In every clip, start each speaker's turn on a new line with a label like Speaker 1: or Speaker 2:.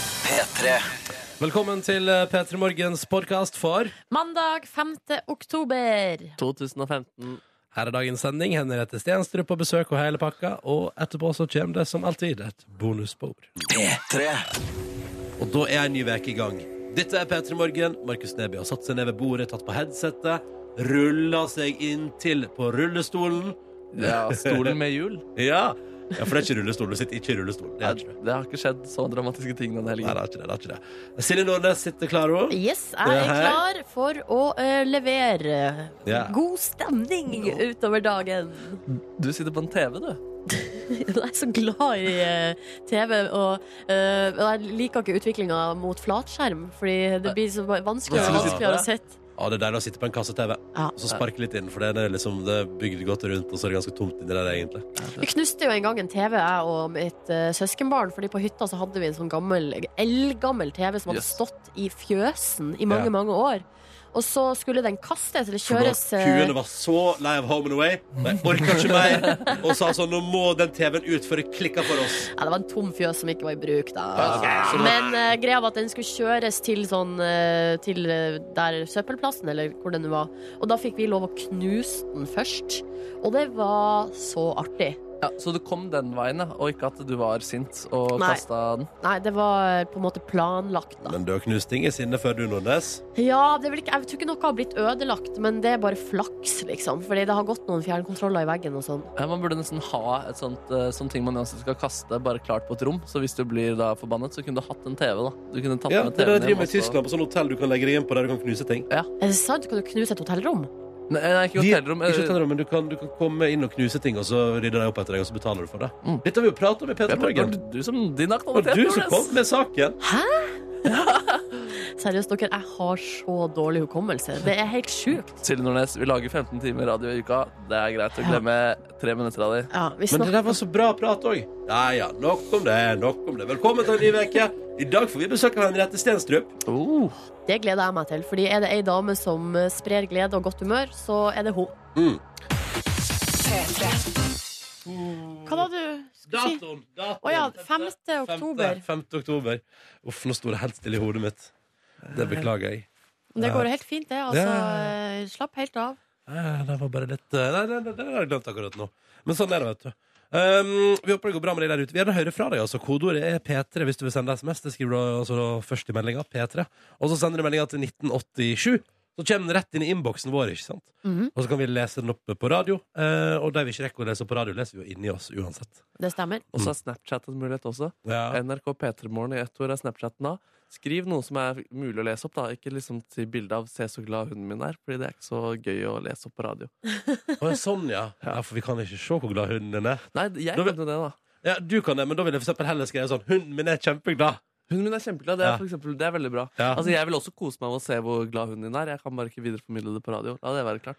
Speaker 1: P3.
Speaker 2: Velkommen til P3 Morgens podkast for
Speaker 3: Mandag 5. oktober.
Speaker 4: 2015.
Speaker 2: Her er dagens sending. Henriette Stenstrup på besøk og hele pakka. Og etterpå så kommer det som alltid et bonusspor.
Speaker 1: P3.
Speaker 2: Og da er en ny uke i gang. Dette er P3 Morgen. Markus Neby har satt seg ned ved bordet, tatt på headsetet, rulla seg inntil på rullestolen.
Speaker 4: Ja, stolen med hjul.
Speaker 2: Ja, ja for det er ikke rullestol. Du sitter ikke i rullestol. Det
Speaker 4: Det,
Speaker 2: er ikke det.
Speaker 4: har ikke skjedd så dramatiske ting denne
Speaker 2: Nei,
Speaker 4: helgen.
Speaker 2: det er ikke det. det, er ikke det. Silje Nordnes sitter klar òg.
Speaker 3: Yes, jeg er
Speaker 2: Hei.
Speaker 3: klar for å eh, levere
Speaker 2: Ja.
Speaker 3: god stemning utover dagen.
Speaker 4: Du sitter på en TV, du.
Speaker 3: Jeg er så glad i eh, TV, og eh, jeg liker ikke utviklinga mot flatskjerm, fordi det blir så vanskeligere og
Speaker 2: Ja.
Speaker 3: vanskeligere å sitte.
Speaker 2: Ja, det er deilig å sitte på en kasse-TV
Speaker 3: Ja.
Speaker 2: og så sparke litt inn. For det er liksom det er bygd godt rundt, og så er det ganske tomt inni der, egentlig.
Speaker 3: Vi knuste jo en gang en TV, jeg og mitt eh, søskenbarn, fordi på hytta så hadde vi en sånn gammel, eldgammel TV som hadde
Speaker 4: Yes.
Speaker 3: stått i fjøsen i mange,
Speaker 2: Ja.
Speaker 3: mange år. Og så skulle den kastes eller
Speaker 2: For da
Speaker 3: kjøres eh,
Speaker 2: Kuene var så lei av Home and Away. De orka ikke mer. Og sa sånn Nå må den TV-en ut før det klikker for oss.
Speaker 3: Ja, det var en tom fjøs som ikke var i bruk da.
Speaker 2: Ja.
Speaker 3: Men eh, greia var at den skulle kjøres til sånn eh, Til eh, der søppelplassen, eller hvor den var. Og da fikk vi lov å knuse den først. Og det var så artig.
Speaker 4: Ja, så du kom den veien, ja, og ikke at du var sint og
Speaker 3: Nei.
Speaker 4: kasta den.
Speaker 3: Nei, det var eh, på en måte planlagt, da.
Speaker 2: Men du har knust ting i sinne før du, Nordnes.
Speaker 3: Ja, det er vel ikke, jeg tror ikke noe har blitt ødelagt, men det er bare flaks, liksom. Fordi det har gått noen fjernkontroller i veggen og sånn.
Speaker 4: Ja, man burde nesten ha et sånt, eh, sånn ting man uansett skal kaste, bare klart på et rom. Så hvis du blir da forbannet, så kunne du hatt en TV, da. Du kunne tatt
Speaker 2: Ja,
Speaker 4: med
Speaker 2: det er det
Speaker 4: TV-en
Speaker 2: de
Speaker 4: hjem
Speaker 2: driver med i
Speaker 4: også.
Speaker 2: Tyskland, på sånn hotell du kan legge deg inn på der du kan knuse ting.
Speaker 3: Er det sant? Kan du knuse et hotellrom?
Speaker 4: Nei, nei, ikke
Speaker 2: De-
Speaker 4: hotellrom. eh,
Speaker 2: Ikke hotellrom, men du kan, du kan komme inn og knuse ting, og så rydder de opp etter deg, og så betaler du for det.
Speaker 4: Mm.
Speaker 2: Dette har vi jo pratet om i P3
Speaker 4: det var
Speaker 2: Morgen.
Speaker 4: du som din
Speaker 2: Det var
Speaker 4: aktualitet.
Speaker 2: du som
Speaker 4: Nordnes.
Speaker 2: kom med saken.
Speaker 3: Seriøst, dere, jeg har så dårlig hukommelse. Det er helt sjukt.
Speaker 4: Silje Nordnes, vi lager 15 timer radio i uka. Det er greit å
Speaker 3: Ja.
Speaker 4: glemme tre minutter av de.
Speaker 3: Ja, vi
Speaker 2: Men det
Speaker 3: snakker
Speaker 2: der var så bra prat òg. Ja ja, nok om det. nok om det Velkommen til en ny uke. I dag får vi besøk av Henriette Stenstrup.
Speaker 4: Oh.
Speaker 3: Det gleder jeg meg til, fordi er det ei dame som eh, sprer glede og godt humør, så er det hun.
Speaker 2: Mm.
Speaker 3: Hva var det du skulle si? Å ja, 5. oktober.
Speaker 2: 5. oktober. Uff, nå sto det helt stille i hodet mitt. Det beklager jeg.
Speaker 3: Det går helt fint, det. Altså,
Speaker 2: Ja.
Speaker 3: eh, slapp helt av.
Speaker 2: Eh, Det var bare litt eh, Nei, nei, nei, det har jeg glemt akkurat nå. Men sånn er det, vet du. Um, vi håper det går bra med deg der ute. Vi gjerne hører fra deg. altså Kodeordet er P3 hvis du vil sende SMS. Det skriver du altså da først i meldinga. P3. Og så sender du meldinga til 1987. Så kommer den rett inn i innboksen vår. ikke sant?
Speaker 3: Mhm.
Speaker 2: Og så kan vi lese den opp på radio. eh, og de vi ikke rekker å lese opp på radio, leser vi jo inni oss uansett.
Speaker 3: Det stemmer.
Speaker 4: Og så er Snapchat en mulighet også.
Speaker 2: Ja.
Speaker 4: NRK P3morgen i ett år er Snapchaten da. Skriv noe som er mulig å lese opp, da. Ikke liksom til bilde av 'se så glad hunden min er', fordi det er ikke så gøy å lese opp på radio.
Speaker 2: Og sånn, ja. ja. For vi kan ikke se hvor glad hunden din er.
Speaker 4: Nei, jeg
Speaker 2: Da
Speaker 4: kan
Speaker 2: vil-
Speaker 4: jo det, da.
Speaker 2: Ja, du kan det, men da vil jeg for eksempel heller skrive sånn Hunden min er kjempeglad.
Speaker 4: Hunden min er kjempeglad. Det er,
Speaker 2: Ja.
Speaker 4: for eksempel, det er veldig bra.
Speaker 2: Ja.
Speaker 4: Altså, Jeg vil også kose meg med å se hvor glad hunden din er. Jeg kan bare ikke videreformidle det på radio. La det være klart.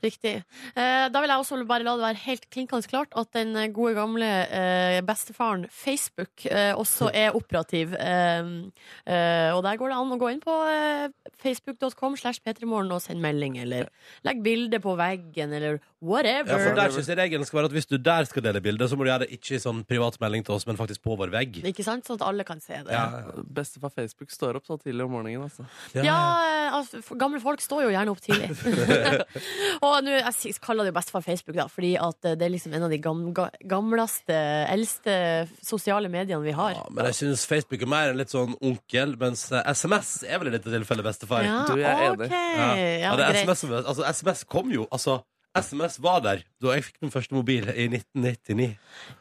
Speaker 3: Riktig. Eh, Da vil jeg også bare la det være helt klinkende klart at den gode, gamle eh, bestefaren Facebook eh, også er operativ. Eh, eh, Og der går det an å gå inn på eh, facebook.com slash p3morgen og sende melding, eller legg bilde på veggen, eller
Speaker 2: Ja, for
Speaker 3: whatever.
Speaker 2: der synes jeg regelen skal være at Hvis du der skal dele bilder, så må du gjøre det ikke i sånn privat melding til oss, men faktisk på vår vegg.
Speaker 3: Ikke sant? Sånn at alle kan se det.
Speaker 2: Ja,
Speaker 4: Bestefar Facebook står opp så tidlig om morgenen, altså.
Speaker 2: ja,
Speaker 3: Ja,
Speaker 2: ja.
Speaker 3: eh, altså, f- gamle folk står jo gjerne opp tidlig. og nå, jeg s- kaller det jo bestefar Facebook, da, fordi at eh, det er liksom en av de gam, ga, gamleste, eldste sosiale mediene vi har.
Speaker 2: Ja, men jeg syns Facebook er mer en litt sånn onkel, mens eh, SMS er vel i dette tilfellet bestefar.
Speaker 4: Du, jeg er enig.
Speaker 3: ok.
Speaker 2: Ja.
Speaker 3: Ja,
Speaker 2: Ja, det er
Speaker 3: greit.
Speaker 2: SMS, altså, SMS kom jo, altså. SMS var der da jeg fikk min første mobil i 1999.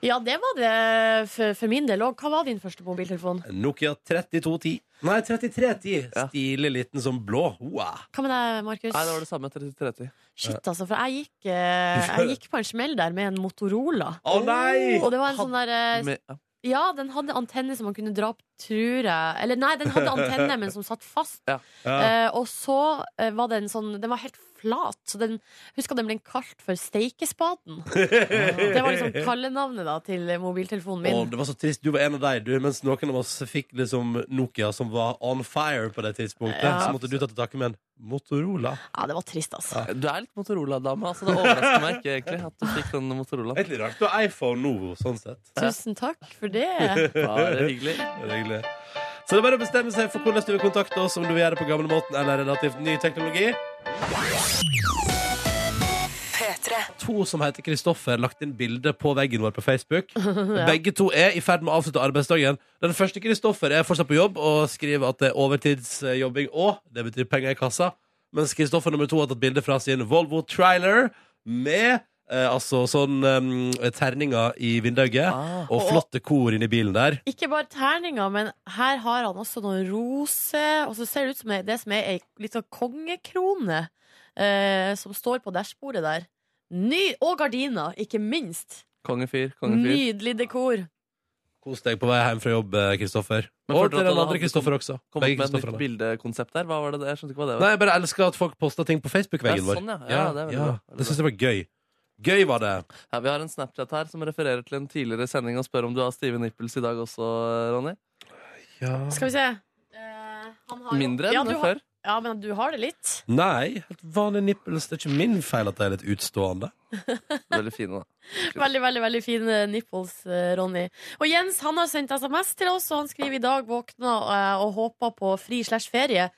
Speaker 3: ja, det var det for, for min del òg. Hva var din første mobiltelefon?
Speaker 2: Nokia 3210. Nei, 3310.
Speaker 4: Ja.
Speaker 2: Stilig liten som blå. Wow.
Speaker 3: Hva med deg, Markus?
Speaker 4: Nei, det var det samme 30-30.
Speaker 3: Shit, altså. For jeg gikk, eh, jeg gikk på en smell der med en Motorola.
Speaker 2: Å nei!
Speaker 3: Og det var en sånn der eh,
Speaker 4: Med- ja.
Speaker 3: Ja, den hadde antenne som man kunne dra opp, tror jeg. Eller nei, den hadde antenne, men som satt fast.
Speaker 2: Ja.
Speaker 3: Eh, og så eh, var den sånn Den var helt flat. Så den, husker den ble kalt for Steikespaden. Det var liksom kallenavnet da til mobiltelefonen
Speaker 2: Å,
Speaker 3: min.
Speaker 2: det var så trist. Du var en av deg, du. Mens noen av oss fikk liksom Nokia som var on fire på det tidspunktet.
Speaker 3: Ja.
Speaker 2: Så måtte du ta til takke med en Motorola.
Speaker 3: Ja, det var trist, altså.
Speaker 4: Du er litt Motorola-dame, altså. Det overrasker meg ikke egentlig at du fikk den Motorola.
Speaker 2: Egentlig rart. Du har iPhone nå, sånn sett.
Speaker 3: Tusen takk for det.
Speaker 4: Bare hyggelig.
Speaker 2: Det er hyggelig. Så det er bare å bestemme seg for hvordan du vil kontakte oss, om du vil gjøre det på gamlemåten eller relativt ny teknologi. To som heter Kristoffer, lagt inn bilde på veggen vår på Facebook. Begge to er i ferd med å avslutte arbeidsdagen. Den første Kristoffer er fortsatt på jobb og skriver at det er overtidsjobbing og det betyr penger i kassa. Mens Kristoffer nummer to har tatt bilde fra sin Volvo trailer med eh, altså sånn eh, terninger i vindauget
Speaker 4: Ah.
Speaker 2: og flotte kor inni bilen der.
Speaker 3: Ikke bare terninger, men her har han også noen roser. Og så ser det ut som ei- det som er ei litt sånn kongekrone eh, som står på dashbordet der. Ny, og gardiner, ikke minst.
Speaker 4: Kongefyr, kongefyr.
Speaker 3: Nydelig dekor.
Speaker 2: Kos deg på vei hjem fra jobb, eh, Kristoffer.
Speaker 4: Men
Speaker 2: Og
Speaker 4: følte du
Speaker 2: til
Speaker 4: at
Speaker 2: den
Speaker 4: han
Speaker 2: andre
Speaker 4: hadde
Speaker 2: Kristoffer også.
Speaker 4: Kom opp
Speaker 2: Begge
Speaker 4: med et nytt
Speaker 2: Kristofferne.
Speaker 4: bildekonsept der. Hva var det der? Jeg skjønte ikke hva det var.
Speaker 2: Nei, jeg bare elsker at folk poster ting på Facebook-veggen
Speaker 4: Ja,
Speaker 2: vår.
Speaker 4: sånn, ja. Ja, det er veldig bra. Veldig
Speaker 2: det syns jeg var gøy. Gøy var det.
Speaker 4: Ja, vi har en Snapchat her som refererer til en tidligere sending og spør om du har stive nipples i dag også, Ronny.
Speaker 3: Skal vi se. Eh, han har jo-
Speaker 4: Mindre enn
Speaker 3: ja, du har-
Speaker 4: før.
Speaker 3: Ja, men du har det litt.
Speaker 2: Nei, helt vanlig nippels. Det er ikke min feil at de er litt utstående.
Speaker 4: Veldig fine, da.
Speaker 3: Veldig, veldig veldig fine nipples, eh, Ronny. Og Jens han har sendt SMS til oss, og han skriver i dag våkna eh, og håpa på fri slash ferie.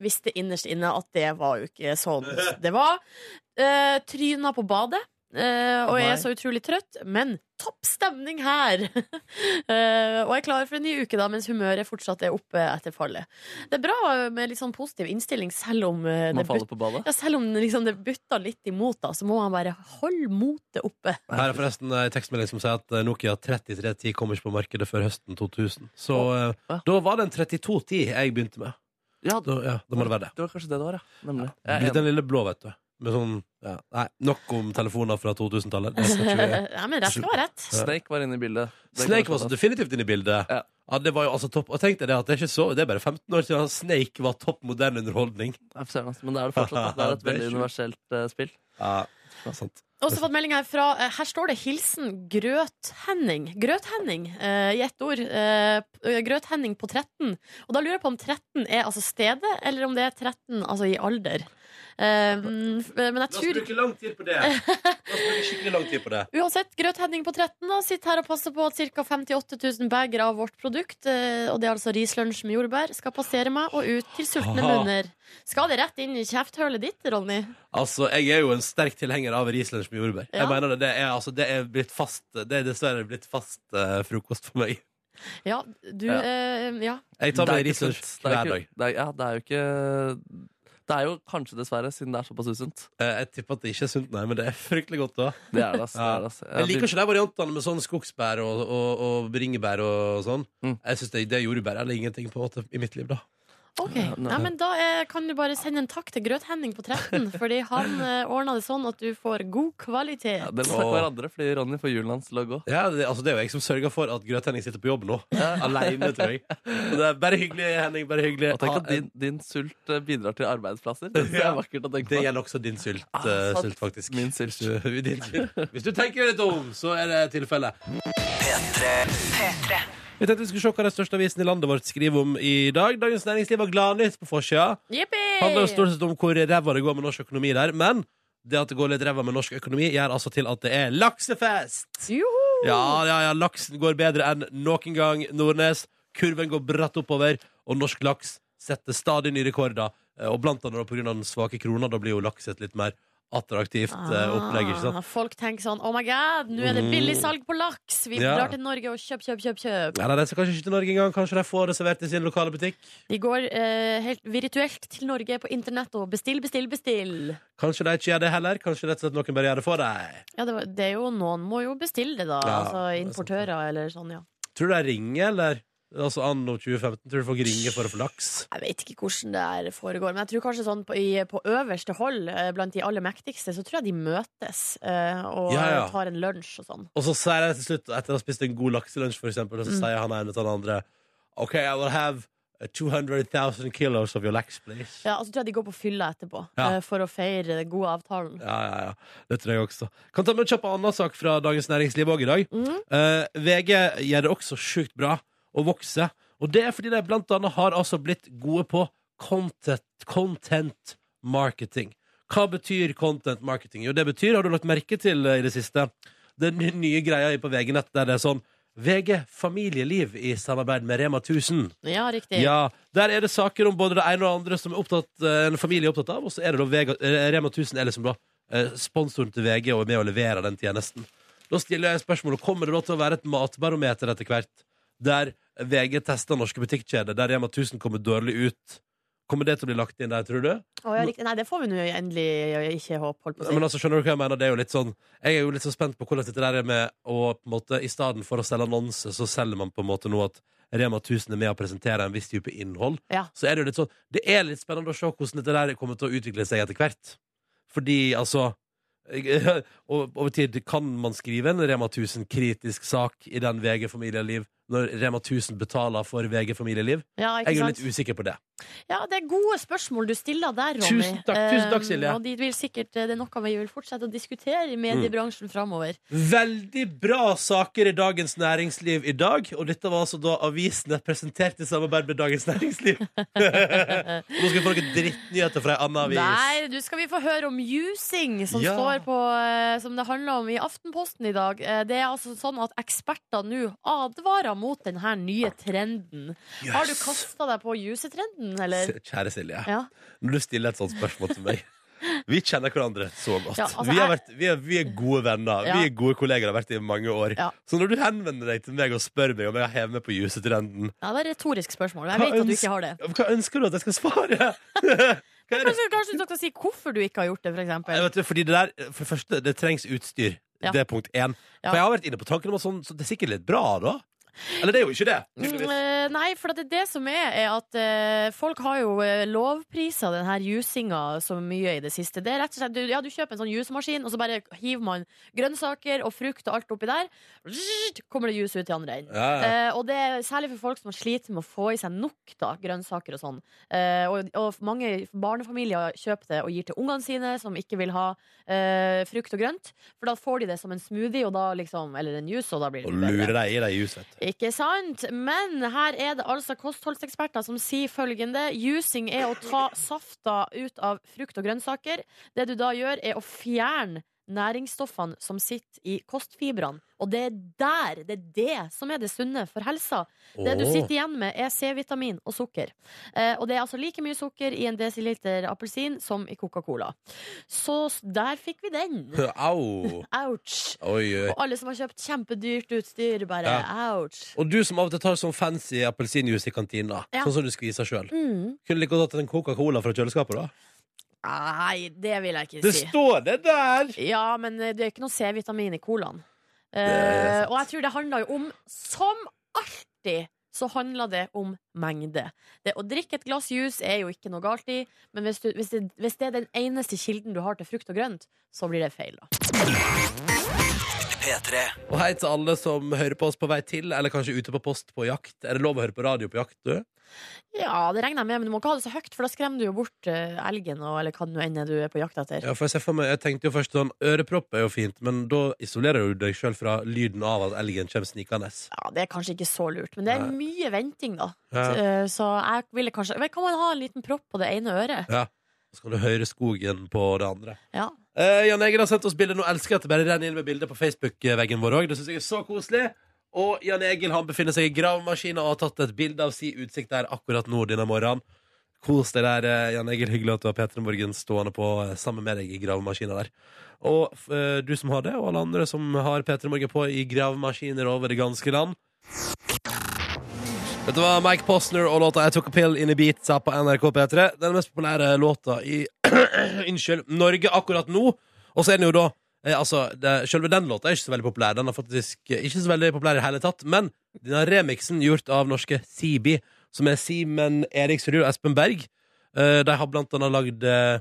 Speaker 3: Visste innerst inne at det var jo ikke sånn det var. Eh, tryna på badet. eh, og jeg er så utrolig trøtt, men topp stemning her! Eh, og jeg er klar for en ny uke, da, mens humøret fortsatt er oppe etter fallet. Det er bra med litt sånn positiv innstilling, selv om eh, det
Speaker 4: Man faller
Speaker 3: butter,
Speaker 4: på badet.
Speaker 3: ja, selv om liksom det butter litt imot, da, så må man bare holde motet oppe.
Speaker 2: Her er forresten en tekstmelding som sier at eh, Nokia 3310 kommer ikke på markedet før høsten 2000. Så eh,
Speaker 4: Ja.
Speaker 2: da var det en 3210 jeg begynte med.
Speaker 4: Ja,
Speaker 2: Da, ja, da må det være det.
Speaker 4: det var kanskje det det var, ja. Nemlig. Jeg
Speaker 2: Blitt
Speaker 4: er
Speaker 2: den
Speaker 4: enig.
Speaker 2: lille blå, vet du. Med sånn ja. Nei, nok om telefoner fra 2000-tallet. Det skal ikke vi-
Speaker 3: Nei, men rett skal være rett.
Speaker 4: Snake var inne i bildet. Det
Speaker 2: Snake
Speaker 4: kan
Speaker 2: var så
Speaker 4: jeg skjønne.
Speaker 2: definitivt inne i bildet. Ja.
Speaker 4: Ja.
Speaker 2: det var jo altså topp Og tenk deg det at det er ikke så Det er bare 15 år siden Snake var topp moderne underholdning.
Speaker 4: Ja, for søren, altså. Men det er det fortsatt. da. Det er
Speaker 2: Det
Speaker 4: et
Speaker 2: er
Speaker 4: veldig
Speaker 2: sjukt.
Speaker 4: universelt eh, spill.
Speaker 2: Ja, det er sant.
Speaker 3: Også fått melding her fra eh, Her står det 'Hilsen Grøthenning'. Grøthenning eh, i ett ord. Eh, p- Grøthenning på 13. Og da lurer jeg på om 13 er altså stedet, eller om det er 13 altså i alder. Eh, mm, f- eh, men jeg tror
Speaker 2: lang tid på det. La oss bruke skikkelig lang tid på det.
Speaker 3: Uansett, Grøthenning på 13 da, sitter her og passer på at ca. 58 000 bager av vårt produkt, eh, og det er altså rislunsj med jordbær, skal passere meg og ut til sultne
Speaker 2: Aha.
Speaker 3: munner. Skal det rett inn i kjefthølet ditt, Ronny?
Speaker 2: Altså, Jeg er jo en sterk tilhenger av rislunsj med jordbær.
Speaker 3: Ja.
Speaker 2: Jeg mener Det det er, altså, det er blitt fast Det er dessverre blitt fast eh, frokost for meg.
Speaker 3: Ja, du
Speaker 4: Ja.
Speaker 3: eh, Ja.
Speaker 2: Jeg tar meg
Speaker 4: Det er ikke
Speaker 2: rislunsj
Speaker 4: sunt. Det er
Speaker 2: hver
Speaker 4: ikke-
Speaker 2: dag.
Speaker 4: Det er, ja, det er jo ikke Det er jo kanskje, dessverre, siden det er såpass usunt.
Speaker 2: Eh, Jeg tipper at det ikke er sunt, nei, men det er fryktelig godt. da
Speaker 4: Det er det, altså. Det er det, altså.
Speaker 2: Jeg liker ikke de variantene med sånn skogsbær og, og, og bringebær og sånn.
Speaker 4: Mm.
Speaker 2: Jeg synes det, det er jordbær eller ingenting på en måte i mitt liv, da.
Speaker 3: Ok,
Speaker 4: Ja, nei.
Speaker 3: Nei, men Da eh, kan du bare sende en takk til Grøthenning på 13, fordi han eh, ordna det sånn at du får god kvalitet.
Speaker 4: Ja, Dere må snakke
Speaker 2: Åh.
Speaker 4: hverandre, fordi Ronny får julen hans til å gå.
Speaker 2: Ja, det, altså, det er jo jeg som sørger for at Grøthenning sitter på jobb nå. Aleine, tror jeg. Så det er bare hyggelig, Henning. bare hyggelig
Speaker 4: Og tenk
Speaker 2: Ha
Speaker 4: at din, din sult eh, bidrar til arbeidsplasser. Det er
Speaker 2: Ja.
Speaker 4: vakkert å
Speaker 2: en- Det
Speaker 4: tenke på.
Speaker 2: gjelder også din sult,
Speaker 4: Ah,
Speaker 2: eh,
Speaker 4: sant.
Speaker 2: sult faktisk.
Speaker 4: Min sult.
Speaker 2: Hvis du, din sult. Hvis du tenker deg litt om, så er det tilfellet. Vi tenkte vi skulle se hva den største avisen i landet vårt skriver om i dag. Dagens Næringsliv har gladnytt på forsida.
Speaker 3: Jippi!
Speaker 2: handler jo stort sett om hvor ræva det går med norsk økonomi der. Men det at det går litt ræva med norsk økonomi, gjør altså til at det er laksefest!
Speaker 3: Joho!
Speaker 2: Ja, ja, ja, laksen går bedre enn noen gang, Nordnes. Kurven går bratt oppover, og norsk laks setter stadig nye rekorder. Eh, Og blant annet pga. den svake krona, da blir jo laks et litt mer attraktivt eh, opplegg, ikke sant? Mm.
Speaker 3: Ah, Folk tenker sånn Oh my god, nå er det billig salg på laks! Vi
Speaker 2: Ja.
Speaker 3: drar til Norge og kjøp, kjøp, kjøp. kjøp
Speaker 2: Ja, nei, de skal kanskje ikke til Norge engang. Kanskje de får det servert i sin lokale butikk.
Speaker 3: De går eh, helt virtuelt til Norge på internett og bestill, bestill, bestill.
Speaker 2: Kanskje de ikke gjør det heller. Kanskje rett og slett noen bare gjør det for deg.
Speaker 3: Ja, det, var- det er jo Noen må jo bestille det, da.
Speaker 2: Ja,
Speaker 3: altså
Speaker 2: det er sant,
Speaker 3: Importører eller sånn, ja.
Speaker 2: Tror du de ringer, eller? Altså anno 2015, tror du folk ringer for å få laks?
Speaker 3: Jeg vet ikke hvordan det her foregår, men jeg tror kanskje sånn på, i, på øverste hold, eh, blant de aller mektigste, så tror jeg de møtes eh, og
Speaker 2: Ja, ja.
Speaker 3: eh, tar en lunsj og sånn.
Speaker 2: Og så sier jeg til slutt, etter å ha spist en god lakselunsj, for eksempel, og så
Speaker 3: Mm.
Speaker 2: sier han ene til den andre OK, I will have uh, 200,000 kilos of your lax, please.
Speaker 3: Ja, og så tror jeg de går på fylla etterpå
Speaker 2: Ja.
Speaker 3: eh, for å feire den gode avtalen.
Speaker 2: Ja, ja, ja. Det tror jeg også. Kan ta med en kjapp annen sak fra Dagens Næringsliv òg i dag.
Speaker 3: Mhm.
Speaker 2: Eh, VG gjør det også sjukt bra og vokser. Og det er fordi de blant annet har altså blitt gode på content, content marketing. Hva betyr content marketing? Jo, det betyr, har du lagt merke til eh, i det siste, den nye greia på VG-nett der det er sånn VG familieliv i samarbeid med Rema 1000.
Speaker 3: Ja, riktig.
Speaker 2: Ja, Der er det saker om både det ene og det andre som er opptatt, eh, en familie er opptatt av. Og så er det da Vega, eh, Rema 1000 er liksom da eh, sponsoren til VG og er med og leverer den tjenesten. Da stiller jeg spørsmålet kommer det da til å være et matbarometer etter hvert, der VG tester norske butikkjeder, der Rema 1000 kommer dårlig ut. Kommer det til å bli lagt inn der, tror du?
Speaker 3: Å, ja, riktig. Nei, det får vi nå endelig eh, ikke håpe, holdt på å si.
Speaker 2: Men altså, skjønner du hva jeg mener? Det er jo litt sånn Jeg er jo litt så spent på hvordan dette der er med å på en måte I stedet for å selge annonser, så selger man på en måte nå at Rema 1000 er med å presentere en viss type innhold.
Speaker 3: Ja.
Speaker 2: Så er det jo litt sånn Det er litt spennende å se hvordan dette der kommer til å utvikle seg etter hvert. Fordi, altså jeg- og- Over tid kan man skrive en Rema 1000-kritisk sak i den VG Familieliv når Rema 1000 betaler for VG Familieliv.
Speaker 3: Ja,
Speaker 2: Jeg
Speaker 3: ikke
Speaker 2: er jo
Speaker 3: sant?
Speaker 2: litt usikker på det.
Speaker 3: Ja, det er gode spørsmål du stiller der, Ronny.
Speaker 2: Tusen takk, tusen takk,
Speaker 3: Eh,
Speaker 2: Silje. Mm.
Speaker 3: og de vil sikkert, eh, det er noe vi vil fortsette å diskutere i mediebransjen framover.
Speaker 2: Veldig bra saker i Dagens Næringsliv i dag. Og dette var altså da avisene presenterte i samarbeid med Dagens Næringsliv. Og Nå skal vi få noen drittnyheter fra ei anna avis.
Speaker 3: Nei, du skal vi få høre om jusing, som,
Speaker 2: Ja.
Speaker 3: står på, eh, som det handler om i Aftenposten i dag. Eh, Det er altså sånn at eksperter nå advarer mot denne nye trenden.
Speaker 2: Jøss.
Speaker 3: Har du kasta deg på jusetrenden, eller?
Speaker 2: Se- Kjære Silje,
Speaker 3: Ja.
Speaker 2: når du stiller et sånt spørsmål til meg Vi kjenner hverandre så godt.
Speaker 3: Ja, altså,
Speaker 2: vi, har
Speaker 3: jeg-
Speaker 2: vært, vi, er, vi er gode venner.
Speaker 3: Ja.
Speaker 2: Vi er gode kolleger og har vært det i mange år.
Speaker 3: Ja.
Speaker 2: Så når du henvender deg til meg og spør meg om jeg har hevet meg på jusetrenden,
Speaker 3: ja, det er et retorisk spørsmål.
Speaker 2: Hva
Speaker 3: Jeg vet at du
Speaker 2: ønsker-
Speaker 3: ikke har det.
Speaker 2: hva ønsker du at jeg skal svare? Hva er det
Speaker 3: Kanskje, kanskje du skal si hvorfor du ikke har gjort det, for
Speaker 2: Jeg
Speaker 3: eksempel.
Speaker 2: Eh, vet, fordi det der, for det første, det trengs utstyr.
Speaker 3: Ja.
Speaker 2: Det er punkt én.
Speaker 3: Ja.
Speaker 2: For jeg har vært inne på tanken om at sånn, så det er sikkert litt bra, da. Eller det er jo ikke det.
Speaker 3: Mm,
Speaker 2: tydeligvis.
Speaker 3: eh, nei, for det, er det som er, er at eh, folk har jo eh, lovprisa den her jusinga så mye i det siste. Det er rett og slett, du, ja, du kjøper en sånn jusemaskin, og så bare hiver man grønnsaker og frukt og alt oppi der. Zzzt, Kommer det jus ut i andre enden.
Speaker 2: Ja, ja.
Speaker 3: Eh, og det er særlig for folk som sliter med å få i seg nok da, grønnsaker og sånn. Eh, og, og mange barnefamilier kjøper det og gir til ungene sine, som ikke vil ha eh, frukt og grønt. For da får de det som en smoothie og da liksom, eller en juice, og da blir det
Speaker 2: Og
Speaker 3: litt bedre.
Speaker 2: lure deg i deg jus, vet du.
Speaker 3: Ikke sant? Men her er det altså kostholdseksperter som sier følgende. Jusing er å ta safta ut av frukt og grønnsaker. Det du da gjør, er å fjerne næringsstoffene som sitter i kostfibrene. Og det er der, det er det som er det sunne for helsa. Det du
Speaker 2: Åh.
Speaker 3: sitter igjen med, er C-vitamin og sukker. Eh, og det er altså like mye sukker i en desiliter appelsin som i Coca-Cola. Så s- der fikk vi den.
Speaker 2: Au.
Speaker 3: Ouch.
Speaker 2: Oi, oi.
Speaker 3: Og alle som har kjøpt kjempedyrt utstyr, bare ouch.
Speaker 2: Og du som av og til tar sånn fancy appelsinjuice i kantina,
Speaker 3: Ja.
Speaker 2: sånn som du skviser sjøl.
Speaker 3: Mm.
Speaker 2: Kunne like godt hatt en Coca-Cola fra kjøleskapet, da.
Speaker 3: Nei, det vil jeg ikke
Speaker 2: Det
Speaker 3: si.
Speaker 2: står det der!
Speaker 3: Ja, men eh, det er ikke noe C-vitamin i colaen.
Speaker 2: er
Speaker 3: Eh,
Speaker 2: sant.
Speaker 3: og jeg tror det handler jo om, som alltid, så handler det om mengde. Det å drikke et glass juice er jo ikke noe galt i, men hvis, du, hvis, det, hvis det er den eneste kilden du har til frukt og grønt, så blir det feil, da.
Speaker 2: Og hei til alle som hører på oss på vei til, eller kanskje ute på post på jakt. Er det lov å høre på radio på jakt, du?
Speaker 3: Ja, det regner jeg med, men du må ikke ha det så høyt, for da skremmer du jo bort eh, elgen og, eller hva det nå enn er du er på jakt etter.
Speaker 2: Ja, for jeg, ser for meg, jeg tenkte jo først sånn Ørepropp er jo fint, men da isolerer du deg sjøl fra lyden av at elgen kommer snikende.
Speaker 3: Ja, Det er kanskje ikke så lurt, men det er mye venting, da.
Speaker 2: Ja.
Speaker 3: Eh, Så jeg ville kanskje Men Kan man ha en liten propp på det ene øret?
Speaker 2: Ja. Så kan du høre skogen på det andre.
Speaker 3: Ja.
Speaker 2: Eh, Jan Egil har sendt oss bilder. Nå elsker jeg at det bare renner inn med bilder på Facebook-veggen vår òg. Det syns jeg er så koselig. Og Jan Egil han befinner seg i gravemaskina og har tatt et bilde av si utsikt der akkurat nå denne morgenen. Kos deg der, eh, Jan Egil. Hyggelig at du har P3 Morgen stående på eh, sammen med deg i gravemaskina der. Og f- eh, du som har det, og alle andre som har P3 Morgen på i gravemaskiner over det ganske land. Dette var Mike Posner og låta I Took a Pill In A Beatsa på NRK P3. Den mest populære låta i Eh, Unnskyld, Norge akkurat nå. Og så er den jo da eh, Altså, det, Selve den låta er ikke så veldig populær. Den er faktisk eh, ikke så veldig populær i det hele tatt. Men denne remixen gjort av norske Sibi, som er Simen Eriksrud og Espen Berg eh, De har blant annet lagd eh,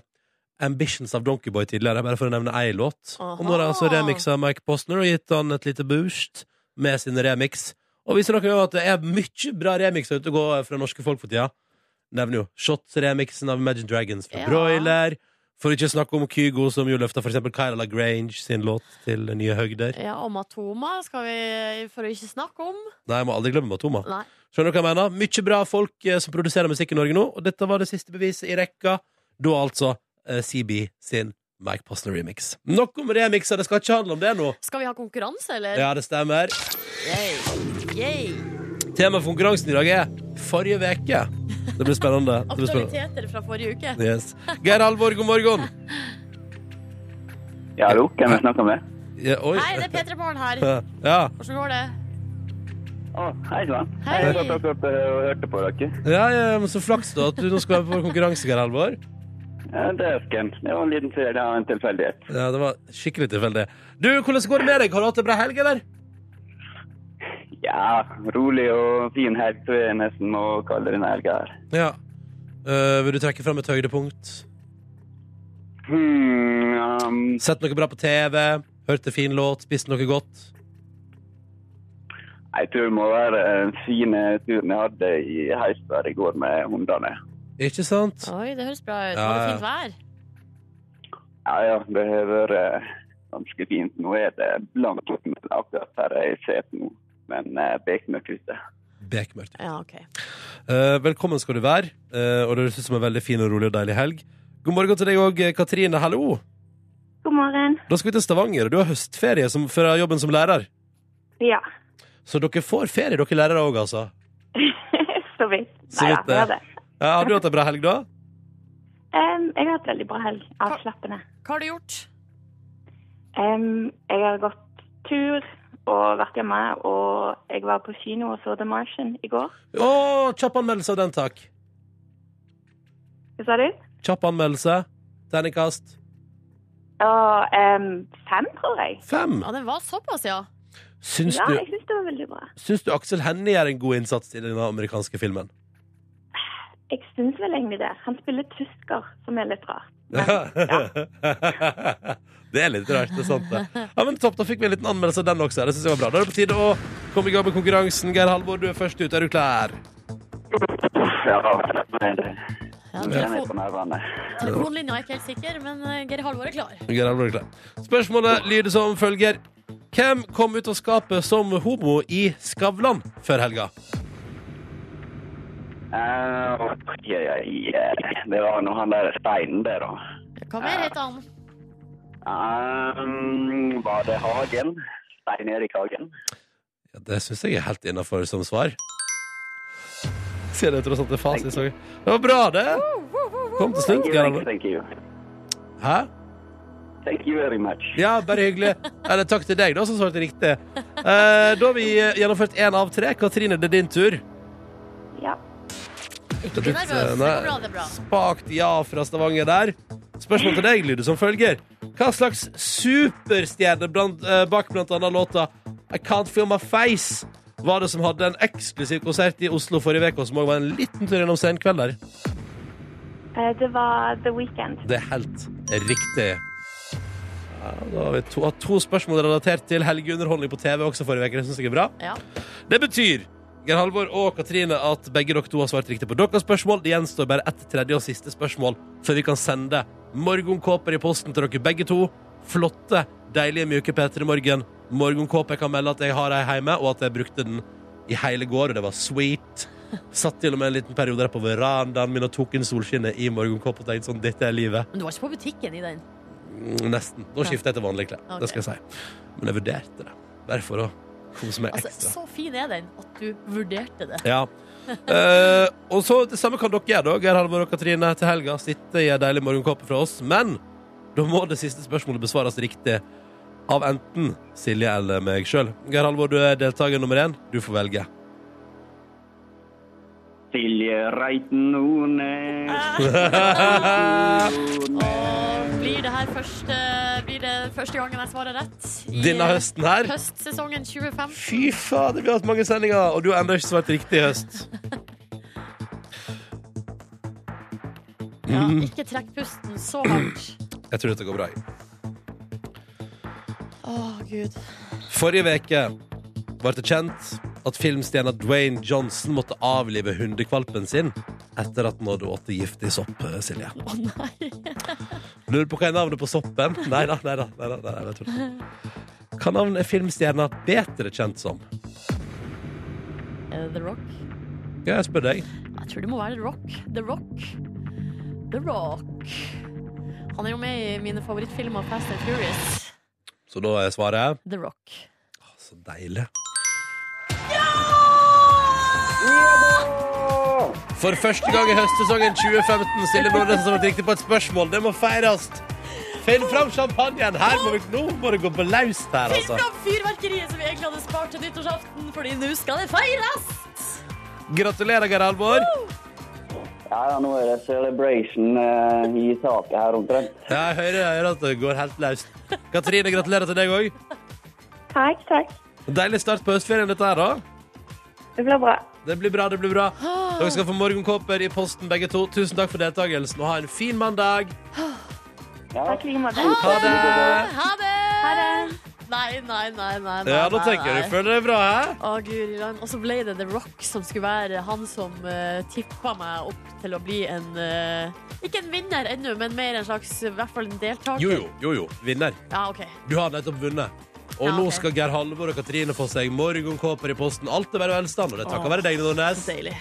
Speaker 2: Ambitions av Donkeyboy tidligere, bare for å nevne ei låt. Og nå har de altså
Speaker 3: Aha.
Speaker 2: remixa Mike Posner og gitt han et lite boost med sin remix. Og viser dere jo at det er mye bra remixer ute og går fra norske folk for tida. Nevner jo Shots-remixen av Imagine Dragons fra
Speaker 3: Ja.
Speaker 2: Broiler. For ikke å snakke om Kygo, som jo løfta f.eks. Kyla Lagrange sin låt til nye høgder.
Speaker 3: Ja, og Matoma skal vi for å ikke snakke om.
Speaker 2: Nei, jeg må aldri glemme Matoma.
Speaker 3: Nei.
Speaker 2: Skjønner du hva jeg mener? Mye bra folk eh, som produserer musikk i Norge nå, og dette var det siste beviset i rekka. Da altså eh, CB sin Mike Posner remix. Nok om remixer, det skal ikke handle om det nå.
Speaker 3: Skal vi ha konkurranse, eller?
Speaker 2: Ja, det stemmer.
Speaker 3: Yay. Yay.
Speaker 2: Temaet for konkurransen i dag er forrige uke. Det blir spennende. Det blir spennende.
Speaker 3: Aktualiteter fra forrige uke.
Speaker 2: Yes. Geir Halvor, god morgen.
Speaker 1: Ja, hallo, hvem jeg snakker med?
Speaker 2: Ja, oi.
Speaker 3: Hei, det er P3 Morgen her.
Speaker 2: Ja.
Speaker 3: Hvordan går det?
Speaker 1: Å, hei sann.
Speaker 3: Hei.
Speaker 1: Jeg satt akkurat eh, og hørte på dere.
Speaker 2: Ja, ja, men så flaks da at du nå skal være på vår konkurranse, Geir Halvor.
Speaker 1: Ja, Døsken. Det var en liten tur, det var en tilfeldighet.
Speaker 2: Ja, det var skikkelig tilfeldig. Du, hvordan går det med deg? Har du hatt en bra helg, eller?
Speaker 1: Ja, rolig og fin helg, tror jeg nesten må kalle denne helga her.
Speaker 2: Ja. Eh, vil du trekke fram et høydepunkt?
Speaker 1: Hmm, um,
Speaker 2: Sett noe bra på TV? Hørte fin låt? Spiste noe godt?
Speaker 1: jeg tror det må være den fine turen jeg hadde i Heistad i går med hundene.
Speaker 2: Ikke sant?
Speaker 3: Oi, det høres bra ut.
Speaker 2: Ja,
Speaker 3: Var det
Speaker 2: ja.
Speaker 3: fint vær?
Speaker 1: Ja, ja, det har vært eh, ganske fint. Nå er det blankt men akkurat her jeg sitter nå, men eh, bekmørkt ute.
Speaker 2: Bekmørkt.
Speaker 3: Ja, ok.
Speaker 2: Eh, velkommen skal du være, eh, og det høres ut som en veldig fin og rolig og deilig helg. God morgen til deg òg, Katrine. Hallo.
Speaker 5: God morgen.
Speaker 2: Da skal vi til Stavanger, og du har høstferie som, fra jobben som lærer.
Speaker 5: Ja,
Speaker 2: Så dere får ferie, dere lærere òg, altså.
Speaker 5: så vidt.
Speaker 2: Så
Speaker 5: Nei,
Speaker 2: vidt,
Speaker 5: ja,
Speaker 2: ja.
Speaker 5: det.
Speaker 2: Ja, har du hatt en bra helg, da?
Speaker 5: Em, jeg har hatt veldig bra helg. Avslappende.
Speaker 3: Hva har du gjort?
Speaker 5: Em, jeg har gått tur og vært hjemme, og jeg var på kino og så The Martian i går.
Speaker 2: Å, kjapp anmeldelse av den, takk.
Speaker 5: Hva sa du?
Speaker 2: Kjapp anmeldelse. Terningkast
Speaker 5: Og em, fem, tror jeg.
Speaker 2: fem.
Speaker 3: Ja, det var såpass, ja.
Speaker 2: Syns
Speaker 5: Ja,
Speaker 2: du,
Speaker 5: jeg syns det var veldig bra.
Speaker 2: syns du Aksel Hennie gjør en god innsats i den amerikanske filmen?
Speaker 5: Jeg syns vel egentlig det. Han spiller tysker, som er litt rart. Men, ja.
Speaker 2: det er litt rart, det er sant det. Ja, men topp, Da fikk vi en liten anmeldelse av den også. Det synes jeg var bra. Da er det på tide å komme i gang med konkurransen. Geir Halvor, du er først ut. Er du klar?
Speaker 1: Ja, men det
Speaker 3: ja
Speaker 1: det kjenner jeg
Speaker 3: telefon,
Speaker 1: på nervene.
Speaker 3: telefonlinja er ikke helt sikker, men eh, Geir Halvor er klar.
Speaker 2: Geir Halvor er klar. Spørsmålet lyder som følger. Hvem kom ut av skapet som homo i Skavlan før helga?
Speaker 1: Eh, ja, ja, ja. Det var nå han der steinen der, da.
Speaker 3: Hva mer heter han?
Speaker 1: Ehm, var det Hagen? Stein Erik Hagen?
Speaker 2: Ja, det syns jeg er helt innafor som svar. Sier det tross alt er fasit. så- Det var bra, det. Kom til slutt,
Speaker 1: Thank
Speaker 2: Geir
Speaker 1: you,
Speaker 2: Halvor.
Speaker 1: thank you.
Speaker 2: Hæ?
Speaker 1: Thank you very much.
Speaker 2: Ja, bare hyggelig. Eller takk til deg, da, som svarte riktig. Eh, da har vi eh, gjennomført én av tre. Katrine, det er din tur. Eh,
Speaker 5: ja.
Speaker 3: Ikke bli nervøs. Det
Speaker 2: Nei.
Speaker 3: går bra, det er bra.
Speaker 2: Spakt ja fra Stavanger der. Spørsmålet til deg lyder som følger. Hva slags superstjerne blant, eh, bak blant annet låta I Can't Feel My Face var det som hadde en eksklusiv konsert i Oslo forrige uke, og som òg var en liten tur gjennom senkveld der?
Speaker 5: Eh, Det var The Weekend.
Speaker 2: Det er helt riktig. Ja, da har vi to, hatt to spørsmål relatert til helgeunderholdning på TV også forrige uke. Det synes jeg er bra.
Speaker 3: Ja.
Speaker 2: Det betyr Geir Halvor og Katrine at begge dere to har svart riktig på deres spørsmål. Det gjenstår bare ett tredje og siste spørsmål før vi kan sende morgenkåper i posten til dere begge to. Flotte, deilige, mjuke P3 Morgen. Morgenkåpe kan melde at jeg har ei hjemme, og at jeg brukte den i hele går, og det var sweet. Satt til og med en liten periode der på verandaen min og tok inn solskinnet i morgenkåpa og tenkte sånn, dette er livet.
Speaker 3: Men du var ikke på butikken i den.
Speaker 2: Mm, Nesten. Da skifter jeg til vanlige klær.
Speaker 3: Ok.
Speaker 2: Det skal jeg si. Men jeg vurderte det. Bare for å kose meg
Speaker 3: Altså,
Speaker 2: ekstra.
Speaker 3: så fin er den at du vurderte det.
Speaker 2: Ja. Eh, og så det samme kan dere gjøre, da. Geir Halvor og Katrine til helga. Sitte i en deilig morgenkåpe fra oss. Men da må det siste spørsmålet besvares riktig av enten Silje eller meg sjøl. Geir Halvor, du er deltaker nummer én. Du får velge.
Speaker 1: Silje Reiten Nordnes.
Speaker 3: Og blir det her første, blir det første gangen jeg svarer rett i
Speaker 2: Denne høsten her.
Speaker 3: høstsesongen 2015?
Speaker 2: Fy fader, vi har hatt mange sendinger, og du har ennå ikke svart riktig i høst.
Speaker 3: Ja, ikke trekk pusten så hardt.
Speaker 2: Jeg tror dette går bra. jeg.
Speaker 3: Å, gud.
Speaker 2: Forrige veke ble det kjent at filmstjerna Dwayne Johnson måtte avlive hundekvalpen sin etter at den hadde ått giftig sopp, eh, Silje.
Speaker 3: Å nei.
Speaker 2: Lurer på hva er navnet på soppen? Nei da, nei da. Nei, da, nei, da jeg tuller. Hva navn er filmstjerna bedre kjent som?
Speaker 3: Er det Eh, The Rock?
Speaker 2: Ja, jeg spør deg.
Speaker 3: Jeg tror det må være The Rock. The Rock. The Rock. Han er jo med i mine favorittfilmer, Fast and Furious.
Speaker 2: Så da er svaret
Speaker 3: The Rock.
Speaker 2: Å, Så deilig. For første gang i høstsesongen 2015 stiller Nordnes som et riktig på et spørsmål. Det må feires! Finn fram champagnen! Her må vi, nå må det gå på laust her,
Speaker 3: Finn
Speaker 2: altså.
Speaker 3: fram fyrverkeriet som vi egentlig hadde spart til nyttårsaften, fordi nå skal det feires!
Speaker 2: Gratulerer, Geir Alvor.
Speaker 1: Ja, ja, nå er det celebration eh, i taket her omtrent.
Speaker 2: Ja, jeg hører, jeg hører at det går helt laust. Katrine, gratulerer til deg òg.
Speaker 5: Takk, takk.
Speaker 2: Deilig start på høstferien, dette her, da.
Speaker 5: Det blir bra.
Speaker 2: Det blir bra, det blir bra. Dere skal få morgenkåper i posten, begge to. Tusen takk for deltakelsen, og ha en fin mandag.
Speaker 5: Takk i like måte.
Speaker 2: Ha det!
Speaker 3: Ha det!
Speaker 5: Ha det.
Speaker 3: Nei, nei, nei, nei. nei
Speaker 2: Ja, da
Speaker 3: nei,
Speaker 2: tenker
Speaker 3: nei.
Speaker 2: jeg du føler deg bra, hæ?
Speaker 3: Å, guri land. Og så ble det The Rock som skulle være han som uh, tippa meg opp til å bli en eh, Ikke en vinner ennå, men mer en slags i hvert fall en deltaker.
Speaker 2: Jo, jo, jo, jo. Vinner.
Speaker 3: Ja, ok.
Speaker 2: Du har nettopp vunnet. Og
Speaker 3: Ja,
Speaker 2: nå
Speaker 3: ok.
Speaker 2: skal Geir Halvor og Katrine få seg morgenkåper i posten. Alt er bare velstand, og det er takket
Speaker 3: Åh.
Speaker 2: være deg, Nordnes.
Speaker 3: Så deilig.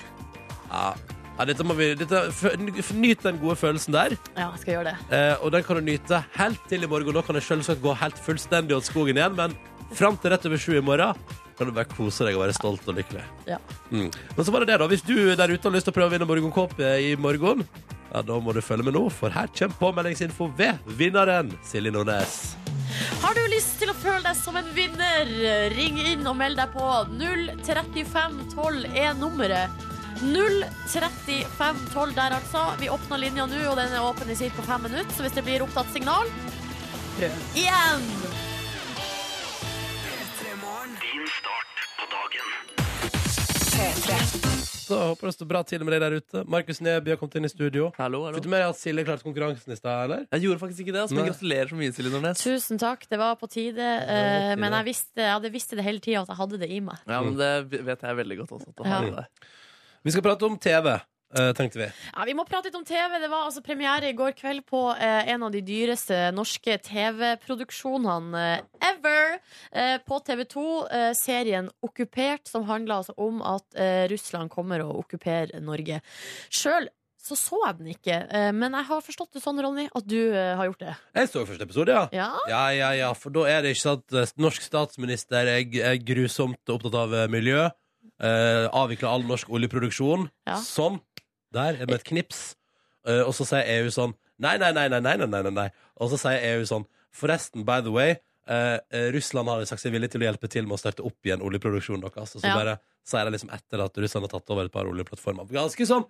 Speaker 2: Ja. Ja, dette må vi, dette, f- n- nyt den gode følelsen der,
Speaker 3: Ja, jeg skal gjøre det.
Speaker 2: eh, og den kan du nyte helt til i morgen. Da kan det selvsagt gå helt fullstendig åt skogen igjen, men fram til rett over sju i morgen kan du bare kose deg og være stolt og lykkelig.
Speaker 3: Ja.
Speaker 2: Mm. Men så var det det, da. Hvis du der ute har lyst til å prøve å vinne morgenkåpe i morgen, ja, da må du følge med nå, for her kommer påmeldingsinfo ved vinneren, Silje Nordnes.
Speaker 3: Har du lyst til å føle deg som en vinner? Ring inn og meld deg på. 03512 er nummeret. 03512 der, altså. Vi åpner linja nå, og den er åpen i ca. fem minutter. Så hvis det blir opptatt signal, prøv igjen.
Speaker 2: Så håper det står bra til med deg der ute. Markus Neby har kommet inn i studio.
Speaker 4: Hallo, hallo.
Speaker 2: Fikk du med deg at Silje klarte konkurransen i stad, eller?
Speaker 4: Jeg gjorde faktisk ikke det, altså, men
Speaker 2: Nei.
Speaker 4: gratulerer så mye, Silje Nordnes.
Speaker 3: Tusen takk, det var på tide. eh,
Speaker 2: tide.
Speaker 3: men jeg visste, jeg hadde visste det hele tida at jeg hadde det i meg.
Speaker 4: Ja,
Speaker 2: Mm.
Speaker 4: men Det vet jeg veldig godt også. At du har
Speaker 3: Ja.
Speaker 4: det der.
Speaker 2: Vi skal prate om TV, eh, tenkte vi.
Speaker 3: Ja, vi må prate litt om TV. Det var altså premiere i går kveld på eh, en av de dyreste norske TV-produksjonene eh, ever. Eh, på TV2, eh, serien Okkupert, som handler altså om at eh, Russland kommer og okkuperer Norge. Sjøl så så jeg den ikke, eh, men jeg har forstått det sånn, Ronny, at du eh, har gjort det.
Speaker 2: Jeg så første episode, ja.
Speaker 3: Ja?
Speaker 2: Ja, ja, ja, for da er det ikke sant eh, Norsk statsminister er, er grusomt opptatt av eh, miljø. Eh, avvikler all norsk oljeproduksjon.
Speaker 3: Ja.
Speaker 2: Sånn. Der er med et knips. Eh, og så sier EU sånn Nei, nei, nei, nei, nei, nei, nei, nei, nei. Og så sier EU sånn Forresten, by the way, eh, eh, Russland har sagt seg villig til å hjelpe til med å starte opp igjen oljeproduksjonen deres. Og så
Speaker 3: Ja.
Speaker 2: bare sier de liksom etter at Russland har tatt over et par oljeplattformer. Ganske sånn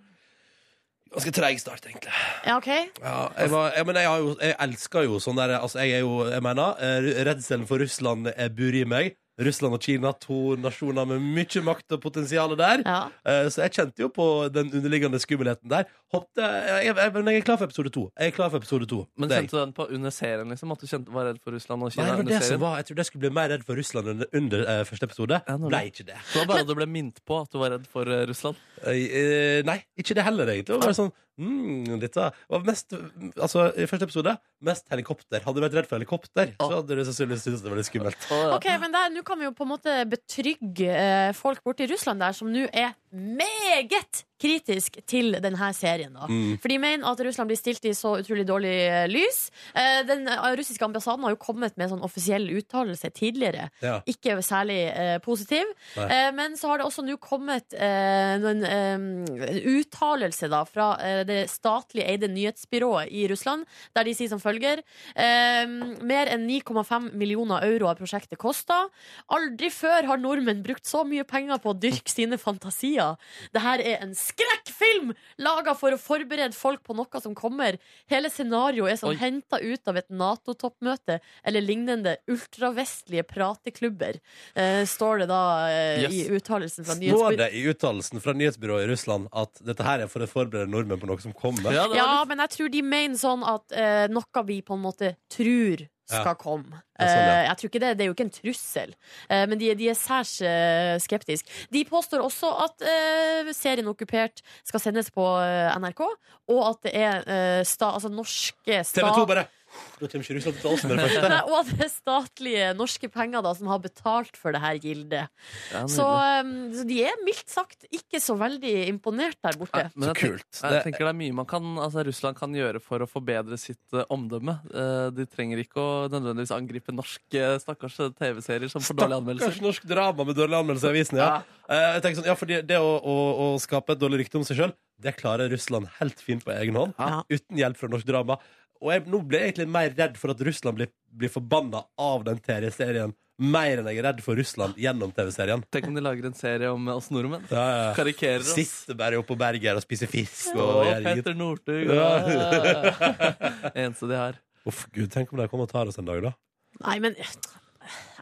Speaker 2: Ganske treig start, egentlig.
Speaker 3: ja, OK?
Speaker 2: Ja, jeg, var, jeg, men jeg, har jo, jeg elsker jo sånn der altså Jeg er jo, jeg mener eh, Redselen for Russland eh, bor i meg Russland og Kina, to nasjoner med mye makt og potensial der
Speaker 3: Ja.
Speaker 2: Eh, Så jeg kjente jo på den underliggende skummelheten der Hoppte, jeg, jeg, Men jeg er klar for episode 2 Jeg er klar for episode 2
Speaker 4: Men
Speaker 2: Deg.
Speaker 4: kjente du den på under serien, liksom? At du kjente, var redd for Russland
Speaker 2: Nei,
Speaker 4: og Kina?
Speaker 2: det var
Speaker 4: under
Speaker 2: det som
Speaker 4: serien?
Speaker 2: var Jeg trodde jeg skulle bli mer redd for Russland under, under eh, første episode
Speaker 4: Ja, nå-
Speaker 2: Ble ikke det
Speaker 4: Det var bare at du ble minnet på at du var redd for eh, Russland.
Speaker 2: Eh, eh, Nei, ikke det heller egentlig. Det var bare sånn mm, Dette var mest Altså, i første episode mest helikopter. Hadde du vært redd for helikopter, så hadde du sannsynligvis syntes det var litt skummelt.
Speaker 4: Og,
Speaker 3: Ok, men der, Nå kan vi jo på en måte betrygge eh, folk borte i Russland der som nå er meget kritisk til denne serien. da For de mener at Russland blir stilt i så utrolig dårlig eh, lys. Eh, Den eh, russiske ambassaden har jo kommet med en sånn offisiell uttalelse tidligere.
Speaker 2: Ja.
Speaker 3: Ikke særlig eh, positiv.
Speaker 2: Nei.
Speaker 3: Eh, men så har det også nå kommet eh, en, eh, en uttalelse da fra eh, det statlig eide nyhetsbyrået i Russland, der de sier som følger eh, Mer enn 9,5 millioner euro har prosjektet kosta. Aldri før har nordmenn brukt så mye penger på å dyrke sine fantasier. Det her er en skrekkfilm laga for å forberede folk på noe som kommer. Hele scenarioet er
Speaker 4: Oi.
Speaker 3: som henta ut av et Nato-toppmøte eller lignende ultravestlige prateklubber, eh, står det da eh,
Speaker 4: Yes.
Speaker 3: i uttalelsen fra
Speaker 2: Står
Speaker 3: nyhetsbyrået.
Speaker 2: det i uttalelsen fra nyhetsbyrået i Russland at dette her er for å forberede nordmenn på noe som kommer?
Speaker 4: ja, det var
Speaker 3: Ja,
Speaker 4: litt-
Speaker 3: men jeg tror de mener sånn at eh, noe vi på en måte tror skal
Speaker 2: Ja.
Speaker 3: komme.
Speaker 2: Ja, sånn, ja.
Speaker 3: Eh, jeg tror ikke det, det er jo ikke en trussel, Eh, men de, de er særs eh, skeptiske. De påstår også at eh, serien Okkupert skal sendes på eh, NRK, og at det er eh, sta, altså norske
Speaker 2: TV2
Speaker 3: sta-
Speaker 2: bare Da kommer ikke Russland til oss med det første.
Speaker 3: Nei, og det er statlige norske penger da, som har betalt for det her gildet.
Speaker 4: Ja, nydelig.
Speaker 3: Så, um, så de er mildt sagt ikke så veldig imponert der borte.
Speaker 4: Ja, men
Speaker 2: Så
Speaker 4: jeg tenk-
Speaker 2: kult.
Speaker 4: Jeg
Speaker 2: Det-
Speaker 4: tenker det er mye man kan, altså Russland kan gjøre for å forbedre sitt eh, omdømme. Eh, De trenger ikke å nødvendigvis angripe norske stakkars eh, TV-serier som får dårlige anmeldelser.
Speaker 2: Kanskje norsk drama med dårlig anmeldelse i avisen, ja. Eh, jeg tenker sånn, ja, fordi det å, å, å skape et dårlig rykte om seg sjøl, det klarer Russland helt fint på egen hånd.
Speaker 3: Ja.
Speaker 2: Uten hjelp fra norsk drama. Og jeg, nå ble jeg egentlig mer redd for at Russland blir, blir forbanna av den TV-serien, mer enn jeg er redd for Russland gjennom TV-serien.
Speaker 4: Tenk om de lager en serie om oss nordmenn.
Speaker 2: Ja, ja.
Speaker 4: Karikerer oss.
Speaker 2: Sitter bare oppå berget her og spiser fisk. Og
Speaker 4: Og
Speaker 2: gjør ingenting.
Speaker 4: Petter Northug.
Speaker 2: Ja.
Speaker 4: ja. Eneste de har.
Speaker 2: Uff, gud, tenk om de kommer og tar oss en dag, da.
Speaker 3: Nei, men jeg,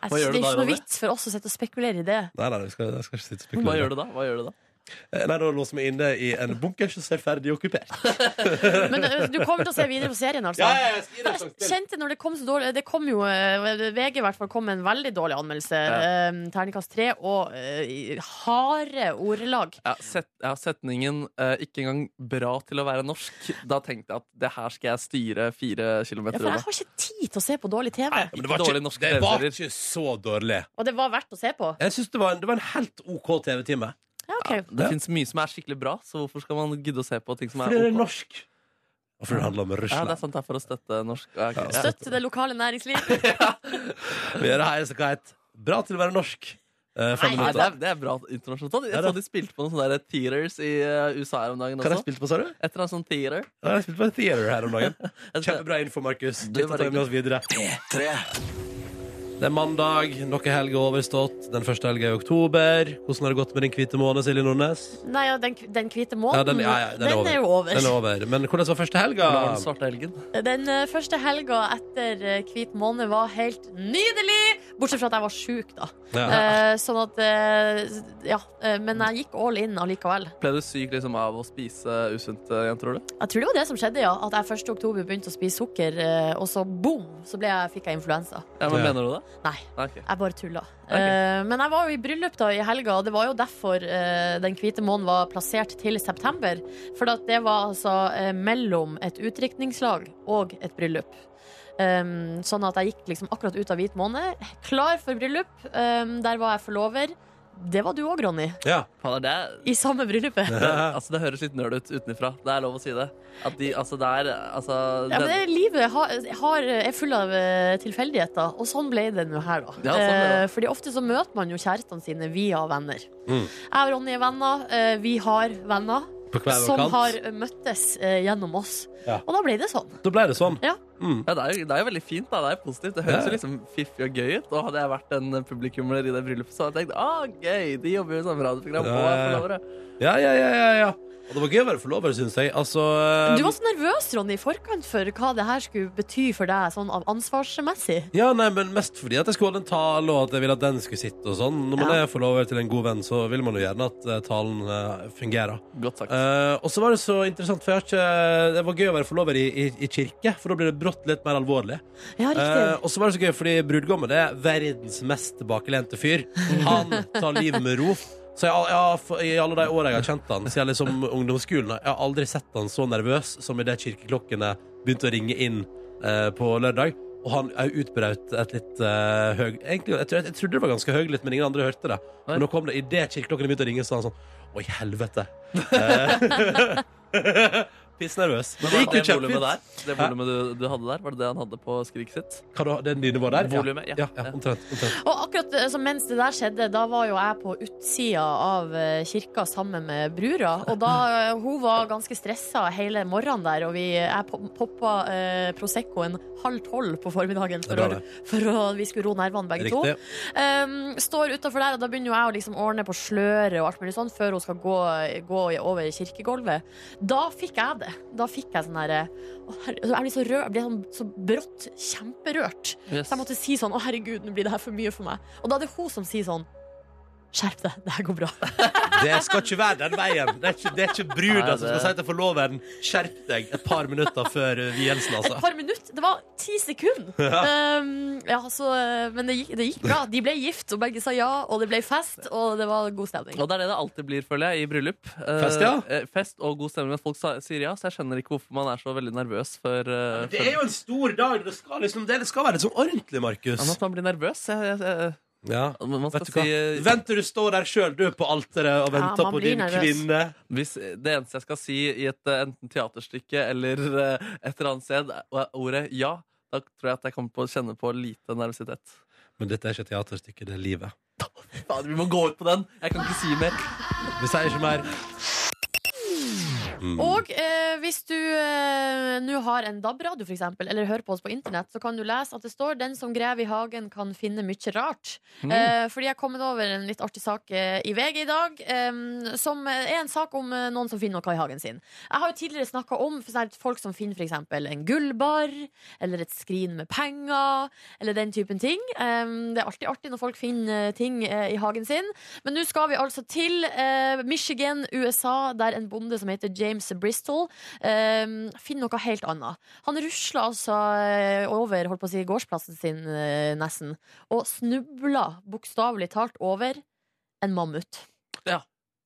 Speaker 4: Hva
Speaker 3: det er
Speaker 4: gjør du da,
Speaker 3: ikke noe
Speaker 4: Ronny?
Speaker 3: vits for oss å sitte og spekulere i det.
Speaker 2: Nei, nei, jeg skal, jeg skal ikke sitte og spekulere.
Speaker 4: Hva gjør du da? Hva gjør du da?
Speaker 2: Eh, Nei, da låser vi inne i en bunker som ser ferdig okkupert.
Speaker 3: Men ø, du kommer til å se videre på serien, altså.
Speaker 2: jeg skal gi deg en sjanse
Speaker 3: Jeg kjente når det kom så dårlig Det kom jo eh, VG i hvert fall kom med en veldig dårlig anmeldelse.
Speaker 4: Ja.
Speaker 3: eh, Terningkast tre og eh, i harde ordelag.
Speaker 4: Ja, set, ja, setningen eh, 'ikke engang bra til å være norsk'. Da tenkte jeg at det her skal jeg styre fire
Speaker 3: Ja,
Speaker 4: kilometer
Speaker 3: for jeg
Speaker 4: unna.
Speaker 3: har ikke tid til å se på dårlig TV.
Speaker 2: Ja, men det var ikke,
Speaker 4: Ikke dårlig norske
Speaker 2: det var
Speaker 4: TV-serier.
Speaker 2: ikke så dårlig.
Speaker 3: Og det var verdt å se på.
Speaker 2: Jeg synes det var en, det var en helt OK TV-time.
Speaker 3: Ja, ok
Speaker 4: Det fins mye som er skikkelig bra, så hvorfor skal man gidde å se på ting som er
Speaker 2: Fordi det er
Speaker 4: ok?
Speaker 2: norsk. Og fordi det handler om
Speaker 4: Ja, det
Speaker 2: Russland.
Speaker 4: er sant, det er for å støtte norsk. Ja, ok.
Speaker 2: Ja.
Speaker 4: Ja.
Speaker 3: Støtt det lokale næringslivet.
Speaker 2: Vi gjør det her som het Bra til å være norsk. Eh, fem
Speaker 3: Nei,
Speaker 4: Nei,
Speaker 2: minutter.
Speaker 4: det, er, det er bra internasjonalt.
Speaker 2: Ja,
Speaker 4: Jeg
Speaker 2: da.
Speaker 4: så de spilte på noen sånne der theaters i eh, USA her om dagen
Speaker 2: Hva har jeg
Speaker 4: også.
Speaker 2: spilt på, sa du?
Speaker 4: Et eller annet sånt theater.
Speaker 2: Jeg har spilt på Theater her om dagen.
Speaker 4: Jeg tror-
Speaker 2: Kjempebra info, Markus.
Speaker 4: Du,
Speaker 2: Dette
Speaker 4: bare
Speaker 2: tar vi med oss videre. Det er mandag, noe helg er overstått. Den første helga i oktober. Hvordan har det gått med din hvite måne, Silje Nordnes?
Speaker 3: Nei, ja, den, den hvite
Speaker 2: Ja,
Speaker 3: månen,
Speaker 2: den, ja, ja, den, er over.
Speaker 3: jo over.
Speaker 2: Den er over. Men hvordan var første helga?
Speaker 4: Det var sånn- den svarte helgen.
Speaker 3: Den eh, første helga etter eh, hvit måned var helt nydelig! Bortsett fra at jeg var sjuk, da.
Speaker 2: Ja.
Speaker 3: Eh, sånn at eh, Ja. eh, men jeg gikk all in allikevel.
Speaker 4: Ble du syk liksom, av å spise usunt eh, igjen, tror du?
Speaker 3: Jeg tror det var det som skjedde, ja. At jeg 1. oktober begynte å spise sukker, eh, og så boom, så ble jeg, fikk jeg influensa.
Speaker 4: Ja, men
Speaker 2: Ja.
Speaker 4: Mener du det?
Speaker 3: Nei.
Speaker 4: Nei, ok.
Speaker 3: Jeg bare tulla.
Speaker 4: Ok.
Speaker 3: Eh, men jeg var jo i bryllup da i helga, og det var jo derfor eh, Den hvite månen var plassert til september. For at det var altså eh, mellom et utdrikningslag og et bryllup. Um, sånn at jeg gikk liksom akkurat ut av hvit måned, klar for bryllup. Um, der var jeg forlover. Det var du òg, Ronny.
Speaker 2: Ja.
Speaker 4: Fader, det, er-
Speaker 3: I samme bryllupet.
Speaker 4: det, altså, det høres litt nerd ut utenfra. Det er lov å si det. At de, altså, det er altså,
Speaker 3: Ja, men
Speaker 4: den-
Speaker 3: det, livet har, har, er full av eh, tilfeldigheter, og sånn ble det nå her, da.
Speaker 4: Ja, sånn ble det.
Speaker 3: Eh, Fordi ofte så møter man jo kjærestene sine via venner.
Speaker 2: Mm.
Speaker 3: Jeg og Ronny er venner, eh, vi har venner
Speaker 2: På hver vår
Speaker 3: som
Speaker 2: kant.
Speaker 3: har møttes eh, gjennom oss.
Speaker 2: Ja.
Speaker 3: Og da ble det sånn.
Speaker 2: Da ble det sånn.
Speaker 3: Ja.
Speaker 2: Mm.
Speaker 4: Ja, det, er jo, det er jo veldig fint. da, Det er jo positivt. Det
Speaker 2: Ja.
Speaker 4: høres jo liksom fiffig og gøy ut. Og hadde jeg vært en publikummer i det bryllupet, så hadde jeg tenkt ah, gøy, de jobber jo i samme radioprogram.
Speaker 2: Ja,
Speaker 4: Og er
Speaker 2: ja, ja.
Speaker 4: forlovere.
Speaker 2: Ja, ja, ja, ja, ja. Og det var gøy å være forlover, syns jeg. Altså, eh,
Speaker 3: Du var så nervøs, Ronny, i forkant for hva det her skulle bety for deg sånn av ansvarsmessig.
Speaker 2: ja, nei, men Mest fordi at jeg skulle holde en tale, og at jeg ville at den skulle sitte. og sånn Når man
Speaker 3: Ja.
Speaker 2: er forlover til en god venn, så vil man jo gjerne at eh, talen eh, fungerer.
Speaker 4: Godt sagt.
Speaker 2: Eh, og så var det så interessant, for jeg har ikke Det var gøy å være forlover i, i, i kirke, for da blir det brått litt mer alvorlig.
Speaker 3: Ja,
Speaker 2: Eh,
Speaker 3: riktig.
Speaker 2: og så var det så gøy, fordi brudgommen det er verdens mest tilbakelente fyr. Han tar livet med ro. Så jeg, har- jeg, har f- I alle de åra jeg har kjent han siden liksom ungdomsskolen, jeg har aldri sett han så nervøs som idet kirkeklokkene begynte å ringe inn eh, på lørdag. Og han er jo utbrøt et litt eh, høy... Egentlig, jeg, tror- jeg, jeg trodde det var ganske høylytt, men ingen andre hørte det. Men nå kom det idet kirkeklokkene begynte å ringe, så var han sånn Å, i helvete. Eh, Pissnervøs. Men det gikk jo
Speaker 4: det volumet
Speaker 2: kjempefint.
Speaker 4: der, det volumet du, du hadde der, var det det han hadde på skriket sitt?
Speaker 2: Hva da? Den dine var der?
Speaker 4: Volumet, ja.
Speaker 2: ja, ja omtrent, omtrent.
Speaker 3: Og akkurat eh, så mens det der skjedde, da var jo jeg på utsida av eh, kirka sammen med brura. Og da eh, hun var ganske stressa hele morgenen der, og vi, jeg pop- poppa eh, Proseccoen halv tolv på formiddagen
Speaker 2: er
Speaker 3: for,
Speaker 2: bra,
Speaker 3: å- for å, vi skulle roe nervene begge to.
Speaker 2: Riktig.
Speaker 3: Um, står utafor der, og da begynner jo jeg å liksom ordne på sløret og alt mulig sånn før hun skal gå, gå over kirkegulvet. Da fikk jeg det. Da fikk jeg sånn herre å, herre- Jeg blir så rød, jeg blir sånn så brått kjemperørt.
Speaker 4: Yes.
Speaker 3: Så jeg måtte si sånn Å, herregud, nå blir det her for mye for meg. Og da er det hun som sier sånn Skjerp deg, det her går bra.
Speaker 2: Det skal ikke være den veien. Det er ikke, det er ikke bruden
Speaker 4: Nei, det-
Speaker 2: som skal si til forloveren skjerp deg et par minutter før eh, vielsen,
Speaker 3: Et
Speaker 2: altså.
Speaker 3: par minutter. Det var ti sekunder. Um, ja, så, eh, men det gikk, det gikk bra. De ble gift, og begge sa ja, og det ble fest, og det var god stemning.
Speaker 4: Og det er det det alltid blir, føler jeg, i bryllup. Eh,
Speaker 2: Fest, ja.
Speaker 4: eh, Fest og god stemning. At folk sa- sier ja, så jeg skjønner ikke hvorfor man er så veldig nervøs for, eh,
Speaker 2: Det
Speaker 4: for
Speaker 2: er jo en stor dag. Det skal, liksom, det skal være litt sånn ordentlig,
Speaker 4: Men
Speaker 2: Markus.
Speaker 4: At man blir nervøs. Jeg, jeg, jeg,
Speaker 2: Ja.
Speaker 4: man skal
Speaker 2: Vet du hva?
Speaker 4: si eh,
Speaker 2: Vent til du står der sjøl, du, på alteret og
Speaker 3: Ja,
Speaker 2: venter
Speaker 3: man
Speaker 2: på
Speaker 3: blir
Speaker 2: din
Speaker 3: nervøs.
Speaker 2: kvinne.
Speaker 4: Hvis det eneste jeg skal si i et eh, enten teaterstykke eller eh, et eller annet sted, er ordet ja, da tror jeg at jeg kommer på å kjenne på lite nervøsitet.
Speaker 2: Men dette er ikke et teaterstykke, det er livet.
Speaker 4: Fader, vi må gå ut på den! Jeg kan ikke si mer.
Speaker 2: Vi sier ikke mer. Mm.
Speaker 3: Og eh, hvis du eh, nå har en DAB-radio, for eksempel, eller hører på oss på internett, så kan du lese at det står 'Den som graver i hagen, kan finne mye rart'. Eh, fordi jeg har kommet over en litt artig sak eh, i VG i dag, eh, som er en sak om eh, noen som finner noe i hagen sin. Jeg har jo tidligere snakka om for eksempel, folk som finner f.eks. en gullbar, eller et skrin med penger, eller den typen ting. Eh, det er alltid artig når folk finner eh, ting eh, i hagen sin. Men nå skal vi altså til eh, Michigan, USA, der en bonde som heter James Bristol eh, finner noe helt annet. Han rusler altså eh, over holdt på å si, gårdsplassen sin eh, nesten, og snubler bokstavelig talt over en mammut.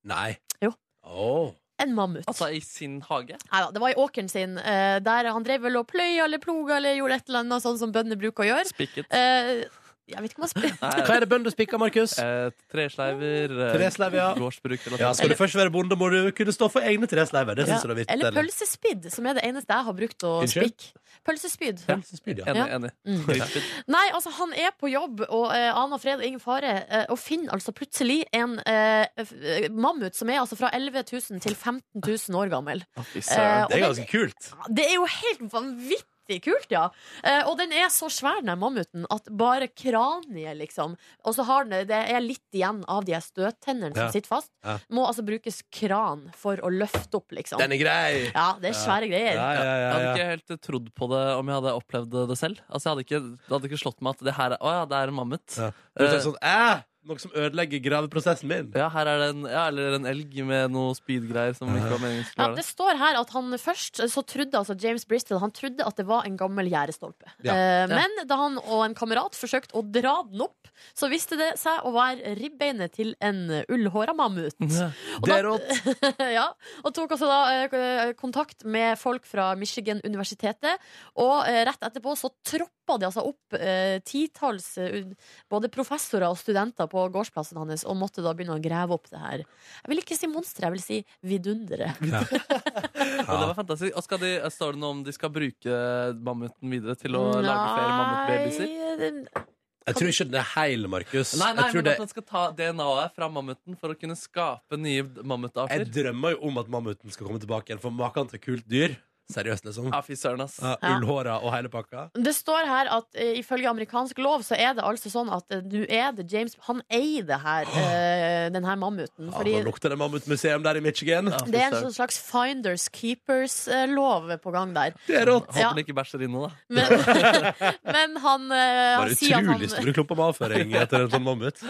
Speaker 2: Nei.
Speaker 3: Jo.
Speaker 2: Åh.
Speaker 3: En mammut.
Speaker 4: Altså i sin hage.
Speaker 3: Neida, det var i åkeren sin, eh, der han drev vel og pløya eller ploga eller gjorde et eller annet sånn som bønder bruker å gjøre.
Speaker 4: Spikket.
Speaker 3: Eh, jeg vet ikke om han spør.
Speaker 4: Nei,
Speaker 2: Eh, Hva er det bønder spikker, Markus?
Speaker 4: eh, tresleiver, eh,
Speaker 2: Tresleiv, ja.
Speaker 4: gårdsbruk eller
Speaker 2: Ja,
Speaker 4: noe
Speaker 2: Skal du først være bonde, må du kunne stå for egne tresleiver. Det syns jeg du er
Speaker 3: Eller
Speaker 2: vitterlig.
Speaker 3: pølsespidd, som er det eneste jeg har brukt å
Speaker 2: Unnskyld?
Speaker 3: spikke. Pølsespyd.
Speaker 2: Pølsespyd, ja.
Speaker 4: Enig.
Speaker 3: Ja.
Speaker 4: enig.
Speaker 3: Mm.
Speaker 4: Høyspyd.
Speaker 3: Nei, altså han er på jobb og eh, aner fred og ingen fare, eh, og finner altså plutselig en eh, f- eh, mammut som er altså fra 11 000 til 15 000 år gammel.
Speaker 4: Å, fy
Speaker 3: Eh,
Speaker 4: søren.
Speaker 2: Altså, Det er ganske kult.
Speaker 3: Ja, Det er jo helt vanvittig kult, ja. Eh, og den er så svær, den her mammuten, at bare kraniet, liksom Og så har den, det er litt igjen av de her støttennene
Speaker 2: Ja.
Speaker 3: som sitter fast.
Speaker 2: Ja.
Speaker 3: Må altså brukes kran for å løfte opp, liksom.
Speaker 2: Den er grei.
Speaker 3: Ja, det er
Speaker 2: Ja,
Speaker 3: svære greier.
Speaker 2: ja,
Speaker 4: Jeg
Speaker 2: ja,
Speaker 4: hadde
Speaker 2: ja.
Speaker 4: ikke helt trodd på det om jeg hadde opplevd det selv. Altså, jeg hadde ikke, Det hadde ikke slått meg at det her er, å, ja, det er en mammut.
Speaker 2: Ja. Du
Speaker 4: Eh,
Speaker 2: tenker sånn, «Æ, Noe som ødelegger graveprosessen min.
Speaker 4: ja, her er det en, ja, eller en elg med noe speedgreier som ikke var meningen
Speaker 3: Ja,
Speaker 4: skulle være
Speaker 3: det står her at han først så trodde altså James Bristol Han trodde at det var en gammel gjerdestolpe.
Speaker 2: Ja.
Speaker 3: Eh, Men da han og en kamerat forsøkte å dra den opp, så viste det seg å være ribbeinet til en ullhåra mammut.
Speaker 4: det.
Speaker 2: Det er rått.
Speaker 3: ja, og tok altså da eh, k- kontakt med folk fra Michigan universitetet, og eh, rett etterpå så troppa de altså opp eh, titalls eh, un- både professorer og studenter på gårdsplassen hans, og måtte da begynne å grave opp det her. Jeg vil ikke si monstre, jeg vil si vidundere.
Speaker 4: Men det var fantastisk. Og skal de, Står det noe om de skal bruke mammuten videre til å lage flere mammutbabyer?
Speaker 3: mammutbabyer?
Speaker 2: Jeg tror ikke den er heil, Markus.
Speaker 4: Nei, nei,
Speaker 2: jeg, tror
Speaker 4: men
Speaker 2: det,
Speaker 4: at man skal ta DNA-et fra mammuten for å kunne skape nye
Speaker 2: jeg
Speaker 4: mammutarter.
Speaker 2: drømmer jo om at mammuten skal komme tilbake igjen, for maken til kult dyr. Seriøst, liksom.
Speaker 4: Ja, fy søren, ass.
Speaker 2: Ja, Ullhåra og hele pakka.
Speaker 3: Det står her at eh, ifølge amerikansk lov så er det altså sånn at eh, nå er det James Han eier det her, eh, den her mammuten.
Speaker 2: Ja, nå lukter det mammutmuseum der i Michigan.
Speaker 4: Ja, fy
Speaker 3: Det er en
Speaker 4: søren.
Speaker 3: sånn slags finders keepers-lov på gang der.
Speaker 2: Det er rått.
Speaker 4: Håper
Speaker 3: Ja.
Speaker 4: den ikke bæsjer inne, da.
Speaker 3: Men, men han, eh, han
Speaker 2: Bare
Speaker 3: sier at
Speaker 2: utrolig
Speaker 3: han,
Speaker 2: store klumper med avføring etter en sånn mammut.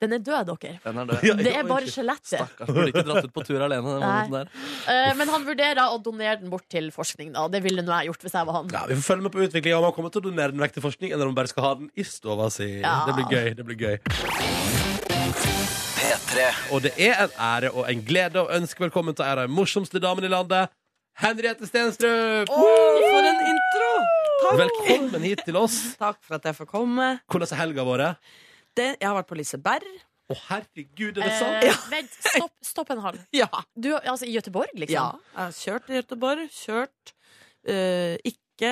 Speaker 3: den er død, dere.
Speaker 4: Den er død.
Speaker 2: Ja,
Speaker 3: Det er bare
Speaker 2: unnskyld.
Speaker 3: skjelettet.
Speaker 4: Stakkars, burde ikke dratt ut på tur alene. Den
Speaker 3: Nei.
Speaker 4: mammuten der.
Speaker 3: Eh, Men han vurderer da å donere den bort til forskning, da. Det ville nå jeg gjort hvis jeg var han.
Speaker 2: Ja, Vi får følge med på utviklinga, om han kommer til å donere den vekk til forskning, eller om han bare skal ha den i stova si.
Speaker 3: Ja.
Speaker 2: Det blir gøy. det blir gøy Og det er en ære og en glede å ønske velkommen til en av de morsomste damene i landet, Henriette Stenstrup!
Speaker 6: For en intro! Takk.
Speaker 2: Velkommen hit til oss.
Speaker 6: Takk for at jeg får komme.
Speaker 2: Hvordan har helga vært?
Speaker 6: Det, jeg har vært på Liseberg.
Speaker 2: Å, herregud, er det sant?
Speaker 3: Eh, Vent, stopp, stopp en halv.
Speaker 6: Ja.
Speaker 3: Du, altså I Gøteborg,
Speaker 6: ja.
Speaker 3: liksom?
Speaker 6: Jeg har kjørt i Göteborg. Kjørt eh, ikke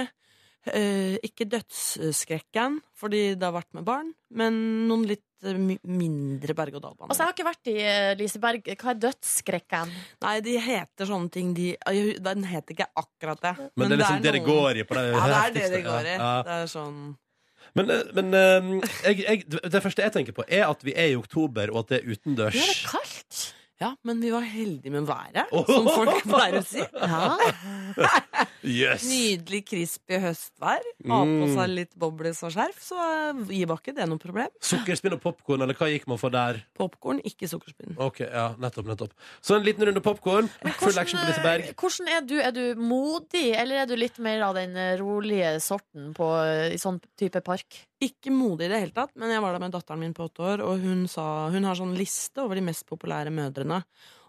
Speaker 6: eh, ikke dødsskrekken, fordi det har vært med barn, men noen litt eh, mi- mindre berg-og-dal-baner.
Speaker 3: Altså, jeg har ikke vært i eh, Liseberg. Hva er dødsskrekken?
Speaker 6: Nei, de heter sånne ting de jeg- Den heter ikke akkurat det.
Speaker 2: Men det er liksom det det
Speaker 6: noen-
Speaker 2: går i. På det,
Speaker 6: Ja, det er det det går i.
Speaker 2: Ja.
Speaker 6: Det er sånn
Speaker 2: Men, eh, men eh, jeg, jeg, det første jeg tenker på, er at vi er i oktober, og at det er utendørs.
Speaker 3: Nå er det kaldt!
Speaker 6: Ja, men vi var heldige med været,
Speaker 2: Åh.
Speaker 6: som folk pleier å si.
Speaker 3: Ja.
Speaker 2: Yes!
Speaker 6: Nydelig, crispy høstvær. Ha på
Speaker 2: Mm.
Speaker 6: seg litt bobles og skjerf, så eh, gir var ikke det noe problem.
Speaker 2: Sukkerspinn og popkorn, eller hva gikk man for der?
Speaker 6: Popkorn, ikke sukkerspinn.
Speaker 2: Ok, ja, nettopp, nettopp. Så en liten runde popkorn. Full action på Liseberg.
Speaker 3: eh, hvordan er du? Er du modig, eller er du litt mer av den eh, rolige sorten på, eh, i sånn type park?
Speaker 6: Ikke modig i det hele tatt, men jeg var der med datteren min på åtte år, og hun, sa, hun har sånn liste over de mest populære mødrene.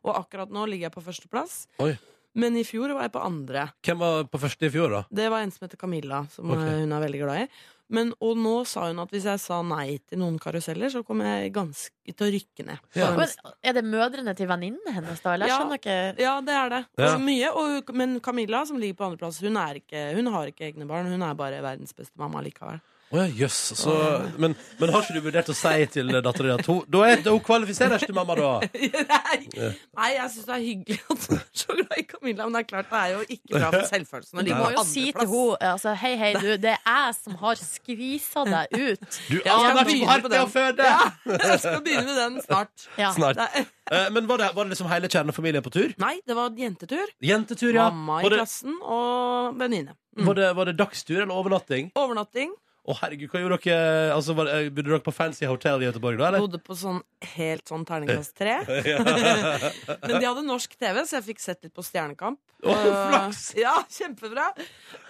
Speaker 6: Og akkurat nå ligger jeg på førsteplass,
Speaker 2: Oi.
Speaker 6: men i fjor var jeg på andre.
Speaker 2: Hvem var på første i fjor, da?
Speaker 6: Det var en som heter Camilla, som
Speaker 2: Ok.
Speaker 6: eh, hun er veldig glad i. Men, og nå sa hun at hvis jeg sa nei til noen karuseller, så kom jeg ganske til å rykke ned.
Speaker 2: Ja.
Speaker 6: På den
Speaker 3: Men
Speaker 6: listen.
Speaker 3: er det mødrene til venninnene hennes, da? Eller? Jeg
Speaker 6: Ja.
Speaker 3: skjønner ikke
Speaker 6: Ja, det er det.
Speaker 2: Ja.
Speaker 6: Og mye, og, men Camilla, som ligger på andreplass, hun, er ikke, hun har ikke egne barn. Hun er bare verdens beste mamma likevel.
Speaker 2: Å ja, jøss. Så, men, men har ikke du vurdert å si til dattera di at hun da er- hun kvalifiserer ikke til mamma, da?
Speaker 6: nei, nei, jeg syns det er hyggelig at hun er så glad i Camilla, men det er klart det er jo ikke bra for selvfølelsen å
Speaker 3: Du
Speaker 6: ligge
Speaker 3: må
Speaker 6: på
Speaker 3: jo si til
Speaker 6: andreplass.
Speaker 3: henne altså, Hei, hei, du, det er jeg som har skvisa deg ut.
Speaker 2: Du
Speaker 6: Ja, jeg
Speaker 2: aner ikke
Speaker 6: begynner
Speaker 2: hvor hardt
Speaker 6: på
Speaker 2: det er å
Speaker 6: den.
Speaker 2: føde!
Speaker 6: Ja, jeg skal begynne med den snart.
Speaker 3: Ja.
Speaker 2: Snart.
Speaker 6: Nei,
Speaker 2: Eh, men var det, var det liksom hele kjernefamilien på tur?
Speaker 6: nei, det var jentetur.
Speaker 2: Jentetur, ja.
Speaker 6: Mamma i
Speaker 2: Var det,
Speaker 6: klassen og venninne. Mm.
Speaker 2: var, det, var det dagstur eller overnatting?
Speaker 6: Overnatting.
Speaker 2: Å herregud, hva gjorde dere? Altså, var, eh, Bodde dere på fancy hotell i Göteborg da, eller?
Speaker 6: Bodde på sånn helt sånn terningkast tre. Men de hadde norsk TV, så jeg fikk sett litt på Stjernekamp.
Speaker 2: Å,
Speaker 6: Eh,
Speaker 2: flaks!
Speaker 6: Ja, kjempebra.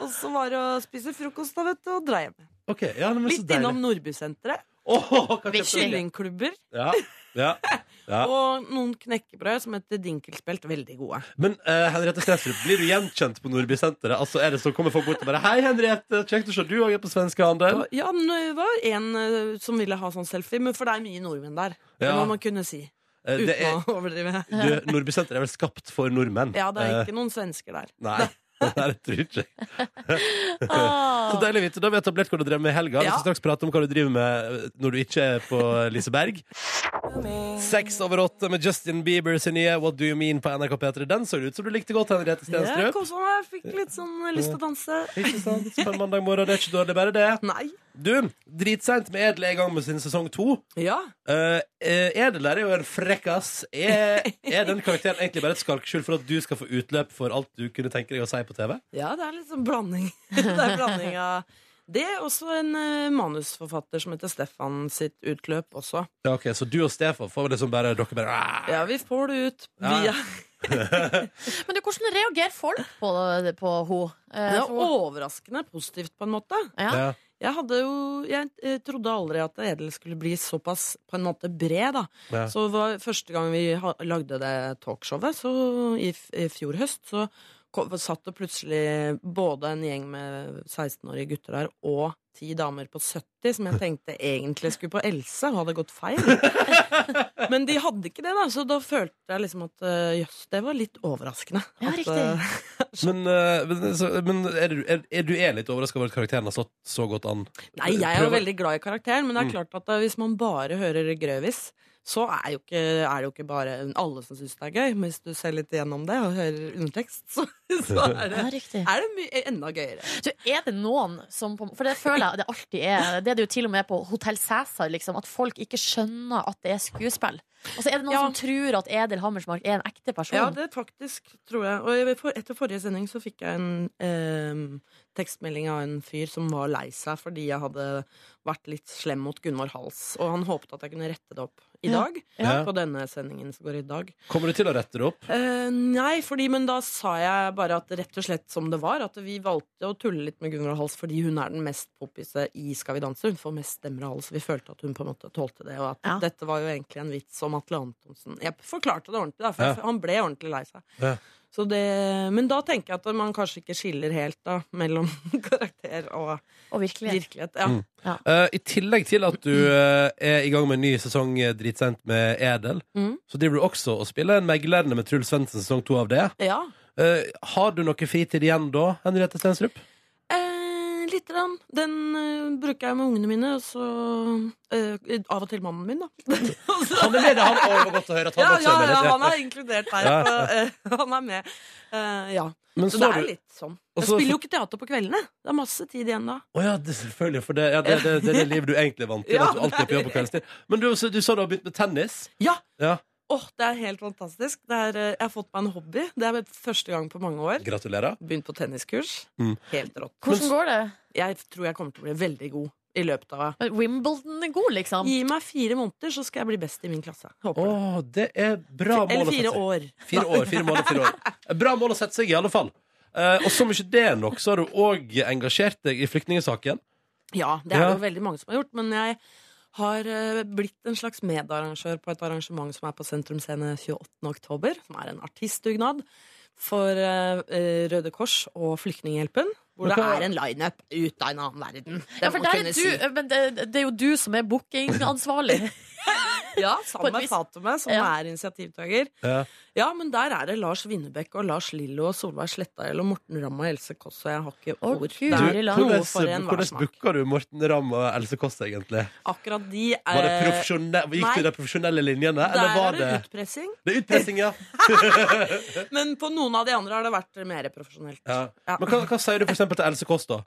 Speaker 6: Og så var det å spise frokost da, vet du, og dra hjem.
Speaker 2: Ok, ja, men så
Speaker 6: Litt innom
Speaker 2: deilig.
Speaker 6: Nordbysenteret.
Speaker 2: Åh, hva
Speaker 3: Viktig.
Speaker 2: kjøpte dere?
Speaker 6: Kyllingklubber
Speaker 2: Ja, ja. Ja.
Speaker 6: og noen knekkebrød som heter dinkelspelt. Veldig gode.
Speaker 2: Men eh, Henriette Stensrup, blir du gjenkjent på Nordbysenteret? Altså, er det så kommer folk bort og bare Hei, Henriette, kjekt å se du òg er på svenskehandel.
Speaker 6: Og, ja, det var en eh, som ville ha sånn selfie, men for det er mye nordmenn der. Det
Speaker 2: Ja.
Speaker 6: må man kunne si.
Speaker 2: Eh,
Speaker 6: Uten
Speaker 2: det er,
Speaker 6: å overdrive.
Speaker 2: du, Nordbysenteret er vel skapt for nordmenn?
Speaker 6: Ja, det er
Speaker 2: Eh,
Speaker 6: ikke noen svensker der.
Speaker 2: Nei. Nei, det tror jeg ikke. Så
Speaker 3: Åh.
Speaker 2: deilig å vite. Da har vi etablert hva du drev med i helga. Vi
Speaker 6: Ah. Ja.
Speaker 2: skal straks prate om hva du driver med eh, når du ikke er på Liseberg. Seks over åtte med Justin Bieber sin nye What Do You Mean på NRK P3. Den så ut som du likte godt, Henriette
Speaker 6: Jeg
Speaker 2: Stenstrup.
Speaker 6: koset meg, jeg fikk litt sånn eh, lyst til å danse.
Speaker 2: Ikke sant? På en mandag morgen. Det er ikke dårlig, bare det.
Speaker 6: Nei.
Speaker 2: Du, dritseint med Edel er i gang med sin sesong to.
Speaker 6: Ja.
Speaker 2: Eh, eh, Edel der er jo en frekkas. Er, er den karakteren egentlig bare et skalkeskjul for at du skal få utløp for alt du kunne tenke deg å si på TV?
Speaker 6: Ja, det er litt sånn blanding. det er blanding av det er også en eh, manusforfatter som heter Stefan sitt utløp også.
Speaker 2: Ja, ok, Så du og Stefan får liksom bare dere bare ah!
Speaker 6: Ja, vi får det ut
Speaker 2: Ja.
Speaker 6: via
Speaker 3: Men du, hvordan reagerer folk på, på Eh, henne?
Speaker 6: Det er overraskende positivt, på en måte.
Speaker 3: ja.
Speaker 2: Ja.
Speaker 6: Jeg hadde jo Jeg eh, trodde aldri at Edel skulle bli såpass på en måte bred, da.
Speaker 2: Ja.
Speaker 6: Så var første gang vi ha- lagde det talkshowet, så i, f- i fjor høst, så kom, satt det plutselig både en gjeng med 16-årige gutter der og ti damer på 70 som jeg tenkte egentlig skulle på Else, og hadde gått feil. Men de hadde ikke det, da, så da følte jeg liksom at eh, jøss, det var litt overraskende.
Speaker 3: Ja,
Speaker 6: at,
Speaker 3: riktig.
Speaker 6: eh,
Speaker 2: Men, eh, men, så, men er, du- er, er du er litt overraska over at karakteren har stått så godt an?
Speaker 6: Nei, jeg er jo
Speaker 2: Prøv å-
Speaker 6: veldig glad i karakteren, men det
Speaker 2: Mm.
Speaker 6: er klart at eh, hvis man bare hører Grøvis, så er, jo ikke, er det jo ikke bare alle som syns det er gøy. Men hvis du ser litt gjennom det og hører undertekst, så, så er det,
Speaker 3: Ja, riktig.
Speaker 6: er det mye, eh, enda gøyere.
Speaker 3: Du, er det noen som på, For det føler jeg det alltid er. Det er det jo til og med på Hotell Cæsar, liksom, at folk ikke skjønner at det er skuespill. Og så er det noen
Speaker 6: Ja.
Speaker 3: som tror at Edel Hammersmark er en ekte person.
Speaker 6: Ja, det faktisk, tror jeg. Og jeg- for, etter forrige sending så fikk jeg en eh, tekstmelding av en fyr som var lei seg fordi jeg hadde vært litt slem mot Gunvor Hals, og han håpet at jeg kunne rette det opp i
Speaker 3: Ja.
Speaker 6: dag.
Speaker 2: Ja.
Speaker 6: På denne sendingen som går i dag.
Speaker 2: Kommer du til å rette det opp?
Speaker 6: Eh, nei, fordi, men da sa jeg bare at rett og slett som det var. At vi valgte å tulle litt med Gunvor Hals fordi hun er den mest poppise i Skal vi danse. Hun får mest stemmer av alle, så vi følte at hun på en måte tålte det. Og at
Speaker 3: Ja.
Speaker 6: dette var jo egentlig en vits om Atle Antonsen. Jeg forklarte det ordentlig, da, for
Speaker 2: Ja.
Speaker 6: jeg- han ble ordentlig lei seg.
Speaker 2: Ja.
Speaker 6: Så det, men da tenker jeg at man kanskje ikke skiller helt da, mellom karakter og
Speaker 3: Og virkelig.
Speaker 6: virkelighet. Ja.
Speaker 2: Mm. Eh, I tillegg til at du eh, er i gang med en ny sesong eh, dritsendt med Edel,
Speaker 6: Mm.
Speaker 2: så driver du også og spiller en meglerne med Truls Svendsen sesong to av det.
Speaker 6: ja.
Speaker 2: Eh, har du noe fritid igjen da, Henriette Stensrup?
Speaker 6: Eh, Lite grann. Den eh, bruker jeg med ungene mine, og så eh, av og til mannen min, da. Og så-
Speaker 2: Han er med, det er han Å, det var godt å høre at han
Speaker 6: ja,
Speaker 2: også er med.
Speaker 6: ja, ja,
Speaker 2: litt,
Speaker 6: han er inkludert her.
Speaker 2: Ja.
Speaker 6: så, eh, han er med. Eh, ja.
Speaker 2: Men
Speaker 6: Så
Speaker 2: så
Speaker 6: det
Speaker 2: har
Speaker 6: er
Speaker 2: du-
Speaker 6: litt sånn.
Speaker 2: Og
Speaker 6: Jeg
Speaker 2: så-
Speaker 6: spiller jo ikke teater på kveldene. Det er masse tid igjen da.
Speaker 2: Å ja, det, selvfølgelig. For det, ja, det, det, det er det livet du egentlig er vant til.
Speaker 6: Ja,
Speaker 2: at du alltid er på jobb på kveldstid. Men du, så, du sa du har begynt med tennis.
Speaker 6: Ja,
Speaker 2: Ja.
Speaker 6: Åh, det er helt fantastisk. Det er, eh, jeg har fått meg en hobby. Det er første gang på mange år.
Speaker 2: Gratulerer.
Speaker 6: Begynt på tenniskurs.
Speaker 2: Mm.
Speaker 6: Helt rått.
Speaker 3: Hvordan går det?
Speaker 6: Jeg tror jeg kommer til å bli veldig god i løpet av
Speaker 3: Wimbledon er god, liksom.
Speaker 6: Gi meg fire måneder, så skal jeg bli best i min klasse.
Speaker 2: Å,
Speaker 6: Håper jeg.
Speaker 2: det er bra mål å
Speaker 6: Eller
Speaker 2: sette
Speaker 6: fire
Speaker 2: seg.
Speaker 6: år.
Speaker 2: Fire år, fire måneder, fire år. Bra mål å sette seg i, i alle fall. Eh, og som ikke det er nok, så har du òg engasjert deg i flyktningesaken.
Speaker 6: Ja, det
Speaker 2: Ja.
Speaker 6: er det jo veldig mange som har gjort, men jeg har eh, blitt en slags medarrangør på et arrangement som er på Sentrum Scene 28. oktober, som er en artistdugnad for eh, eh, Røde Kors og Flyktninghjelpen, hvor
Speaker 2: Men
Speaker 6: det
Speaker 2: hva-
Speaker 6: er en lineup ut av en annen verden. Det
Speaker 3: Ja, for
Speaker 6: må
Speaker 3: der
Speaker 6: kunne
Speaker 3: er du,
Speaker 6: si.
Speaker 3: men det, det er jo du som er bookingansvarlig.
Speaker 6: Ja,
Speaker 3: på et
Speaker 6: sammen med
Speaker 3: vis.
Speaker 6: Fatome, som
Speaker 3: Ja.
Speaker 6: er initiativtaker.
Speaker 2: Ja.
Speaker 6: Ja, men der er det Lars Winnebekk og Lars Lillo og Solveig Slettahjell og Morten Ramm og Else Kåss, og jeg har ikke
Speaker 3: Å,
Speaker 6: ord.
Speaker 3: Gud.
Speaker 6: Det
Speaker 2: Du,
Speaker 6: er
Speaker 3: Hvordan-
Speaker 6: noe
Speaker 2: hvordan
Speaker 6: for enhver
Speaker 2: hvordan
Speaker 6: smak.
Speaker 2: booka du Morten Ramm og Else Kåss, egentlig?
Speaker 6: Akkurat de
Speaker 2: Var det
Speaker 6: eh,
Speaker 2: profesjonell, gikk
Speaker 6: nei.
Speaker 2: du de profesjonelle linjene, eller
Speaker 6: Der
Speaker 2: var
Speaker 6: er
Speaker 2: det
Speaker 6: det utpressing.
Speaker 2: Det er utpressing, ja.
Speaker 6: Men på noen av de andre har det vært mer profesjonelt.
Speaker 2: ja.
Speaker 6: Ja.
Speaker 2: Men hva, hva sier du for eksempel til Else Kåss, da?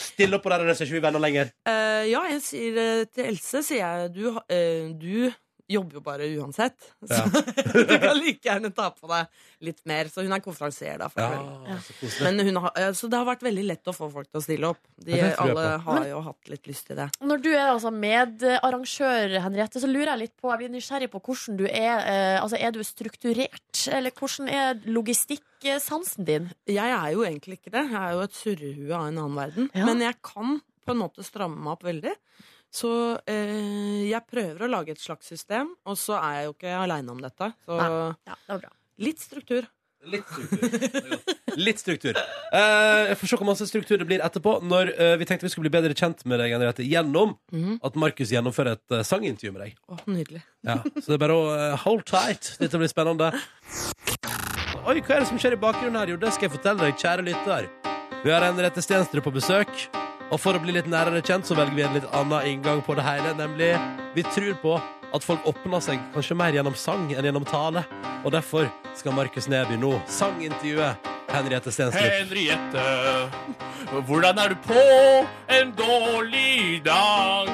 Speaker 2: Still opp på der, ellers er ikke vi venner lenger.
Speaker 6: Eh, ja, jeg sier eh, til Else sier jeg, du, ha- eh, du jobber jo bare uansett. Så
Speaker 2: Ja.
Speaker 6: du kan like gjerne ta på deg litt mer. Så hun er konferansier, da. For kvelden.
Speaker 2: så koselig.
Speaker 6: Men hun har, eh, så det har vært veldig lett å få folk til å stille opp. De,
Speaker 2: Ja, det tror jeg
Speaker 6: alle
Speaker 2: på.
Speaker 6: har jo hatt litt lyst til det.
Speaker 3: Når du er altså medarrangør, Henriette, så lurer jeg litt på Jeg blir nysgjerrig på hvordan du er. Eh, altså, er du strukturert, eller hvordan er logistikksansen din?
Speaker 6: Jeg er jo egentlig ikke det. Jeg er jo et surrehue av en annen verden.
Speaker 3: Ja.
Speaker 6: Men jeg kan på en måte stramme meg opp veldig. Så eh, jeg prøver å lage et slags system, og så er jeg jo ikke aleine om dette. Så
Speaker 3: Ja, det var bra.
Speaker 6: litt struktur.
Speaker 2: Litt struktur. Det er godt. Litt struktur. Eh, jeg får se hvor masse struktur det blir etterpå, når eh, vi tenkte vi skulle bli bedre kjent med deg Henriette, gjennom
Speaker 6: Mhm.
Speaker 2: at Markus gjennomfører et eh, sangintervju med deg.
Speaker 6: Å, nydelig.
Speaker 2: Ja. Så det er bare å eh, hold tight. Dette blir spennende. Oi, hva er det som skjer i bakgrunnen her? Jo, det skal jeg fortelle deg, kjære lytter. Vi har Henriette Stenstrød på besøk, og for å bli litt nærere kjent, så velger vi en litt annen inngang på det hele, nemlig vi tror på at folk åpner seg kanskje mer gjennom sang enn gjennom tale, og derfor skal Markus Neby nå sangintervjue Henriette Stenstrød.
Speaker 4: Henriette, hvordan er du på en dårlig dag?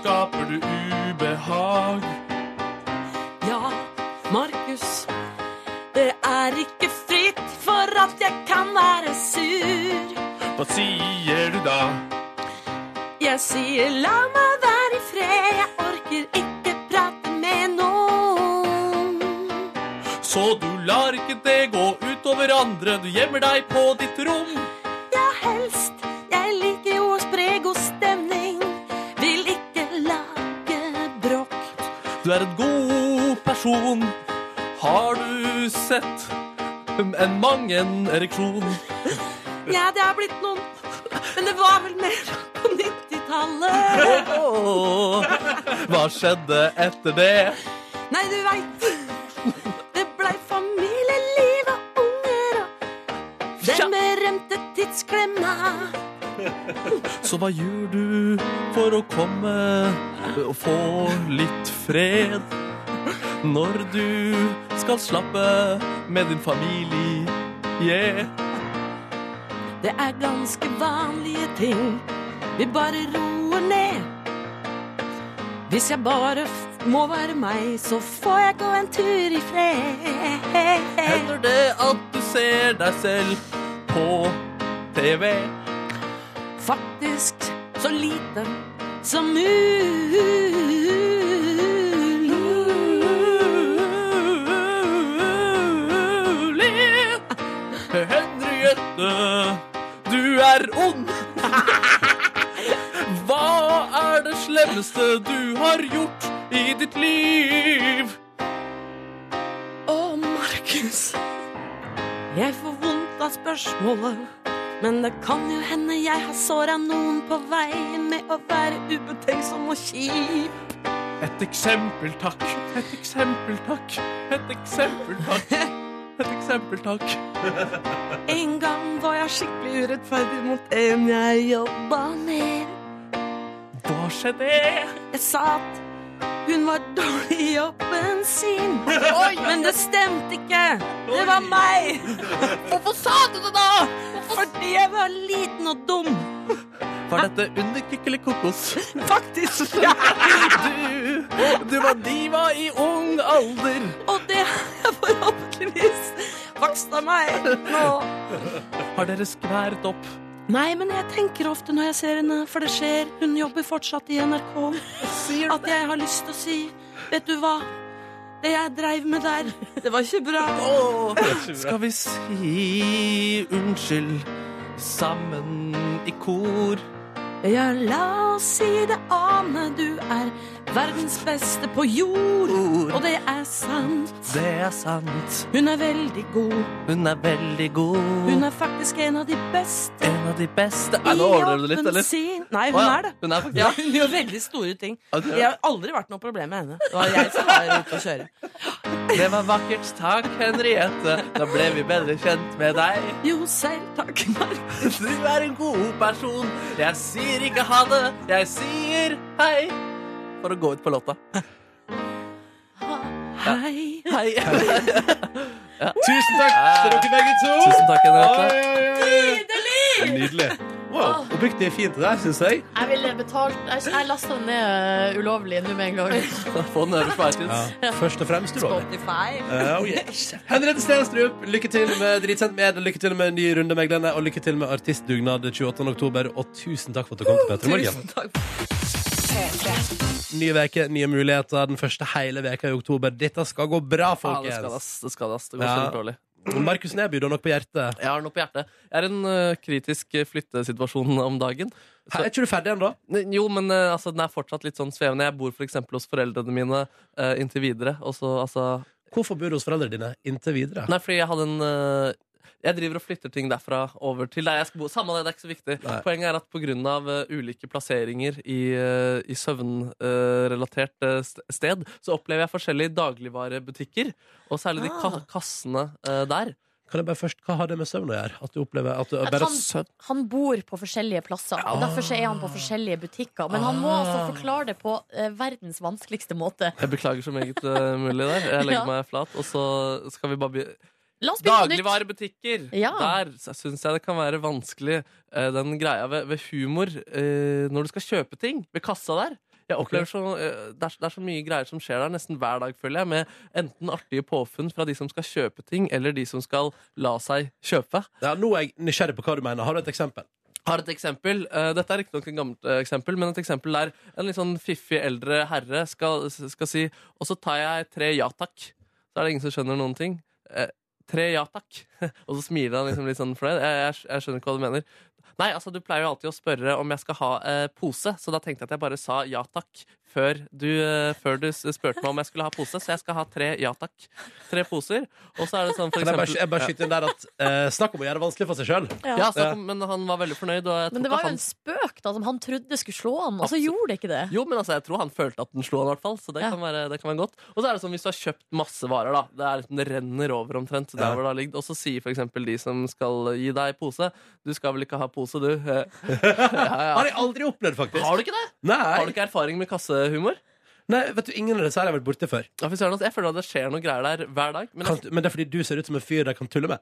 Speaker 4: Skaper du ubehag?
Speaker 6: Ja, Markus. Det er ikke fritt for at jeg kan være sur.
Speaker 4: Hva sier du da?
Speaker 6: Jeg sier la meg være i fred, jeg orker ikke prate med noen.
Speaker 4: Så du lar ikke det gå utover andre, du gjemmer deg på ditt rom.
Speaker 6: Ja, helst. Jeg liker jo å spre god stemning. Vil ikke lage bråk.
Speaker 4: Du er en god person, har du sett en mangen ereksjon?
Speaker 6: Ja, det er blitt noen. Men det var vel mer på 90-tallet.
Speaker 4: Åh, hva skjedde etter det?
Speaker 6: Nei, du veit. Det blei familieliv og unger og den berømte tidsklemma.
Speaker 4: Så hva gjør du for å komme og få litt fred? Når du skal slappe med din familie?
Speaker 6: Det er ganske vanlige ting. Vi bare roer ned. Hvis jeg bare f- må være meg, så får jeg gå en tur i fred.
Speaker 4: Hender det at du ser deg selv på TV?
Speaker 6: Faktisk så lite som mulig.
Speaker 4: Henriette, du er ond! Hva er det slemmeste du har gjort i ditt liv?
Speaker 6: Å, Markus. Jeg får vondt av spørsmålet. Men det kan jo hende jeg har såra noen på vei med å være ubetenksom og kjip.
Speaker 4: Et eksempel, takk. Et eksempel, takk. Et eksempel, takk. Et eksempel, takk.
Speaker 6: En gang var jeg skikkelig urettferdig mot en jeg jobba med.
Speaker 4: Hva skjedde?
Speaker 6: Jeg sa at hun var dårlig i jobben sin. Men det stemte ikke. Det var meg. Hvorfor sa du det, da? Fordi jeg var liten og dum.
Speaker 4: Var dette under Kykelikokos?
Speaker 6: Faktisk! Ja.
Speaker 4: Du, du var diva i ung alder.
Speaker 6: Og det er forhåpentligvis vokst av meg nå.
Speaker 4: Har dere skværet opp?
Speaker 6: Nei, men jeg tenker ofte når jeg ser henne, for det skjer, hun jobber fortsatt i NRK,
Speaker 4: Sier
Speaker 6: at jeg har lyst til å si Vet du hva? Det jeg dreiv med der, det var ikke bra.
Speaker 4: Skal vi si unnskyld sammen i kor?
Speaker 6: Ja, la oss si det, Ane, du er verdens beste på jord. Og det er sant.
Speaker 4: Det er sant.
Speaker 6: Hun er veldig god.
Speaker 4: Hun er veldig god.
Speaker 6: Hun er faktisk en av de beste
Speaker 4: en av de beste.
Speaker 6: i
Speaker 4: Nei, nå overdrev du litt,
Speaker 6: jobben
Speaker 4: eller?
Speaker 6: sin. Nei, hun
Speaker 4: Å, ja.
Speaker 6: er det.
Speaker 4: Hun er faktisk
Speaker 6: Ja, hun gjør veldig store ting. Jeg har aldri vært noe problem med henne. Det var jeg som var ute å kjøre.
Speaker 4: Det var vakkert. Takk, Henriette. Da ble vi bedre kjent med deg.
Speaker 6: Jo, selv takk, Mark.
Speaker 4: Du er en god person. Jeg sier ikke ha det, jeg sier hei. For å gå ut på låta.
Speaker 6: Hei.
Speaker 4: Hei.
Speaker 2: Tusen takk til dere begge to.
Speaker 4: Tusen takk, Henriette.
Speaker 2: Nydelig! Nydelig.
Speaker 4: Ah.
Speaker 2: Wow, Oppriktig fint det der, syns jeg.
Speaker 3: Jeg ville betalt Jeg, jeg lasta den ned øh, ulovlig nå med en gang.
Speaker 4: Få den øverst på iTunes.
Speaker 2: Først og fremst ulovlig.
Speaker 6: Spotify.
Speaker 2: Uh, oh yeah. Henriette Stenstrup, lykke til med Dritsendt med, lykke til med ny runde med Glenne, og lykke til med artistdugnad 28. oktober, og tusen takk for at du kom til Petter Morgen.
Speaker 6: Tusen takk.
Speaker 2: Ny veke, nye muligheter, den første hele veka i oktober. Dette skal gå bra,
Speaker 4: Ja, det altså. skal
Speaker 2: folkens.
Speaker 4: ass. Det skal ass. Det
Speaker 2: Ja.
Speaker 4: går kjempedårlig. dårlig.
Speaker 2: Markus Neby, du har nok på hjertet.
Speaker 4: Jeg har noe på hjertet. Jeg er i en ø, kritisk ø, flyttesituasjon om dagen.
Speaker 2: Hæ, Er ikke du ferdig ennå?
Speaker 4: N- Jo, men ø, altså, den er fortsatt litt sånn svevende. Jeg bor for eksempel hos foreldrene mine ø, inntil videre. Og så, altså
Speaker 2: Hvorfor bor du hos foreldrene dine inntil videre?
Speaker 4: Nei, fordi jeg hadde en ø, Jeg driver og flytter ting derfra over til der jeg skal bo. Samme det, det er ikke så viktig.
Speaker 2: Nei.
Speaker 4: Poenget er at pga. eh, ulike plasseringer i, ø, i søvnrelatert ø, st- sted, så opplever jeg forskjellige dagligvarebutikker. Og særlig de ka kassene ø, der.
Speaker 2: Kan jeg bare først, Hva har det med søvn å gjøre? At du opplever at du
Speaker 3: At
Speaker 2: bare
Speaker 3: han-
Speaker 2: søvn
Speaker 3: Han bor på forskjellige plasser, og derfor så er han på forskjellige butikker. Men han må altså forklare det på eh, verdens vanskeligste måte.
Speaker 4: Jeg beklager så meget eh, mulig der. Jeg
Speaker 3: Ja.
Speaker 4: legger meg flat, og så skal vi bare begynne.
Speaker 3: La oss begynne på nytt.
Speaker 4: Dagligvarebutikker!
Speaker 3: Ja.
Speaker 4: Der syns jeg det kan være vanskelig, eh, den greia ved, ved humor eh, når du skal kjøpe ting ved kassa der. Jeg opplever så, eh, det, er, så- det er så mye greier som skjer der nesten hver dag, føler jeg, med enten artige påfunn fra de som skal kjøpe ting, eller de som skal la seg kjøpe.
Speaker 2: ja, Nå er jeg nysgjerrig på hva du mener. Har du et eksempel?
Speaker 4: har et eksempel. Eh, Dette er riktignok et gammelt eh, eksempel, men et eksempel der en litt sånn fiffig eldre herre skal, skal si Og så tar jeg tre ja takk. Så er det ingen som skjønner noen ting. Eh, Tre ja takk. Og så smiler han liksom litt sånn fornøyd. Jeg, jeg, jeg skjønner ikke hva du mener. Nei, altså du pleier jo alltid å spørre om jeg skal ha eh, pose, så da tenkte jeg at jeg bare sa ja takk før du, eh, før du s- spurte meg om jeg skulle ha pose, så jeg skal ha tre ja takk. Tre poser. Og så er det sånn for
Speaker 2: Kan jeg
Speaker 4: eksempel
Speaker 2: bare, jeg bare skyte inn der at eh, Snakk om å gjøre det vanskelig for seg sjøl.
Speaker 4: ja, snakk om- Men han var veldig fornøyd, og jeg tror
Speaker 3: Men det
Speaker 4: ikke
Speaker 3: var jo
Speaker 4: han
Speaker 3: en spøk da, som han trodde skulle slå han, og så
Speaker 4: Absolutt.
Speaker 3: gjorde det ikke det.
Speaker 4: Jo, men altså, jeg tror han følte at den slo han i hvert fall. Så det,
Speaker 3: Ja.
Speaker 4: kan være, det kan være godt. Og så er det sånn hvis du har kjøpt masse varer, da. Det, er, liksom- det renner over omtrent. der
Speaker 2: Ja.
Speaker 4: hvor det har ligget. Og så sier for eksempel de som skal gi deg pose, du skal vel ikke ha pose, du. Eh, ja,
Speaker 2: Har
Speaker 4: ja.
Speaker 2: jeg aldri opplevd, faktisk.
Speaker 4: Har du ikke det? Har
Speaker 2: Nei.
Speaker 4: du ikke erfaring med kassehumor?
Speaker 2: Nei, vet du, Ingen av disse her har jeg vært borte før.
Speaker 4: Ja, fy søren, altså, Jeg føler at det skjer noen greier der hver dag. Men
Speaker 2: Kan,
Speaker 4: jeg,
Speaker 2: men det er fordi du ser ut som en fyr de kan tulle med.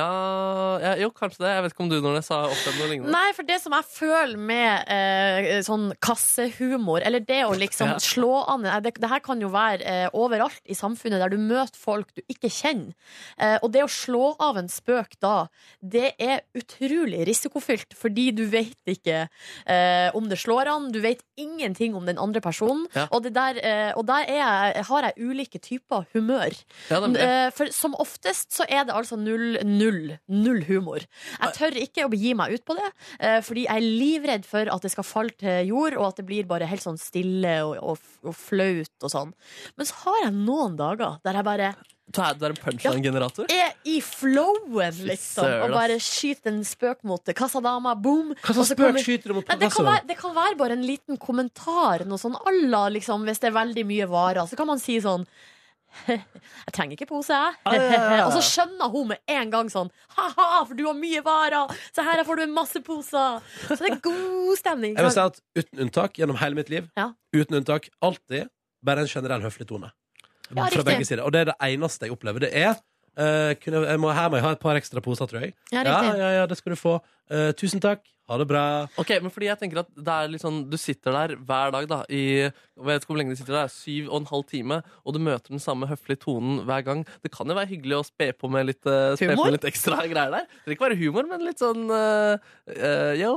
Speaker 4: ja, ja, jo, kanskje det. Jeg vet ikke om du når jeg sa opplevde noe lignende.
Speaker 3: Nei, for det som jeg føler med eh, sånn kassehumor, eller det å liksom
Speaker 4: Ja.
Speaker 3: slå an eh, det, det her kan jo være eh, overalt i samfunnet der du møter folk du ikke kjenner. Eh, og det å slå av en spøk da, det er utrolig risikofylt, fordi du vet ikke eh, om det slår an, du vet ingenting om den andre personen,
Speaker 4: Ja.
Speaker 3: og, det der, eh, og der er jeg, har jeg ulike typer humør.
Speaker 4: Ja, nemlig.
Speaker 3: Eh, For som oftest så er det altså null, null, null humor. Jeg tør ikke å gi meg ut på det, eh, fordi jeg er livredd for at det skal falle til jord, og at det blir bare helt sånn stille og, og, og flaut og sånn. Men så har jeg noen dager der jeg bare
Speaker 4: Du er, du er en punchline-generator?
Speaker 3: er i flowen,
Speaker 4: Fy
Speaker 3: liksom,
Speaker 4: søren,
Speaker 3: og
Speaker 4: ass.
Speaker 3: bare skyter en spøk mot kassadama, boom!
Speaker 2: Hva
Speaker 3: og
Speaker 2: slags
Speaker 3: så
Speaker 2: spøk
Speaker 3: kommer-
Speaker 2: skyter du mot
Speaker 3: Nei, det, kan
Speaker 2: professoren?
Speaker 3: være, det kan være bare en liten kommentar, noe sånn à la liksom, hvis det er veldig mye varer. Så kan man si sånn Jeg trenger ikke pose, jeg. Og så skjønner hun med en gang sånn Ha-ha, for du har mye varer! Så her får du masse poser! Så det er god stemning.
Speaker 2: Jeg vil si at uten unntak gjennom hele mitt liv,
Speaker 3: Ja.
Speaker 2: uten unntak alltid, bare en generell høflig tone.
Speaker 3: Ja,
Speaker 2: Fra
Speaker 3: riktig.
Speaker 2: begge sider. Og det er det eneste jeg opplever. Det er eh, kunne, jeg må, Her må jeg ha et par ekstra poser, tror jeg.
Speaker 3: Ja,
Speaker 2: Ja,
Speaker 3: riktig.
Speaker 2: ja, ja, det skal du få. Eh, tusen takk. Ha det bra.
Speaker 4: Ok, men fordi jeg tenker at det er litt sånn Du sitter der hver dag da I, jeg vet ikke hvor lenge du sitter der, syv og en halv time Og du møter den samme høflige tonen hver gang Det kan jo være hyggelig å spe på med litt eh, Spe på
Speaker 6: Humor?
Speaker 4: med litt ekstra greier der Det trenger ikke være humor, men litt sånn eh, eh, Yo,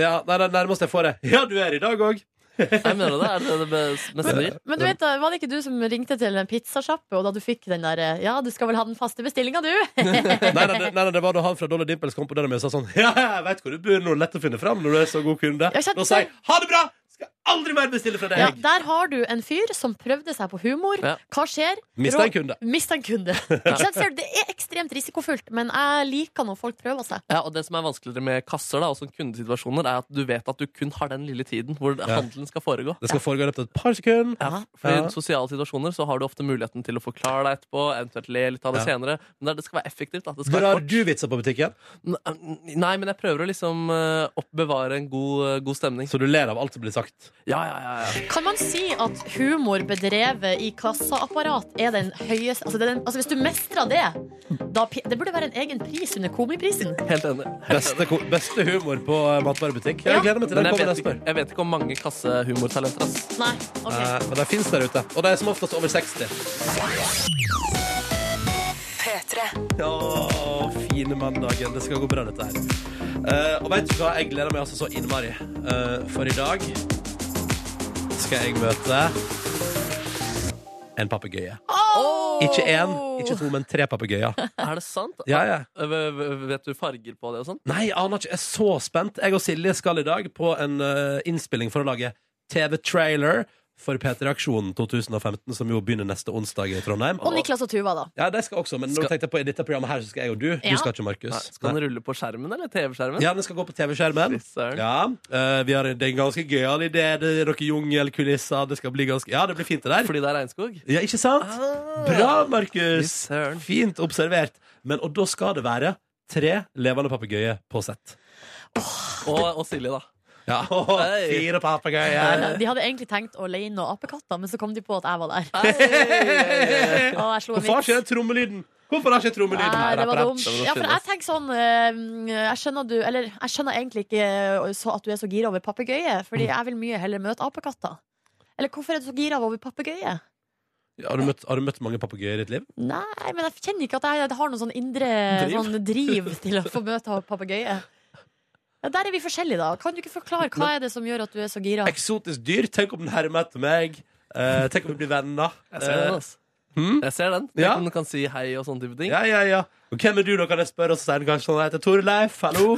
Speaker 2: Ja, det er det nærmeste jeg får det. Ja, du er i dag òg.
Speaker 4: jeg mener det Er det det bes- meste du gir?
Speaker 3: Men du vet, da, var det ikke du som ringte til en pizzasjappe, og da du fikk den der eh, Ja, du skal vel ha den faste bestillinga, du?
Speaker 2: Nei, nei, det- nei, nei, det var da han fra Dolly Dimples kom på døra mi og sa sånn Ja, jeg vet hvor du bor nå, lett å finne fram når du er så god kunde.
Speaker 3: Ja, kjent-
Speaker 2: Da sa jeg ha det bra! Skal aldri mer bestille fra deg!
Speaker 3: Ja, der har du en fyr som prøvde seg på humor.
Speaker 4: Ja.
Speaker 3: Hva skjer?
Speaker 2: Mista en kunde.
Speaker 3: Mista en kunde. Ikke sant? Ser du, Det er ekstremt risikofullt, men jeg liker når folk prøver seg.
Speaker 4: Ja, og Det som er vanskeligere med kasser da, og sånn kundesituasjoner, er at du vet at du kun har den lille tiden hvor handelen skal foregå.
Speaker 2: Det skal foregå i løpet av et par sekunder.
Speaker 4: Ja, for
Speaker 2: Ja.
Speaker 4: I sosiale situasjoner så har du ofte muligheten til å forklare deg etterpå, eventuelt le litt av det
Speaker 2: Ja.
Speaker 4: senere. Men det, er- det skal være effektivt. Da. Det skal
Speaker 2: Drar
Speaker 4: være
Speaker 2: du vitser på butikken,
Speaker 4: kort. Nei, men jeg prøver å liksom eh, oppbevare en god, eh, god stemning.
Speaker 2: så du ler av alt som blir sagt.
Speaker 4: Ja, ja, ja, ja.
Speaker 3: Kan man si at humor bedrevet i kassaapparat er den høyeste altså, det er den, altså Hvis du mestrer det, da pi- Det burde være en egen pris under Komiprisen.
Speaker 4: Helt enig.
Speaker 2: Beste, ko- beste humor på eh, matvarebutikk. Jeg
Speaker 3: Ja.
Speaker 2: gleder meg til
Speaker 4: Men
Speaker 2: den
Speaker 4: jeg
Speaker 2: kommer
Speaker 4: vet,
Speaker 2: neste
Speaker 4: ikke,
Speaker 2: år.
Speaker 4: jeg vet ikke om mange kassehumortalenter. ass.
Speaker 3: Nei. ok
Speaker 2: Eh, Men de fins der ute. Og de er som oftest over 60. Ja, fine mandagen. Det skal gå bra, dette her. Eh, og vet du hva? Jeg gleder meg altså så innmari. Eh, for i dag skal jeg møte en papegøye. Ikke én, ikke to, men tre papegøyer.
Speaker 4: Er det sant?
Speaker 2: Ja, ja.
Speaker 4: Eh, v- v- Vet du farger på det og sånn?
Speaker 2: Nei, jeg aner ikke. Jeg er så spent. Jeg og Silje skal i dag på en eh, innspilling for å lage TV-trailer for P3 Aksjonen 2015, som jo begynner neste onsdag i Trondheim.
Speaker 3: Og Niklas og Tuva, da.
Speaker 2: Ja, de skal også, men nå
Speaker 4: Skal-
Speaker 2: tenkte jeg på i dette programmet her så skal jeg og du.
Speaker 3: Ja.
Speaker 2: Du skal ikke,
Speaker 4: Nei,
Speaker 2: Markus.
Speaker 4: Skal
Speaker 2: Nei.
Speaker 4: den rulle på skjermen, eller TV-skjermen?
Speaker 2: Ja, den skal gå på TV-skjermen.
Speaker 4: Fy søren.
Speaker 2: Ja, eh, vi har en, det er en ganske gøyal idé. Det er noen jungelkulisser. Det skal bli ganske Ja, det blir fint, det der.
Speaker 4: Fordi det er regnskog?
Speaker 2: Ja, ikke sant? Bra, Markus!
Speaker 4: Ah. Fy søren.
Speaker 2: Fint observert. Men, og da skal det være tre levende papegøyer på sett.
Speaker 4: Og, og Silje, da.
Speaker 2: Ja,
Speaker 4: Hei.
Speaker 2: fire papegøyer.
Speaker 3: De hadde egentlig tenkt å leie inn noen apekatter, men så kom de på at jeg var der. Og jeg slo en
Speaker 2: Hvorfor har
Speaker 3: vits.
Speaker 2: ikke den trommelyden? Hvorfor har ikke trommelyden?
Speaker 3: Nei, det var
Speaker 2: Rapp, rapp.
Speaker 3: dumt. Ja, for jeg tenker sånn eh, Jeg skjønner du Eller jeg skjønner egentlig ikke eh, så at du er så gira over papegøye, Fordi jeg vil mye heller møte apekatter. Eller hvorfor er du så gira over papegøye?
Speaker 2: Har du møtt, har du møtt mange papegøyer i ditt liv?
Speaker 3: Nei, men jeg kjenner ikke at jeg, jeg har noen sånn indre
Speaker 4: Driv.
Speaker 3: driv. Sånn driv til å få møte papegøye. Ja, der er vi forskjellige, da. Kan du ikke forklare hva er det som gjør at du er så gira?
Speaker 2: Eksotisk dyr. Tenk om den hermer etter meg. Eh, tenk om vi blir venner.
Speaker 4: Jeg ser den, altså.
Speaker 2: Hmm?
Speaker 4: Jeg ser den. Tenk
Speaker 2: Ja.
Speaker 4: om du kan si hei og sånne type ting.
Speaker 2: Eh, Ja, ja, ja. Og hvem er du, da, kan jeg spørre? Og så sier han kanskje sånn, jeg heter Torleif, hallo.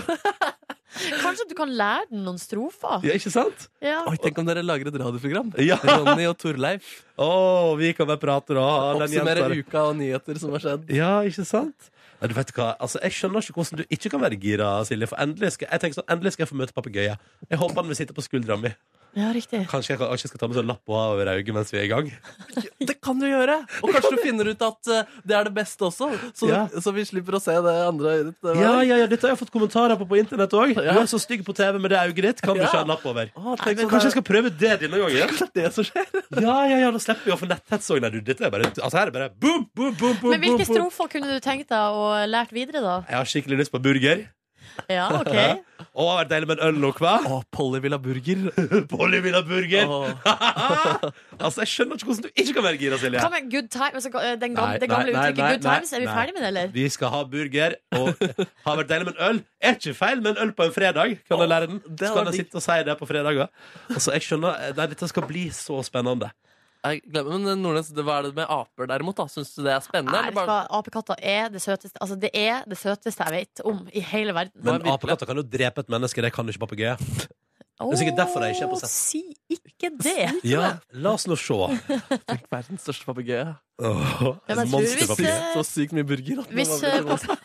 Speaker 3: Kanskje du kan lære den noen strofer?
Speaker 2: Ja, ikke sant?
Speaker 3: Ja.
Speaker 4: Oi, tenk om dere lager et radioprogram.
Speaker 2: Ja.
Speaker 4: Ronny og Torleif.
Speaker 2: Å, vi kan være prater og ha den
Speaker 4: Oppsummere
Speaker 2: gjenstående.
Speaker 4: uka og nyheter som har skjedd.
Speaker 2: Ja, ikke sant? Nei, du vet hva, altså Jeg skjønner ikke hvordan du ikke kan være gira, Silje. For endelig skal jeg, tenker sånn, endelig skal jeg få møte papegøye. Jeg håper han vil sitte på skuldra mi.
Speaker 3: ja, riktig.
Speaker 2: Kanskje jeg, kan- kanskje jeg skal ta med sånn lapp og ha over øyet mens vi er i gang.
Speaker 4: Det kan du gjøre! Og kanskje du finner ut at eh, det er det beste også. Så,
Speaker 2: Ja.
Speaker 4: så vi slipper å se det andre øyet ditt. eh,
Speaker 2: Ja,
Speaker 4: hver dag.
Speaker 2: ja, ja, Dette har jeg fått kommentarer på på internett òg.
Speaker 4: Ja.
Speaker 2: Du er så stygg på TV med det øyet ditt. Kan du
Speaker 4: Ja.
Speaker 2: ikke ha en lapp over?
Speaker 4: Å,
Speaker 2: Nei,
Speaker 4: tenk
Speaker 2: men
Speaker 4: om
Speaker 2: Kanskje jeg
Speaker 4: det-
Speaker 2: skal prøve det denne gangen?
Speaker 4: det er det som skjer.
Speaker 2: Ja, ja, ja, Da slipper vi å få netthets òg. Nei, du, dette er bare Altså, her er bare boom, boom, boom, boom,
Speaker 3: Men hvilke
Speaker 2: boom, boom.
Speaker 3: strofer kunne du tenkt deg å lært videre, da?
Speaker 2: Jeg har skikkelig lyst på burger.
Speaker 3: Ja, OK.
Speaker 2: Å, det har vært deilig med en øl nå, hva?
Speaker 4: Å, Polly vil ha burger.
Speaker 2: Polly vil ha burger.
Speaker 4: Å.
Speaker 2: altså, jeg skjønner ikke hvordan du ikke kan være gira, Silje.
Speaker 3: Hva med good time? Altså, den gamle,
Speaker 2: Nei,
Speaker 3: det
Speaker 2: nei,
Speaker 3: gamle
Speaker 2: nei,
Speaker 3: uttrykket
Speaker 2: nei,
Speaker 3: good times, er vi
Speaker 2: nei.
Speaker 3: ferdig med det, eller?
Speaker 2: Vi skal ha burger, og har vært deilig med en øl. Er ikke feil med en øl på en fredag, kan jeg lære den.
Speaker 4: det
Speaker 2: Så
Speaker 4: hadde
Speaker 2: kan jeg
Speaker 4: vært
Speaker 2: sitte og si det på fredager. Altså, jeg skjønner, nei, Dette skal bli så spennende.
Speaker 4: Jeg glemmer, men eh, Nordnes, det- hva er det med aper derimot? da? Syns du det er spennende?
Speaker 3: Nei,
Speaker 4: eller bare...
Speaker 3: vet du hva? Apekatter er det søteste Altså det er det søteste jeg vet om i hele verden.
Speaker 2: Men
Speaker 4: virkelig.
Speaker 2: apekatter kan jo drepe et menneske, det kan ikke papegøyer. er sikkert derfor jeg ikke er på sett.
Speaker 3: Å, Si ikke det!
Speaker 2: Ja, la oss nå se.
Speaker 4: Tenk, verdens største papegøye.
Speaker 2: Åh,
Speaker 3: Ja, men
Speaker 2: en
Speaker 3: jeg tror hvis,
Speaker 2: monsterpapegøye.
Speaker 3: eh,
Speaker 4: Så sykt mye burger. At det
Speaker 3: Hvis,
Speaker 4: var veldig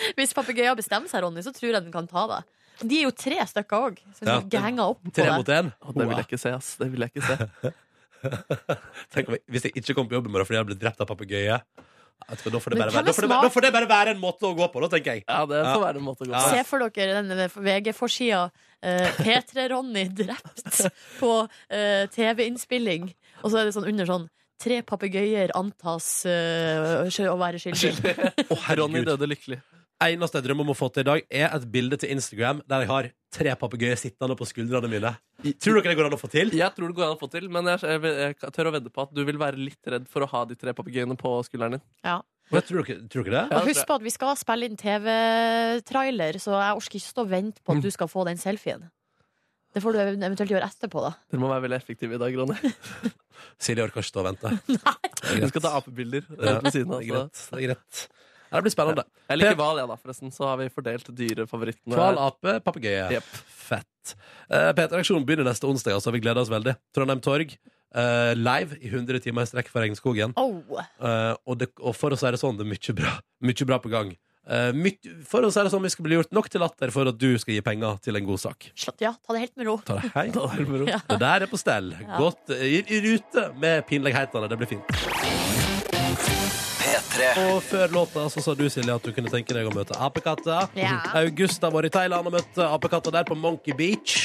Speaker 3: eh, Hvis papegøyer bestemmer seg, Ronny, så tror jeg den kan ta deg. De er jo tre stykker òg, så hvis
Speaker 2: Ja.
Speaker 3: man ganger opp på
Speaker 2: Tre mot
Speaker 3: deg
Speaker 2: én.
Speaker 4: Å, det vil jeg ikke se, ass. Det vil jeg ikke se.
Speaker 2: Tenk om jeg, hvis jeg ikke kom på jobb i morgen fordi jeg hadde blitt drept av papegøye Vet du hva, Da får det
Speaker 3: Men
Speaker 2: bare
Speaker 3: hvem
Speaker 2: være-
Speaker 3: er
Speaker 2: da får det bare-
Speaker 3: smart?
Speaker 2: da får det bare være en måte å gå på, da, tenker jeg.
Speaker 4: Ja, det
Speaker 2: Ja.
Speaker 4: får være en måte å gå på.
Speaker 2: Ja.
Speaker 3: Se for dere den VG-forsida. eh, P3-Ronny drept på eh, TV-innspilling. Og så er det sånn under sånn Tre papegøyer antas eh, å være skyldig.
Speaker 2: Å, herregud.
Speaker 4: Ronny døde lykkelig.
Speaker 2: eneste jeg drømmer om å få til i dag, er et bilde til Instagram der jeg har tre papegøyer sittende på skuldrene mine. Tror dere det går an å få til?
Speaker 4: Jeg tror det går an å få til, men jeg, jeg, jeg tør å vedde på at du vil være litt redd for å ha de tre papegøyene på skulderen din.
Speaker 2: Jeg tror, dere, tror dere det?
Speaker 4: Ja,
Speaker 3: Og
Speaker 4: det
Speaker 3: husk på at vi skal spille inn TV-trailer, så jeg orker ikke stå og vente på at du skal få den selfien. Det får du eventuelt gjøre etterpå, da.
Speaker 4: Dere må være veldig effektive i dag, Ronny.
Speaker 2: Silje orker ikke stå og vente. Det er
Speaker 4: Du
Speaker 2: greit.
Speaker 4: skal ta apebilder
Speaker 2: Ja,
Speaker 4: rett ved siden altså. av.
Speaker 2: det er
Speaker 4: så-
Speaker 2: greit. Det er greit. Ja, Det blir spennende.
Speaker 4: Jeg liker hval, jeg, da, forresten. Så har vi fordelt dyrefavorittene.
Speaker 2: Hval, ape, papegøye.
Speaker 4: Jep.
Speaker 2: Fett. Uh, P3-aksjonen begynner neste onsdag, altså. Vi gleder oss veldig. Trondheim Torg. eh, live i 100 timer i strekk fra Regnskogen.
Speaker 3: Oh.
Speaker 2: Eh, og, det, og for oss er det sånn det er mye bra, mye bra på gang. Eh, myt- for oss er det sånn vi skal bli gjort nok til latter for at du skal gi penger til en god sak.
Speaker 3: Slapp- Ja, ta det helt med ro.
Speaker 2: Ta det helt med ro.
Speaker 3: Ja.
Speaker 2: Det der er på stell. Godt eh, i, i rute med pinlighetene. Det blir fint. Og før låta så sa du, Silje, at du kunne tenke deg å møte apekatter.
Speaker 3: Ja.
Speaker 2: August har vært i Thailand og møtt apekatter der på Monkey Beach.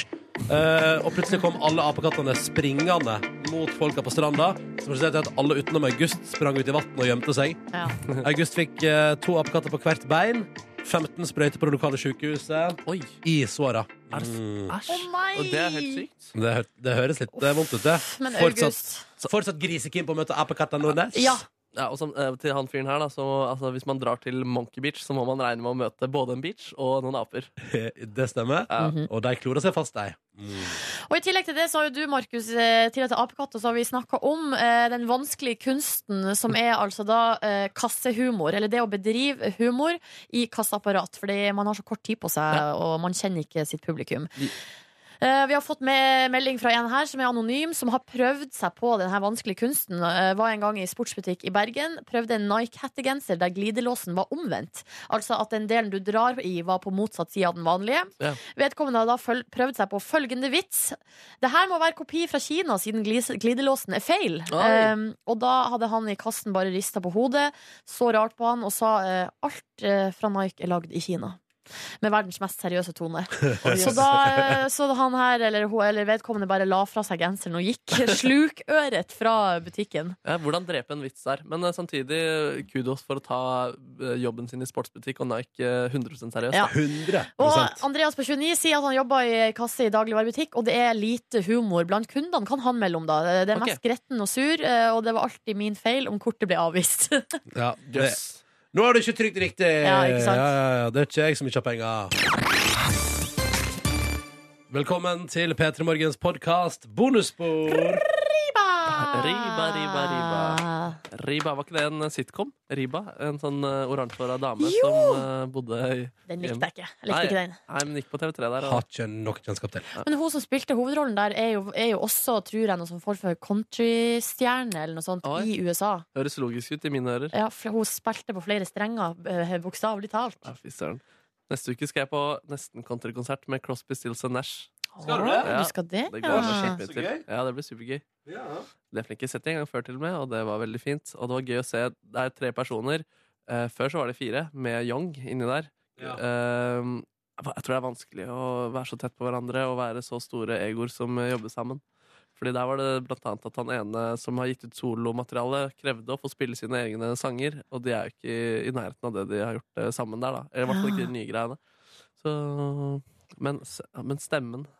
Speaker 2: Eh, og plutselig kom alle apekattene springende mot folka på stranda. Som resulterte i at alle utenom August sprang ut i vannet og gjemte seg.
Speaker 3: Ja.
Speaker 2: August fikk eh, to apekatter på hvert bein. 15 sprøyter på det lokale sykehuset.
Speaker 4: Oi,
Speaker 2: I såra. Mm.
Speaker 4: æsj.
Speaker 3: Å, nei!
Speaker 4: Og det er helt sykt.
Speaker 2: Det, hø- det høres litt det er vondt ut, det.
Speaker 3: Men
Speaker 2: Fortsatt,
Speaker 3: August
Speaker 2: fortsatt grisekeen på å møte apekatter Nordnes?
Speaker 3: Ja.
Speaker 4: Ja, og som, eh, til han fyren her, da, så altså, hvis man drar til Monkey Beach, så må man regne med å møte både en beach og noen aper.
Speaker 2: Det stemmer.
Speaker 3: Mhm.
Speaker 2: Og de klorer seg fast, de.
Speaker 3: Og i tillegg til det så har jo du, Markus, eh, tidligere til Apekatt, og så har vi snakka om eh, den vanskelige kunsten som er altså da eh, kassehumor, eller det å bedrive humor i kasseapparat, fordi man har så kort tid på seg, og man kjenner ikke sitt publikum.
Speaker 4: Vi-
Speaker 3: Eh, Vi har fått med melding fra en her som er anonym, som har prøvd seg på denne vanskelige kunsten. Eh, Var en gang i sportsbutikk i Bergen, prøvde en Nike-hettegenser der glidelåsen var omvendt. Altså at den delen du drar i, var på motsatt side av den vanlige.
Speaker 4: Ja.
Speaker 3: Vedkommende har da føl- prøvd seg på følgende vits. Det her må være kopi fra Kina, siden glis- glidelåsen er feil.
Speaker 4: Oi.
Speaker 3: Ehm, og da hadde han i kassen bare rista på hodet, så rart på han, og sa eh, alt eh, fra Nike er lagd i Kina. Med verdens mest seriøse tone. Så da eh, så han her, eller, hun- eller vedkommende, bare la fra seg genseren og gikk slukøret fra butikken.
Speaker 4: Ja, hvordan drepe en vits der. Men eh, samtidig, kudos for å ta eh, jobben sin i sportsbutikk og Nike eh, 100 seriøst.
Speaker 3: Ja.
Speaker 2: 100
Speaker 3: Og Andreas på 29 sier at han jobber i ei kasse i dagligvarebutikk, og det er lite humor blant kundene, kan han melde om, da. Det er
Speaker 4: Ok.
Speaker 3: mest gretten og sur, eh, og det var alltid min feil om kortet ble avvist.
Speaker 2: ja, det,
Speaker 4: Yes.
Speaker 2: Nå har du ikke trykt riktig!
Speaker 3: Ja, ikke sant?
Speaker 2: Ja, ja, ja, Det er ikke jeg som ikke har penger. Velkommen til P3 Morgens podkast bonusspor.
Speaker 3: Riba!
Speaker 4: Riba, riba, riba. Riba, var ikke det en eh, sitcom? Riba, en sånn uh, oransjehåra dame
Speaker 3: Jo!
Speaker 4: som eh, bodde i
Speaker 3: Den likte jeg ikke. Jeg likte ikke den.
Speaker 4: Nei, men gikk på TV3 der.
Speaker 2: Har
Speaker 4: Og,
Speaker 2: ikke nok kjennskap til.
Speaker 3: Men hun som spilte hovedrollen der, er jo, er jo også, tror jeg, noe som for for countrystjerne eller noe sånt
Speaker 4: Oi.
Speaker 3: i USA.
Speaker 4: høres logisk ut i mine ører.
Speaker 3: Ja, for hun spilte på flere strenger, eh, bokstavelig talt.
Speaker 4: Ja, fy søren. Neste uke skal jeg på nesten countrykonsert med Crosby, Stills og Nash.
Speaker 2: Skal du det?
Speaker 3: Å,
Speaker 4: Ja.
Speaker 3: Du skal det,
Speaker 4: Det gleder
Speaker 3: ja.
Speaker 4: jeg meg
Speaker 2: Så
Speaker 4: skikkelig til.
Speaker 2: gøy.
Speaker 4: Ja, det blir supergøy. Det fikk jeg sett en gang før, til og med, og det var veldig fint. Og det var gøy å se. Det er tre personer. Eh, før så var det fire, med Young inni der. Eh, jeg tror det er vanskelig å være så tett på hverandre og være så store egoer som eh, jobber sammen. Fordi der var det blant annet at han ene som har gitt ut solomateriale, krevde å få spille sine egne sanger, og de er jo ikke i, i nærheten av det de har gjort eh, sammen der, da. Eller i hvert fall ikke de
Speaker 3: Ah.
Speaker 4: nye greiene. Så, men, s- men stemmen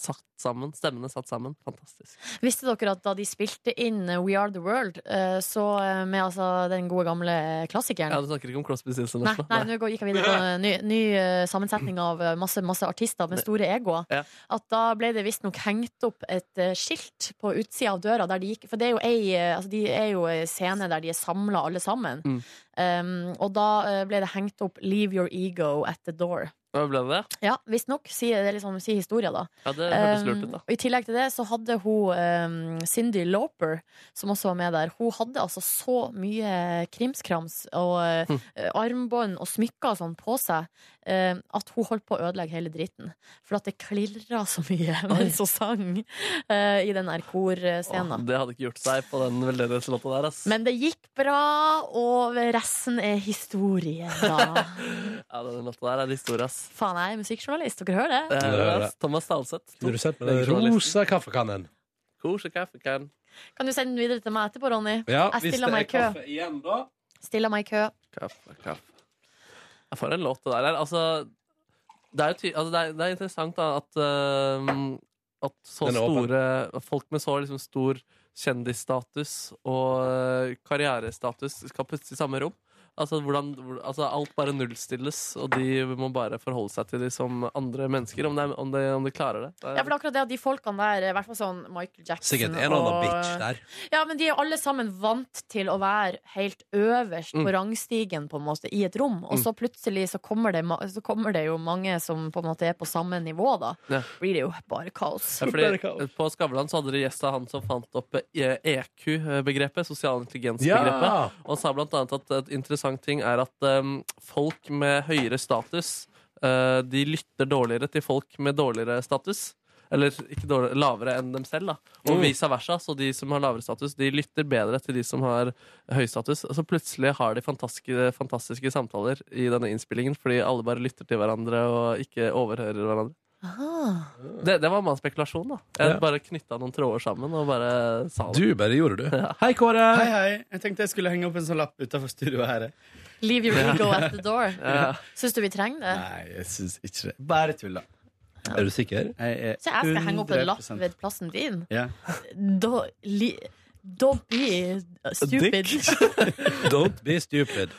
Speaker 4: satt sammen. Stemmene satt sammen. Fantastisk.
Speaker 3: Visste dere at da de spilte inn We Are The World, eh, så eh, med altså den gode gamle klassikeren
Speaker 4: Ja, Du snakker ikke om Crosby, Stills og
Speaker 3: Nei,
Speaker 4: Nash?
Speaker 3: nei,
Speaker 4: da?
Speaker 3: nå går- gikk jeg videre på en ny, ny eh, sammensetning av eh, masse, masse artister med store egoer.
Speaker 4: Ja.
Speaker 3: At da ble det visstnok hengt opp et eh, skilt på utsida av døra der de gikk For det er jo ei eh, altså, de er jo ei scene der de er samla alle sammen.
Speaker 4: Mm.
Speaker 3: Um, og da eh, ble det hengt opp 'Leave your ego at the door'.
Speaker 4: Hva ble det?
Speaker 3: Ja, visstnok. Sier det liksom, sier historia, da.
Speaker 4: Ja, det hørtes
Speaker 3: Um,
Speaker 4: lurt ut, da.
Speaker 3: og I tillegg til det så hadde hun um, Cindy Lauper, som også var med der. Hun hadde altså så mye krimskrams og uh,
Speaker 4: Hm.
Speaker 3: armbånd og smykker og sånn på seg uh, at hun holdt på å ødelegge hele dritten. For at det klirra så mye mens hun sang uh, i den der korscenen.
Speaker 4: Åh, det hadde ikke gjort seg på den veldedighetslåta der, ass.
Speaker 3: Men det gikk bra, og resten er historie, da.
Speaker 4: Ja, den låta der er historie, ass.
Speaker 3: Faen, jeg er musikkjournalist, dere hører det?
Speaker 4: Det er,
Speaker 2: hører
Speaker 4: det, ass. Eh, Thomas Dalseth.
Speaker 2: Produsent med den rosa kaffekannen.
Speaker 4: Koselig kaffe, kan.
Speaker 3: Kan du sende den videre til meg etterpå, Ronny?
Speaker 2: Ja,
Speaker 3: Jeg
Speaker 2: hvis
Speaker 3: stiller
Speaker 2: det er
Speaker 3: meg i kø.
Speaker 2: kaffe igjen, da.
Speaker 3: Stiller meg i kø.
Speaker 4: Kaffe, kaffe. Ja, For en låt det der er. Altså, det er, jo ty altså, det er, det er interessant da, at, ehm, at så
Speaker 2: Den er åpen.
Speaker 4: store folk med så liksom, stor kjendisstatus og eh, karrierestatus skal puttes i samme rom. Altså, hvordan, hvor- altså, alt bare nullstilles, og de må bare forholde seg til de som andre mennesker, om de, om de, om de klarer det. det
Speaker 3: Ja, for det er akkurat det at de folkene der, i hvert fall sånn Michael Jackson
Speaker 2: Sikkert en eller annen bitch der.
Speaker 3: Ja, men de er jo alle sammen vant til å være helt øverst
Speaker 4: Mm.
Speaker 3: på rangstigen på en måte, i et rom.
Speaker 2: Mm.
Speaker 3: Og så plutselig så kommer, det, ma- så kommer det jo mange som på en måte er på samme nivå, da.
Speaker 4: Ja.
Speaker 3: Blir det jo bare kaos.
Speaker 4: Ja, fordi På Skavlan så hadde de gjest av han som fant opp eh, EQ-begrepet, sosial intelligens-begrepet. Og sa blant annet at et interessant ting er at em, folk med høyere status eh, De lytter dårligere til folk med dårligere status. Eller ikke dårligere, lavere enn dem selv, da. Og
Speaker 2: Mm.
Speaker 4: vice versa. Så de som har lavere status, de lytter bedre til de som har høy status. Og så plutselig har de fantastiske, fantastiske samtaler i denne innspillingen fordi alle bare lytter til hverandre og ikke overhører hverandre.
Speaker 3: Ah.
Speaker 4: Det, det var manns spekulasjon, da.
Speaker 2: Ja.
Speaker 4: Jeg bare knytta noen tråder sammen og bare sa det.
Speaker 2: Du bare gjorde du. Hei, Kåre.
Speaker 7: Hei, hei. Jeg tenkte jeg skulle henge opp en sånn lapp utafor studioet her. jeg.
Speaker 3: Leave your ego at the door.
Speaker 4: Ja.
Speaker 3: Syns du vi trenger det?
Speaker 7: Nei, jeg syns ikke det. Bare tulla.
Speaker 2: Er du sikker?
Speaker 7: Jeg er
Speaker 3: Så jeg skal henge opp en lapp
Speaker 7: 100%
Speaker 3: ved plassen din.
Speaker 7: Ja.
Speaker 3: Da, li, don't be stupid.
Speaker 2: Don't be stupid.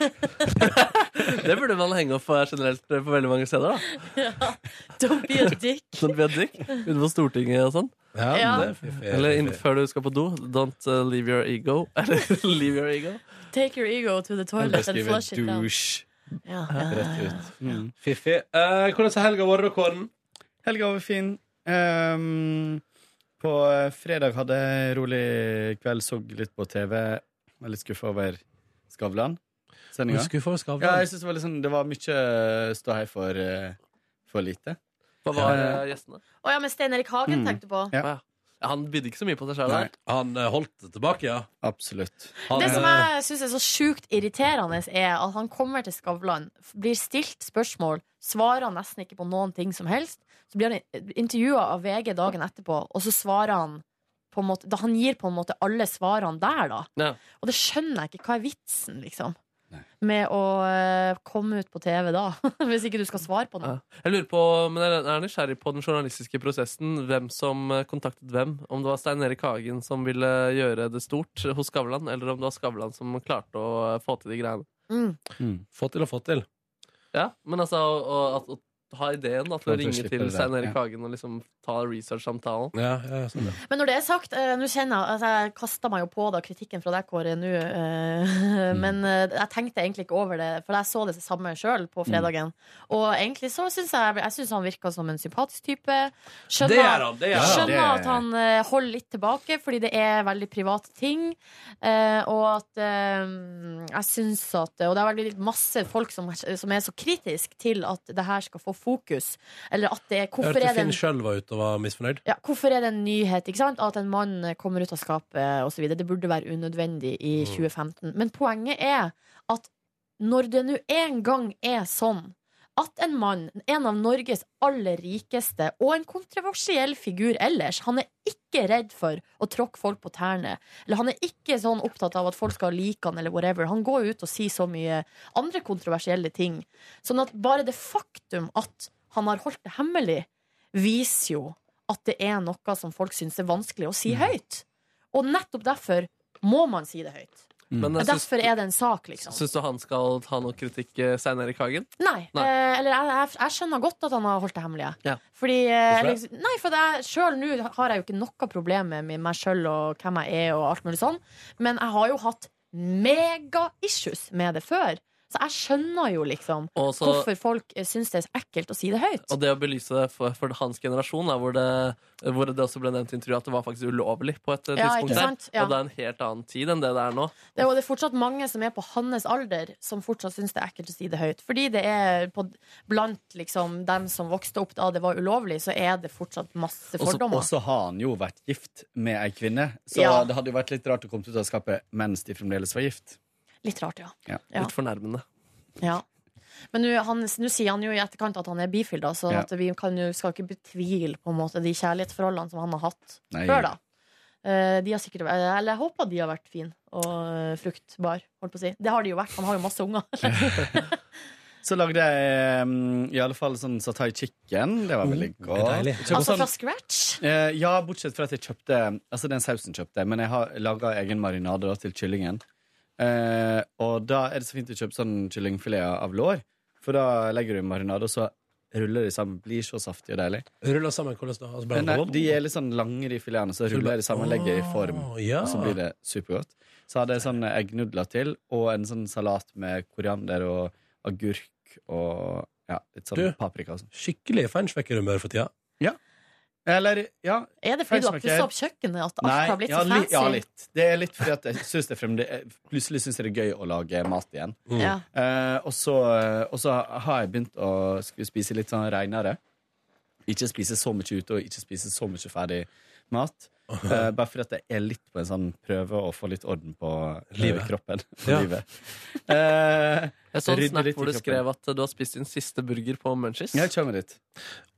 Speaker 4: Det burde man henge opp for generelt på veldig mange steder. da Sånn
Speaker 3: Don't be a dick.
Speaker 4: Don't be a dick ute på Stortinget og sånn.
Speaker 2: Ja,
Speaker 3: Ja.
Speaker 2: det er fiffig.
Speaker 4: Eller inn, før du skal på do. Don't uh, leave your ego. Eller leave your ego.
Speaker 3: Take your ego to the
Speaker 7: Jeg
Speaker 3: toilet
Speaker 7: bare
Speaker 3: and
Speaker 7: skriver
Speaker 3: flush it down.
Speaker 7: douche
Speaker 3: Ja, ja, ja,
Speaker 7: rett
Speaker 3: ja.
Speaker 7: ut. Mm.
Speaker 2: Fiffig. Eh, hvordan har helga vært, da, Kåren?
Speaker 7: Helga var fin. Ehm, på eh, fredag hadde jeg rolig kveld, så litt på TV. Var litt skuffa over Skavlan. Sendinga.
Speaker 2: Skuffa over
Speaker 7: Ja,
Speaker 2: Skavlan.
Speaker 7: jeg synes det var litt sånn Det var mye ståhei for, eh, for lite.
Speaker 4: Hva var uh, gjestene?
Speaker 3: Å ja, men Stein Erik Hagen
Speaker 7: Mm.
Speaker 3: tenkte du på.
Speaker 4: Ja, han bydde ikke så mye på seg sjøl
Speaker 7: Nei.
Speaker 4: der.
Speaker 2: Han eh, holdt det tilbake, ja.
Speaker 7: Absolutt.
Speaker 2: Han,
Speaker 3: Det som
Speaker 2: eh,
Speaker 3: jeg syns er så sjukt irriterende, er at han kommer til Skavlan, f- blir stilt spørsmål, svarer han nesten ikke på noen ting som helst. Så blir han intervjua av VG dagen etterpå, og så svarer han på en måte, da Han gir på en måte alle svarene der, da.
Speaker 4: Ja.
Speaker 3: Og det skjønner jeg ikke. Hva er vitsen, liksom?
Speaker 7: Nei.
Speaker 3: Med å eh, komme ut på TV da, hvis ikke du skal svare på noe.
Speaker 4: Ja. Jeg lurer på, men jeg er nysgjerrig på den journalistiske prosessen. Hvem som eh, kontaktet hvem. Om det var Stein Erik Hagen som ville gjøre det stort hos Skavlan, eller om det var Skavlan som klarte å eh, få til de greiene.
Speaker 3: Mm.
Speaker 2: Få til og få til.
Speaker 4: Ja, Men altså, å, å, at- å ha ideen da, til
Speaker 7: For
Speaker 4: å
Speaker 7: at du
Speaker 4: ringe
Speaker 7: slipper
Speaker 4: til
Speaker 7: det der,
Speaker 4: Stein Erik
Speaker 7: ja.
Speaker 4: Hagen og liksom ta research-samtalen.
Speaker 2: Ja, ja, sånn, ja.
Speaker 3: Men når det er sagt, eh, nå kjenner jeg altså Jeg kasta meg jo på da kritikken fra deg, Kåre, nå.
Speaker 2: Mm.
Speaker 3: eh, Men eh, jeg tenkte egentlig ikke over det, for jeg så det samme sjøl på
Speaker 2: Mm.
Speaker 3: fredagen. Og egentlig så syns jeg, jeg synes han virka som en sympatisk type.
Speaker 2: Det gjør
Speaker 3: Skjønner,
Speaker 2: han. det gjør han.
Speaker 3: skjønner
Speaker 7: det-
Speaker 3: at han eh, holder litt tilbake, fordi det er veldig private ting. eh, Og at eh, jeg syns at Og det er veldig masse folk som, som er så kritisk til at det her skal få fokus. Eller at det er
Speaker 2: Jeg
Speaker 3: Hvorfor
Speaker 2: hørte
Speaker 3: er det
Speaker 2: Finn
Speaker 3: en
Speaker 2: sjøl var ute og var misfornøyd.
Speaker 3: ja, hvorfor er det en nyhet ikke sant? at en mann eh, kommer ut av skapet eh, osv.? Det burde være unødvendig i 2015. Men poenget er at når det nå en gang er sånn at en mann, en av Norges aller rikeste og en kontroversiell figur ellers, han er ikke redd for å tråkke folk på tærne. Eller han er ikke sånn opptatt av at folk skal like han eller whatever. Han går ut og sier så mye andre kontroversielle ting. Sånn at bare det faktum at han har holdt det hemmelig, viser jo at det er noe som folk syns er vanskelig å si høyt. Og nettopp derfor må man si det høyt.
Speaker 4: Men jeg syns-
Speaker 3: Derfor er det en sak, liksom.
Speaker 4: Syns du han skal ta noe kritikk, eh, Stein Erik Hagen?
Speaker 3: Nei.
Speaker 4: Nei.
Speaker 3: Eh, eller jeg, jeg, jeg skjønner godt at han har holdt det hemmelig. jeg.
Speaker 4: Ja.
Speaker 3: Fordi eh,
Speaker 2: Hvorfor det?
Speaker 3: liksom, Nei, for det er- sjøl nå har jeg jo ikke noe problem med meg sjøl og hvem jeg er og alt mulig sånn, men jeg har jo hatt mega-issues med det før. Så jeg skjønner jo liksom
Speaker 4: Og så-
Speaker 3: hvorfor folk eh, syns det er så ekkelt å si det høyt.
Speaker 4: Og det å belyse det for, for hans generasjon, da, hvor, det, hvor det også ble nevnt i intervjuet at det var faktisk ulovlig på et eh,
Speaker 3: Ja,
Speaker 4: tidspunkt
Speaker 3: ikke
Speaker 4: der.
Speaker 3: sant? Ja.
Speaker 4: Og det er en helt annen tid enn det det er nå.
Speaker 3: Det, er- og det er fortsatt mange som er på hans alder, som fortsatt syns det er ekkelt å si det høyt. Fordi det er på, blant liksom, dem som vokste opp da det var ulovlig, så er det fortsatt masse
Speaker 7: Og så-
Speaker 3: fordommer.
Speaker 7: Og så har han jo vært gift med ei kvinne, så
Speaker 3: Ja.
Speaker 7: det hadde jo vært litt rart å komme ut av skapet mens de fremdeles var gift.
Speaker 3: Litt rart, ja.
Speaker 7: Ja.
Speaker 3: Ja.
Speaker 4: Litt fornærmende.
Speaker 3: ja. Men nå han- nå sier han jo i etterkant at han er bifil, da, så
Speaker 7: Ja.
Speaker 3: at vi kan, jo- skal ikke betvile på en måte, de kjærlighetsforholdene som han har hatt
Speaker 7: Nei.
Speaker 3: før. da Eh, de har sikkert, eh, Eller jeg håper de har vært fine og eh, fruktbar, holdt på å si. Det har de jo vært. Han har jo masse unger.
Speaker 7: Så lagde jeg um, i alle fall sånn satai chicken. Det var veldig godt.
Speaker 2: Mm, deilig.
Speaker 7: Kjøpte
Speaker 8: Altså
Speaker 7: sånn-
Speaker 8: fra scratch?
Speaker 7: Eh, ja, bortsett fra at jeg kjøpte Altså den sausen kjøpte jeg, men jeg har laga egen marinade da, til kyllingen. Eh, og da er det så fint å kjøpe sånn kyllingfilet av lår, for da legger du i marinade, og så ruller de sammen. Blir så saftig og deilig.
Speaker 2: Ruller sammen hvordan da? Altså,
Speaker 7: Men,
Speaker 2: bare-
Speaker 7: nei, de er litt sånn lange, de filetene, så
Speaker 2: Så du
Speaker 7: ruller
Speaker 2: bare-
Speaker 7: jeg de sammen, legger jeg i form,
Speaker 2: Å, ja.
Speaker 7: og
Speaker 8: Ah.
Speaker 7: så blir det supergodt. Så hadde jeg sånn eggnudler til, og en sånn salat med koriander og agurk og ja, litt sånn
Speaker 2: Du.
Speaker 7: paprika og sånn.
Speaker 2: Skikkelig feinschmeckerhumør for tida.
Speaker 7: Eller, ja,
Speaker 8: Er det fordi du har
Speaker 7: Feilsmaker.
Speaker 8: pussa opp kjøkkenet at alt har blitt
Speaker 7: ja,
Speaker 8: så
Speaker 7: li,
Speaker 8: fancy?
Speaker 7: ja, litt. Det er litt fordi at jeg synes det fremde, jeg plutselig syns jeg det er gøy å lage mat igjen.
Speaker 8: Ja.
Speaker 7: Eh, og så og så har jeg begynt å skulle spise litt sånn reinere. Ikke spise så mye ute, og ikke spise så mye ferdig mat. Eh, bare fordi at jeg er litt på en sånn prøve å få litt orden på eh,
Speaker 2: Livet.
Speaker 7: kroppen.
Speaker 2: Ja.
Speaker 7: Livet. Eh,
Speaker 4: Jeg så en
Speaker 7: Rydde
Speaker 4: snap
Speaker 7: litt i
Speaker 4: hvor du
Speaker 7: kroppen.
Speaker 4: skrev at eh, du har spist din siste burger på Munchies.
Speaker 7: jeg kommer dit.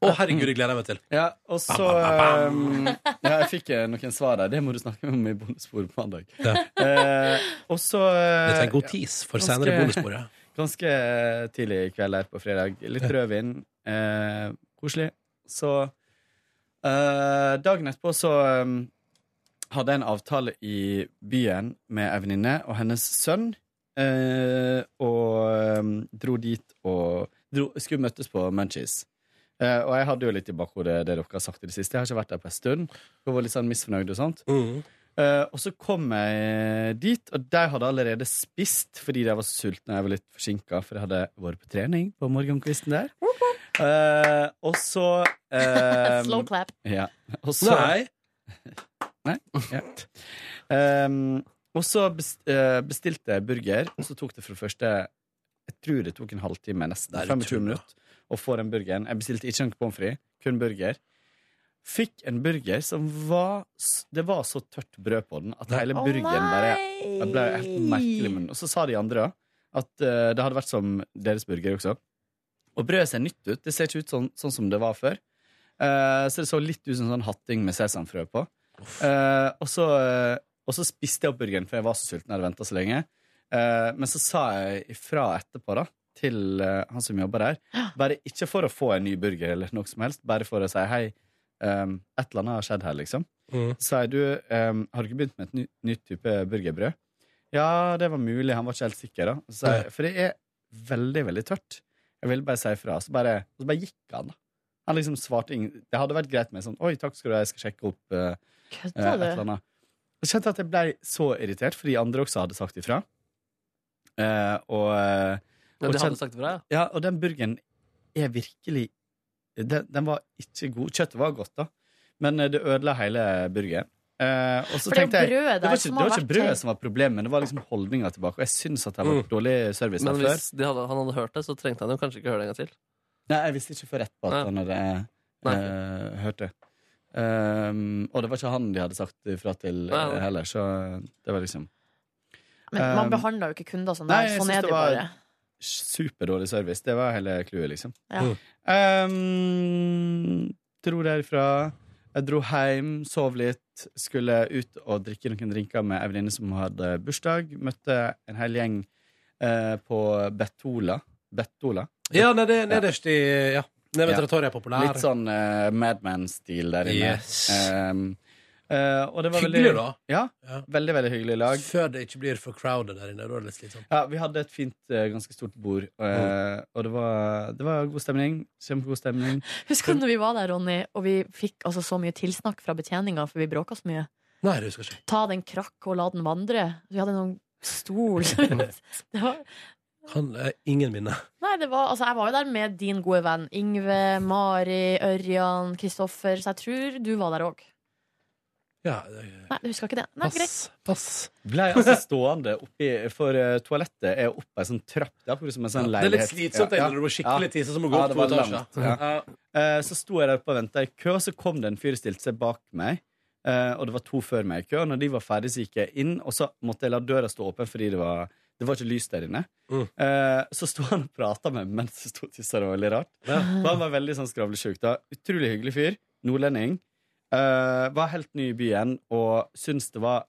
Speaker 2: Å, herregud, jeg gleder meg til.
Speaker 7: Ja, og så eh, ja, Jeg fikk eh, noen svar der. Det må du snakke om i bonusbord på mandag.
Speaker 2: Ja.
Speaker 7: Eh, og så eh,
Speaker 2: Dette er en god tease for
Speaker 7: Ganske-
Speaker 2: senere bonusbord. Ja.
Speaker 7: Ganske eh, tidlig i kveld her på fredag. Litt rødvin. Eh, koselig. Så eh, Dagen etterpå så eh, hadde jeg en avtale i byen med ei venninne og hennes sønn. Eh, og eh, dro dit og dro, skulle møtes på Munchies. Eh, og jeg hadde jo litt i bakhodet det dere har sagt i det siste. Jeg har ikke vært der på en stund. Jeg var litt sånn misfornøyd og sånt.
Speaker 2: Mm.
Speaker 7: Eh, og så kom jeg dit, og de hadde allerede spist fordi de var så sultne. og Jeg var litt forsinka, for jeg hadde vært på trening på morgenkvisten der. Eh, og så eh,
Speaker 8: Slow clap.
Speaker 7: ja. Og så
Speaker 2: Nei.
Speaker 7: ja. Ehm, og så bes- eh, bestilte jeg burger, og så tok det for det første Jeg tror det tok en halvtime, nesten
Speaker 2: Nei, du
Speaker 7: 25
Speaker 2: tuller.
Speaker 7: minutter, å få den burgeren. Jeg bestilte ikke en pommes frites, kun burger. Fikk en burger som var s- Det var så tørt brød på den at
Speaker 2: Nei.
Speaker 7: hele
Speaker 8: Å,
Speaker 7: burgeren bare
Speaker 8: nei!
Speaker 7: det ble helt merkelig i munnen. Og så sa de andre også, at eh, det hadde vært som deres burger også. Og brødet ser nytt ut. Det ser ikke ut sånn, sånn som det var før. Eh, så det så litt ut som sånn hatting med sesamfrø på. Eh, og, så, eh, og så spiste jeg opp burgeren, for jeg var så sulten og hadde venta så lenge. Eh, men så sa jeg ifra etterpå da til eh, han som jobber der, bare ikke for å få en ny burger, eller noe som helst, bare for å si hei, eh, et eller annet har skjedd her, liksom.
Speaker 2: Mm.
Speaker 7: Så sier du ehm, Har du ikke begynt med et ny, nytt type burgerbrød? Ja, det var mulig. Han var ikke helt sikker. da så, sa jeg, For det er veldig, veldig tørt. Jeg ville bare si ifra. Så bare, så bare gikk han. da Han liksom svarte ingen Det hadde vært greit med sånn Oi, takk skal du ha, jeg skal sjekke opp eh, eh, et
Speaker 8: Kødder
Speaker 7: eller
Speaker 8: du?
Speaker 7: annet. Jeg kjente at jeg ble så irritert, for de andre også hadde sagt ifra. Eh, og, eh,
Speaker 4: Ja,
Speaker 7: og
Speaker 4: de
Speaker 7: kjent-
Speaker 4: hadde sagt fra, ja.
Speaker 7: ja, og den burgeren er virkelig den, den var ikke god. Kjøttet var godt, da, men eh, det ødela hele burgeren. Eh, og så
Speaker 8: For det
Speaker 7: tenkte
Speaker 8: er
Speaker 7: jeg
Speaker 8: jo brødet
Speaker 7: det
Speaker 8: der
Speaker 7: var ikke,
Speaker 8: som har
Speaker 7: det var
Speaker 8: vært
Speaker 7: ikke brødet som var problemet, men det var liksom holdninga tilbake. Og jeg syns at det var
Speaker 2: Mm.
Speaker 7: dårlig service
Speaker 4: Men
Speaker 7: der før.
Speaker 4: hvis de hadde, han hadde hørt det, så trengte han jo kanskje ikke høre det en gang til.
Speaker 7: Nei, jeg visste ikke før etterpå
Speaker 4: Nei.
Speaker 7: at han hadde
Speaker 4: Nei.
Speaker 7: eh, hørt det. Ehm, og det var ikke han de hadde sagt ifra til eh,
Speaker 4: Nei, nei.
Speaker 7: heller, så det var liksom
Speaker 8: Men man
Speaker 7: Um,
Speaker 8: behandler jo ikke kunder sånn
Speaker 7: nei,
Speaker 8: der.
Speaker 7: jeg
Speaker 8: Sånn
Speaker 7: synes
Speaker 8: er
Speaker 7: det
Speaker 8: det jo
Speaker 7: var-
Speaker 8: bare.
Speaker 7: superdårlig service. Det var hele clouet, liksom.
Speaker 8: Ja.
Speaker 2: Mm.
Speaker 7: Ehm, dro derfra. Jeg dro hjem, sov litt, skulle ut og drikke noen drinker med ei venninne som hadde bursdag. Møtte en hel gjeng eh, på Bettola. Bettola.
Speaker 2: Ja, nei, det er nederst i Ja. Nede ved
Speaker 7: Ja.
Speaker 2: territoriet er populær.
Speaker 7: Litt sånn eh, Madman-stil der inne.
Speaker 2: Yes.
Speaker 7: Ehm, eh, og det var veldig
Speaker 2: Hyggelig, da.
Speaker 7: Ja,
Speaker 2: Ja.
Speaker 7: veldig, veldig hyggelig lag.
Speaker 2: Før det ikke blir for crowded der inne. Da er det litt slitsomt.
Speaker 7: Ja, vi hadde et fint, eh, ganske stort bord, eh,
Speaker 2: Mm.
Speaker 7: og det var, det var god stemning. Kjempegod stemning.
Speaker 8: Husker du når vi var der, Ronny, og vi fikk altså så mye tilsnakk fra betjeninga, for vi bråka så mye.
Speaker 2: Nei, det husker jeg ikke.
Speaker 8: Ta den krakk og la den vandre. Vi hadde en sånn stol. det var,
Speaker 2: Han er ingen minne.
Speaker 8: nei, det var, altså, jeg var jo der med din gode venn Ingve, Mari, Ørjan, Kristoffer, så jeg tror du var der òg.
Speaker 2: Ja, det-
Speaker 8: Nei, du husker ikke det. Nei, greit.
Speaker 2: pass. Pass.
Speaker 7: Ble altså stående oppi For eh, toalettet er oppe ei sånn trapp. Det er akkurat som en sånn
Speaker 2: Ja, det er litt
Speaker 7: leilighet.
Speaker 2: slitsomt egentlig
Speaker 7: Ja, ja.
Speaker 2: når du må skikkelig tisse, så må du gå
Speaker 7: Ja,
Speaker 2: opp
Speaker 7: det
Speaker 2: to
Speaker 7: var
Speaker 2: etasjer.
Speaker 7: langt, ja.
Speaker 2: Ja.
Speaker 7: Eh, Så sto jeg der oppe og venta i kø, og så kom det en fyr og stilte seg bak meg. eh, Og det var to før meg i kø. Og når de var ferdig, så gikk jeg inn, og så måtte jeg la døra stå åpen fordi det var, det var ikke lys der inne.
Speaker 2: Mm.
Speaker 7: Eh, Så sto han og prata med meg mens jeg sto og tissa. Det var veldig rart. For han var veldig sånn skravlesjuk. da. Utrolig hyggelig fyr. Nordlending. Eh, var helt ny i byen og syntes det var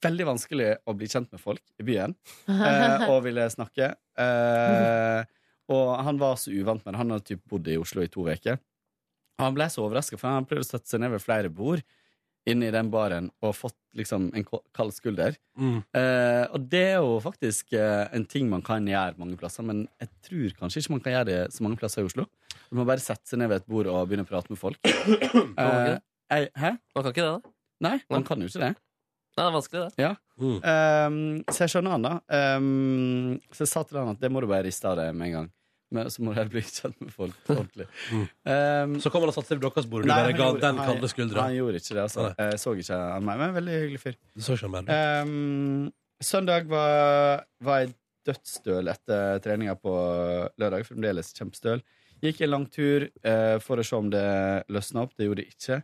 Speaker 7: veldig vanskelig å bli kjent med folk i byen. eh, og ville snakke. Eh, Og han var så uvant med det. Han hadde typ bodd i Oslo i to uker. Og han ble så overraska, for han pleide å sette seg ned ved flere bord inne i den baren og fått liksom en ko- kald skulder.
Speaker 2: Mm.
Speaker 7: Eh, og det er jo faktisk eh, en ting man kan gjøre mange plasser, men jeg tror kanskje ikke man kan gjøre det så mange plasser i Oslo. Man må bare sette seg ned ved et bord og begynne å prate med folk. Eh, jeg, hæ?
Speaker 4: Man kan ikke det, da?
Speaker 7: Nei, man kan jo ikke det.
Speaker 4: Nei, det er vanskelig, det.
Speaker 2: Mm.
Speaker 7: Ehm, så jeg skjønner han, da. Ehm, så jeg sa til han at det må du bare riste av deg med en gang. Men så må du heller bli kjent med folk ordentlig.
Speaker 2: Mm.
Speaker 7: Ehm,
Speaker 2: Så kom han og satte seg ved deres bord, og du
Speaker 7: nei,
Speaker 2: bare
Speaker 7: han
Speaker 2: ga
Speaker 7: gjorde-
Speaker 2: den
Speaker 7: han-
Speaker 2: kalde skuldra.
Speaker 7: Han gjorde ikke det, altså. Jeg så ikke han meg, men veldig hyggelig fyr.
Speaker 2: Du så ikke han mer, du.
Speaker 7: Ehm, søndag var, var jeg dødsstøl etter treninga på lørdag. Fremdeles kjempestøl. Gikk en lang tur eh, for å se om det løsna opp. Det gjorde det ikke.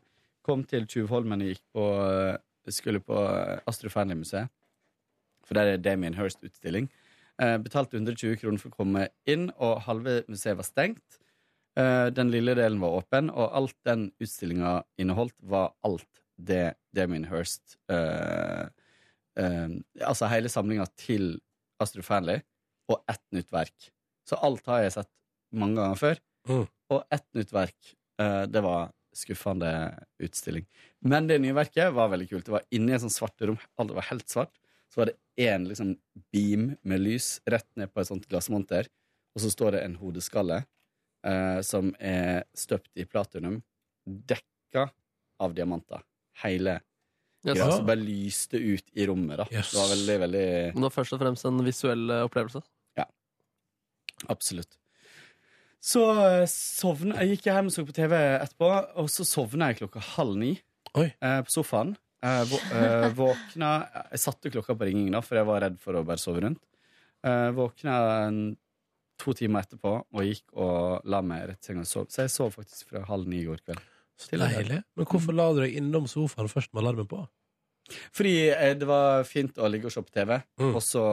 Speaker 7: Kom til Tjuvholmen og gikk på, eh, skulle på Astro Fearnley-museet. For der er Damien Hirst-utstilling. Eh, betalte 120 kroner for å komme inn, og halve museet var stengt. Eh, den lille delen var åpen, og alt den utstillinga inneholdt, var alt det Damien Hirst eh, eh, Altså hele samlinga til Astrid Fearnley, og ett nytt verk. Så alt har jeg sett mange ganger før.
Speaker 2: Mm.
Speaker 7: Og ett nytt verk, eh, det var skuffende utstilling. Men det nye verket var veldig kult. Det var inni et sånt svart rom. Alt var helt svart. Så var det én liksom, beam med lys rett ned på et sånt glassmonter, og så står det en hodeskalle eh, som er støpt i platinum, dekka av diamanter. Hele
Speaker 4: Yes.
Speaker 7: greia som bare lyste ut i rommet. Da.
Speaker 2: Yes.
Speaker 7: Det var veldig, veldig
Speaker 4: Men det var først og fremst en visuell eh, opplevelse.
Speaker 7: Absolutt. Så eh, sovna Jeg gikk hjem og så på TV etterpå, og så sovna jeg klokka halv ni
Speaker 2: Oi.
Speaker 7: eh, på sofaen. Eh, vå, eh, våkna Jeg satte klokka på ringing, da, for jeg var redd for å bare sove rundt. Eh, våkna en, to timer etterpå og gikk og la meg rett i senga og sov. Så jeg sov faktisk fra halv ni i går kveld.
Speaker 2: Så deilig. Men hvorfor la du deg innom sofaen først med alarmen på?
Speaker 7: Fordi eh, det var fint å ligge og se på TV,
Speaker 2: Mm.
Speaker 7: og så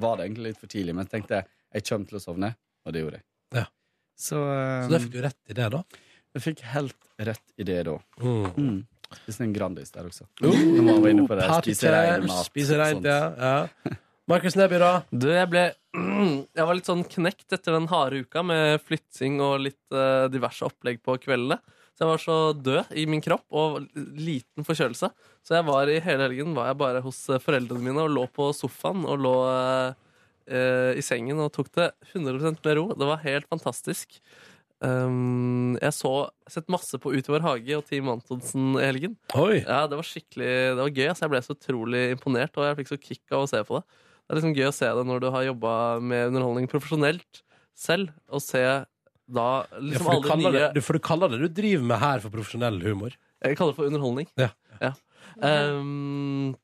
Speaker 7: var det egentlig litt for tidlig, men jeg tenkte jeg kommer til å sovne, og det gjorde jeg.
Speaker 2: Ja.
Speaker 7: Så,
Speaker 2: Så
Speaker 7: eh,
Speaker 2: der fikk du rett i det, da.
Speaker 7: Jeg fikk helt rett i det da.
Speaker 2: Mm.
Speaker 7: Mm. Spiste en Grandis der også.
Speaker 2: Oh,
Speaker 7: Når man var inne på det, spise rein
Speaker 2: Partyterms,
Speaker 7: mat.
Speaker 2: spise reint,
Speaker 7: sånt.
Speaker 2: ja. ja. Markus Neby, da?
Speaker 4: Du, jeg ble Jeg var litt sånn knekt etter den harde uka med flytting og litt eh, diverse opplegg på kveldene. Så jeg var så død i min kropp og liten forkjølelse. Så jeg var i hele helgen var jeg bare hos eh, foreldrene mine og lå på sofaen og lå eh, eh, i sengen og tok det 100 med ro. Det var helt fantastisk. Um, jeg så sett masse på Ut i vår hage og Team Antonsen i helgen.
Speaker 2: Oi!
Speaker 4: Ja, det var skikkelig Det var gøy. Altså, jeg ble så utrolig imponert, og jeg fikk så kick av å se på det. Det er liksom gøy å se det når du har jobba med underholdning profesjonelt selv, og se da
Speaker 2: Ja,
Speaker 4: liksom
Speaker 2: for, du
Speaker 4: alle de
Speaker 2: kaller
Speaker 4: nye
Speaker 2: det, du, for du kaller det du driver med her, for profesjonell humor.
Speaker 4: Jeg kaller det for underholdning.
Speaker 2: Ja.
Speaker 4: Ehm,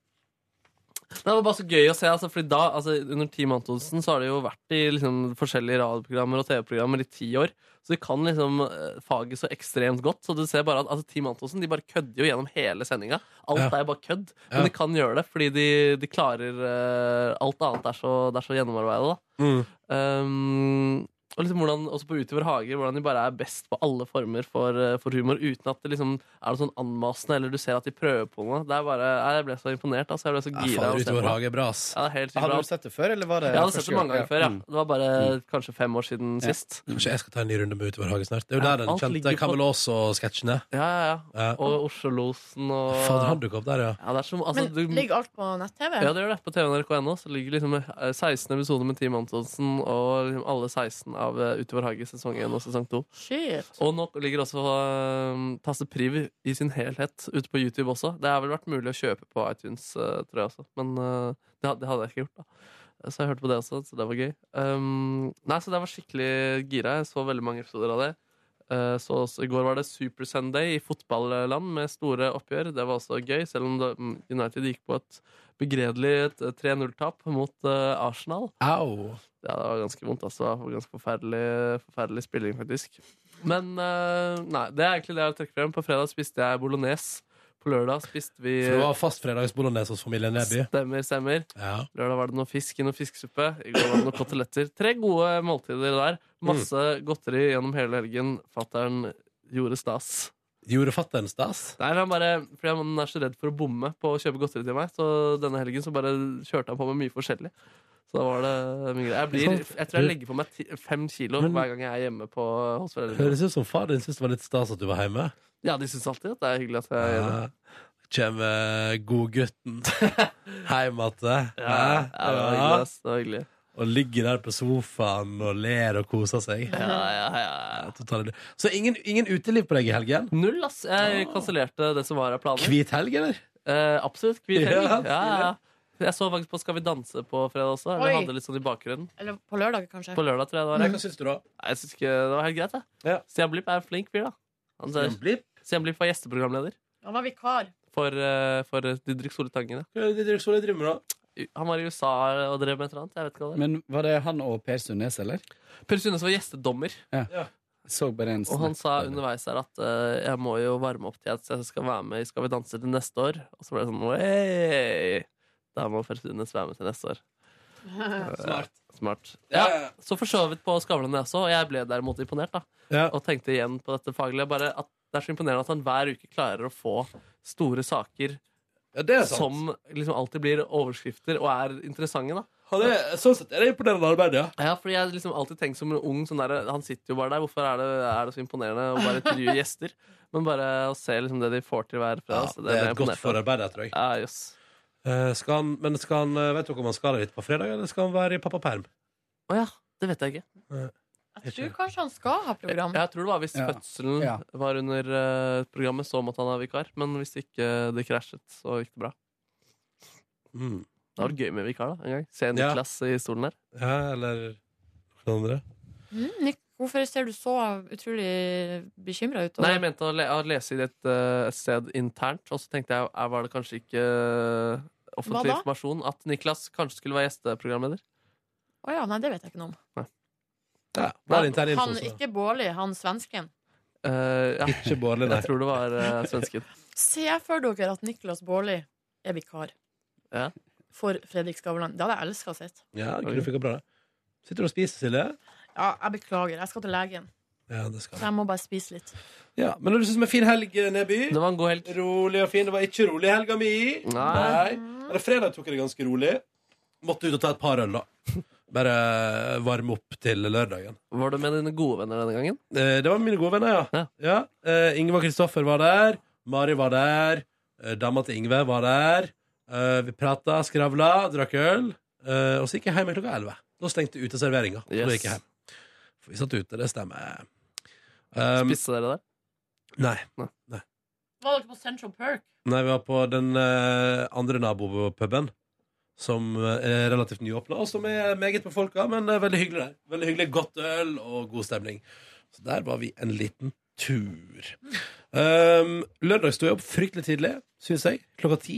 Speaker 4: det var bare så gøy å se. Altså, fordi da, altså, under Team Antonsen så har det jo vært i liksom, forskjellige radioprogrammer og TV-programmer i ti år. Så de kan liksom eh, faget så ekstremt godt. Så du ser bare at altså, Team Antonsen de bare kødder jo gjennom hele sendinga. Alt
Speaker 2: Ja.
Speaker 4: er jo bare kødd.
Speaker 2: Ja.
Speaker 4: Men de kan gjøre det fordi de, de klarer eh, Alt annet er så, det er så gjennomarbeida, da. Um, og liksom hvordan, også på Utover hage, hvordan de bare er best på alle former for, eh, for humor, uten at det liksom er noe sånn anmasende, eller du ser at de prøver på noe. Det er bare, nei, Jeg ble så imponert. Altså, jeg ble så
Speaker 2: Ja,
Speaker 4: gira.
Speaker 2: fader,
Speaker 4: av å
Speaker 2: ute
Speaker 4: se
Speaker 2: i
Speaker 4: på
Speaker 2: vår
Speaker 4: det.
Speaker 2: hage er bra, ass.
Speaker 4: Ja, det er helt sykt bra.
Speaker 7: Hadde du sett det før, eller var det
Speaker 4: Jeg hadde sett det mange ganger før, ja.
Speaker 7: Mm.
Speaker 4: Det var bare kanskje fem år siden sist.
Speaker 2: Kanskje jeg skal ta en ny runde med Ute i vår hage snart. Det er jo
Speaker 4: Ja,
Speaker 2: der den
Speaker 4: alt
Speaker 2: kjente
Speaker 4: ligger på-
Speaker 2: Kamel Aas og sketsjene.
Speaker 4: Ja, ja, ja.
Speaker 2: Ja.
Speaker 4: Og Oslo-losen og
Speaker 2: Fader, han dukket opp der, ja.
Speaker 4: ja, det er som, altså,
Speaker 8: Men
Speaker 4: du,
Speaker 8: ligger alt på nett-TV?
Speaker 4: Ja, det gjør det. På tvnrk.no så ligger liksom eh, 16 episoder med Team Antonsen og liksom alle 16 av eh, Utover hage sesong 1 og sesong 2.
Speaker 8: Shit.
Speaker 4: Og nå ligger også uh, Tasse Priv i sin helhet ute på YouTube også. Det har vel vært mulig å kjøpe på iTunes, eh, tror jeg også. Men eh, det, had- det hadde jeg ikke gjort, da. Eh, Så jeg hørte på det også, så det var gøy. Um, nei, så det var skikkelig gira. Jeg så veldig mange episoder av det. Eh, så også, I går var det Super Sunday i fotballand med store oppgjør. Det var også gøy, selv om det, mm, United gikk på et begredelig et eh, 3-0-tap mot eh, Arsenal.
Speaker 2: Au!
Speaker 4: Ja, det var ganske vondt. Altså. Det var ganske forferdelig, forferdelig spilling, faktisk. Men eh, nei, det er egentlig det jeg vil trekke frem. På fredag spiste jeg bolognese. På lørdag spiste vi
Speaker 2: For det var fast fredagsbolognese hos familien Neby.
Speaker 4: Stemmer, stemmer.
Speaker 2: Ja.
Speaker 4: Lørdag var det noe fisk i noe fiskesuppe. I går var det noen koteletter. Tre gode måltider der. Masse godteri gjennom hele helgen. Fattern gjorde stas.
Speaker 2: Gjorde fatteren stas?
Speaker 4: Nei, men han bare, fordi han er så redd for å bomme på å kjøpe godteri til meg, så denne helgen så bare kjørte han på med mye forskjellig. Så da var det mye greier. Jeg, blir, jeg tror jeg legger på meg ti, fem kilo
Speaker 2: Sånn, Men-
Speaker 4: hver gang jeg er hjemme på, hos foreldrene.
Speaker 2: Høres ut som far din syntes det var litt stas at du var hjemme.
Speaker 4: Ja, de syns alltid at det er hyggelig at jeg er hjemme.
Speaker 2: Ja. Kjem eh, godgutten hjem igjen.
Speaker 4: Ja, ja, det var hyggelig.
Speaker 2: Ja.
Speaker 4: ass. Det var hyggelig.
Speaker 2: Og ligger der på sofaen og ler og koser seg.
Speaker 4: Ja, ja, ja.
Speaker 2: Totalt. Så ingen, ingen uteliv på deg i helgen?
Speaker 4: Null, ass.
Speaker 2: Ah.
Speaker 4: Jeg kansellerte det som var av planer.
Speaker 2: Hvit helg, eller?
Speaker 4: Eh, absolutt. Hvit helg.
Speaker 2: Ja,
Speaker 4: Ja, ja, ja. Jeg så faktisk på Skal vi danse på fredag også.
Speaker 3: Oi.
Speaker 4: Eller hadde litt sånn i bakgrunnen.
Speaker 3: Eller på lørdag, kanskje.
Speaker 4: På lørdag, tror jeg det var.
Speaker 2: Hva syns du, da?
Speaker 4: Nei, Jeg synes ikke det var helt greit, jeg.
Speaker 2: Mm. Ja.
Speaker 4: Stian Blipp er en flink fyr, da. Han ser-
Speaker 2: Blipp?
Speaker 4: Stian Blipp var gjesteprogramleder
Speaker 3: Han var vikar.
Speaker 4: for, eh, for Didrik Solitangene.
Speaker 2: Hva er det dere så litt driver med, da?
Speaker 4: Han var i USA og drev med et eller annet. Jeg vet ikke hva det
Speaker 7: Mm. Men var det han og Per Sundnes, eller?
Speaker 4: er. Per Sundnes var gjestedommer,
Speaker 7: Så bare en
Speaker 4: og han
Speaker 7: snitt.
Speaker 4: sa underveis her at eh, jeg må jo varme opp til at jeg skal være med i Skal vi danse til neste år. Og så ble det sånn Wey! Da må Per Sundnes være med til neste år. Eh,
Speaker 2: Snart.
Speaker 4: Smart.
Speaker 2: Ja,
Speaker 4: Ja,
Speaker 2: ja, ja.
Speaker 4: Så for så vidt på Skavlan, jeg også, og jeg ble derimot imponert. da
Speaker 2: Ja.
Speaker 4: Og tenkte igjen på dette faglige. Bare at Det er så imponerende at han hver uke klarer å få store saker
Speaker 2: Ja, det er sant.
Speaker 4: som liksom alltid blir overskrifter og er interessante. da
Speaker 2: Han er, sånn sett er det imponerende arbeid, ja.
Speaker 4: Ja, fordi jeg har liksom alltid tenkt som en ung sånn der, Han sitter jo bare der. Hvorfor er det, er det så imponerende å bare intervjue gjester? Men bare å se liksom det de får til
Speaker 2: ja
Speaker 4: hver fredag. altså, så
Speaker 2: det
Speaker 4: ble
Speaker 2: er et
Speaker 4: jeg
Speaker 2: godt
Speaker 4: imponert av.
Speaker 2: forarbeid, jeg tror jeg.
Speaker 4: Ja, jøss.
Speaker 2: Eh, skal han, men skal han, eh, vet dere om han skal dit på fredag, eller skal han være i pappaperm?
Speaker 4: Å ja. Det vet jeg ikke.
Speaker 3: Jeg tror kanskje han skal ha program.
Speaker 4: Jeg tror det var hvis
Speaker 7: Ja.
Speaker 4: fødselen
Speaker 7: Ja.
Speaker 4: var under eh, programmet, så måtte han ha vikar. Men hvis ikke det krasjet, så gikk det bra.
Speaker 2: Mm.
Speaker 4: Det hadde vært gøy med vikar da, en gang. Se
Speaker 2: Ja.
Speaker 4: Niklas i stolen der.
Speaker 2: Ja, eller noen andre?
Speaker 3: Mm, Nick, hvorfor ser du så utrolig bekymra ut?
Speaker 4: Nei, jeg mente å, le å lese i et eh, sted internt, og så tenkte jeg er, var det kanskje ikke eh,
Speaker 3: Hva
Speaker 4: offentlig
Speaker 3: da?
Speaker 4: informasjon at Niklas kanskje skulle være gjesteprogramleder.
Speaker 3: Å ja, nei, det vet jeg ikke noe om.
Speaker 2: Ja, bare intern info.
Speaker 3: Han
Speaker 2: så.
Speaker 3: ikke Bårli, han svensken.
Speaker 4: Eh, ja,
Speaker 2: Ikke Bårdli, nei.
Speaker 4: jeg tror det var eh, svensken.
Speaker 3: Se for dere at Niklas Bårli er vikar
Speaker 4: Ja.
Speaker 3: for Fredrik Skavlan. Det hadde jeg elska å se.
Speaker 2: Ja, kunne funka bra, det. Sitter du og spiser, Silje?
Speaker 3: Ja, jeg beklager. Jeg skal til legen,
Speaker 2: Ja, det skal
Speaker 3: så
Speaker 2: du.
Speaker 3: jeg må bare spise litt.
Speaker 2: Ja, men det synes som en fin helg, eh, Neby.
Speaker 4: Det var en god helg.
Speaker 2: Rolig og fin. Det var ikke rolig i helga mi.
Speaker 4: Nei.
Speaker 2: Eller fredag tok jeg det ganske rolig. Måtte ut og ta et par øl, da. Bare varme opp til lørdagen.
Speaker 4: Var du med dine gode venner denne gangen?
Speaker 2: Eh, Det var mine gode venner, ja.
Speaker 4: Ja.
Speaker 2: ja. eh, Ingvar Kristoffer var der. Mari var der. eh, Dama til Ingve var der. eh, vi prata, skravla, drakk øl. eh, og så gikk jeg hjem klokka elleve. Da stengte uteserveringa. så Da
Speaker 4: Yes.
Speaker 2: gikk jeg hjem. For vi satt ute, det stemmer. Um,
Speaker 4: Spiste dere der?
Speaker 2: nei.
Speaker 3: Var dere på Central Perk?
Speaker 2: nei, vi var på den eh, andre nabopuben. Som eh, er relativt nyåpna, og som er meget på folka, men eh, veldig hyggelig der. Veldig hyggelig, Godt øl og god stemning. Så der var vi en liten tur. Um, lørdag sto jeg opp fryktelig tidlig, syns jeg. Klokka ti.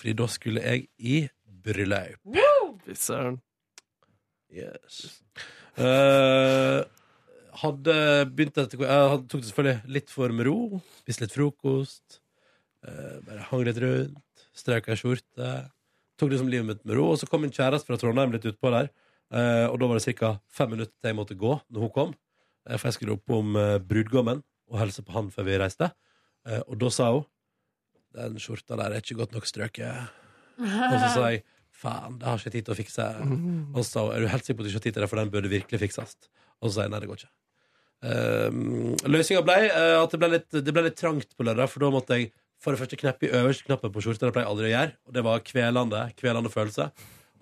Speaker 2: Fordi da skulle jeg i bryllup.
Speaker 4: Fy søren.
Speaker 2: Yes. Uh, hadde begynt etter Jeg hadde, tok det selvfølgelig litt for med ro. Spiste litt frokost. eh, bare hang litt rundt. Strøk ei skjorte. Tok liksom livet mitt med ro. Og så kom min kjæreste fra Trondheim litt utpå der. eh, og da var det ca. fem minutter til jeg måtte gå når hun kom. Eh, for jeg skulle opp om eh, brudgommen og hilse på han før vi reiste. Eh, og da sa hun Den skjorta der er ikke godt nok strøket. Og så sa jeg faen, det har ikke jeg tid til å fikse. Og så sa hun er du helt sikker på at du ikke har tid til det, for den burde virkelig fikses. Og så sa jeg nei, det går ikke. Um, Løsninga ble eh, at det ble, litt, det ble litt trangt på lørdag, for da måtte jeg for det første kneppe i øverste knappen på skjorta. Det pleier jeg aldri å gjøre, og det var kvelende, kvelende følelse.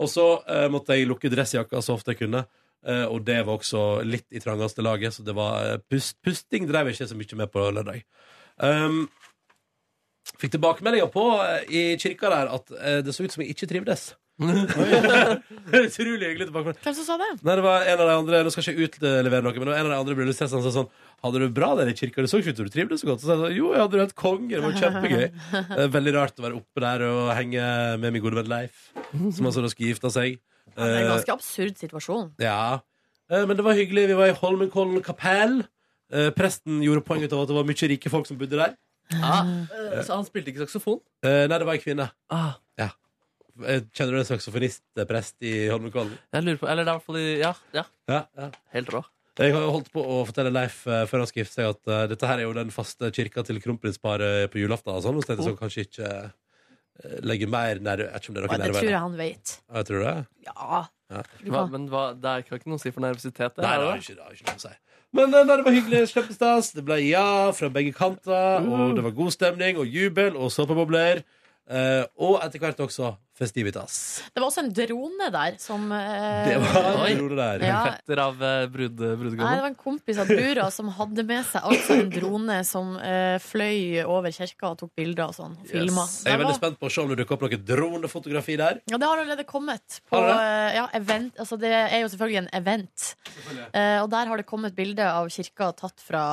Speaker 2: Og så eh, måtte jeg lukke dressjakka så ofte jeg kunne. eh, og det var også litt i trangeste laget, så det var eh, pust, pusting drev jeg ikke så mye med på lørdag. Um, Fikk tilbakemeldinger på eh, i kirka der at eh, det så ut som jeg ikke trivdes. Utrolig hyggelig tilbakemelding.
Speaker 3: Hvem som sa det?
Speaker 2: Nei, det var en av de andre Nå skal jeg ikke utlevere noe, men det var en av de andre bryllupsgjestene som sa sånn Hadde du det bra der i kirka? Det så ikke ut som du trivdes så godt. Så sa jeg sånn, jo, jeg hadde det helt konge. Det var kjempegøy. Eh, Veldig rart å være oppe der og henge med min gode venn Leif, som altså da skulle gifte seg.
Speaker 3: Ja, det er en
Speaker 2: Eh,
Speaker 3: ganske absurd situasjon.
Speaker 2: ja, Eh, men det var hyggelig. Vi var i Holmenkollen kapell. Eh, Presten gjorde poeng ut av at det var mye rike folk som bodde der.
Speaker 4: Eh, Så han spilte ikke saksofon?
Speaker 2: Eh, Nei, det var ei kvinne.
Speaker 4: Ah,
Speaker 2: Eh, Kjenner du en saksofonistprest i Holmenkollen?
Speaker 4: jeg lurer på Eller det er i hvert fall i- Ja, ja.
Speaker 2: Ja, ja.
Speaker 4: Helt rå.
Speaker 2: Jeg har jo holdt på å fortelle Leif eh, før han skal gifte seg, altså. at eh, dette her er jo den faste kirka til kronprinsparet på julaften. Og sånn, og så tenkte jeg sånn, kanskje ikke eh, legger mer nerv... Jeg vet ikke om det er noe
Speaker 3: Det
Speaker 2: nerver.
Speaker 3: tror
Speaker 2: der.
Speaker 3: jeg han vet.
Speaker 2: Ja, jeg tror det.
Speaker 3: Ja.
Speaker 2: Ja.
Speaker 3: Du
Speaker 4: Hva,
Speaker 3: kan.
Speaker 4: men hva, det er kan ikke noe å si for nervøsitet. det
Speaker 2: Nei,
Speaker 4: er
Speaker 2: det
Speaker 4: det
Speaker 2: har ikke, det har ikke noe å si. Men eh, nei, det var hyggelig. Kjempestas. Det ble ja fra begge kanter, og det var god stemning og jubel og såpebobler. eh, og etter hvert også festivitas.
Speaker 3: Det var også en drone der som eh,
Speaker 2: Det var
Speaker 4: Oi.
Speaker 2: en drone der.
Speaker 3: Ja.
Speaker 4: Fetter av eh, brud,
Speaker 3: Nei, det
Speaker 4: brudgommen.
Speaker 3: var en kompis av brura som hadde med seg altså en drone som eh, fløy over kirka og tok bilder og sånn. Og filma.
Speaker 2: Jeg er
Speaker 3: Det
Speaker 2: veldig
Speaker 3: var-
Speaker 2: spent på å se om det dukker opp noe dronefotografi der.
Speaker 3: Ja, det har allerede kommet. På,
Speaker 2: Har det
Speaker 3: eh, ja, event, altså det er jo selvfølgelig en event. Eh, og der har det kommet bilde av kirka tatt fra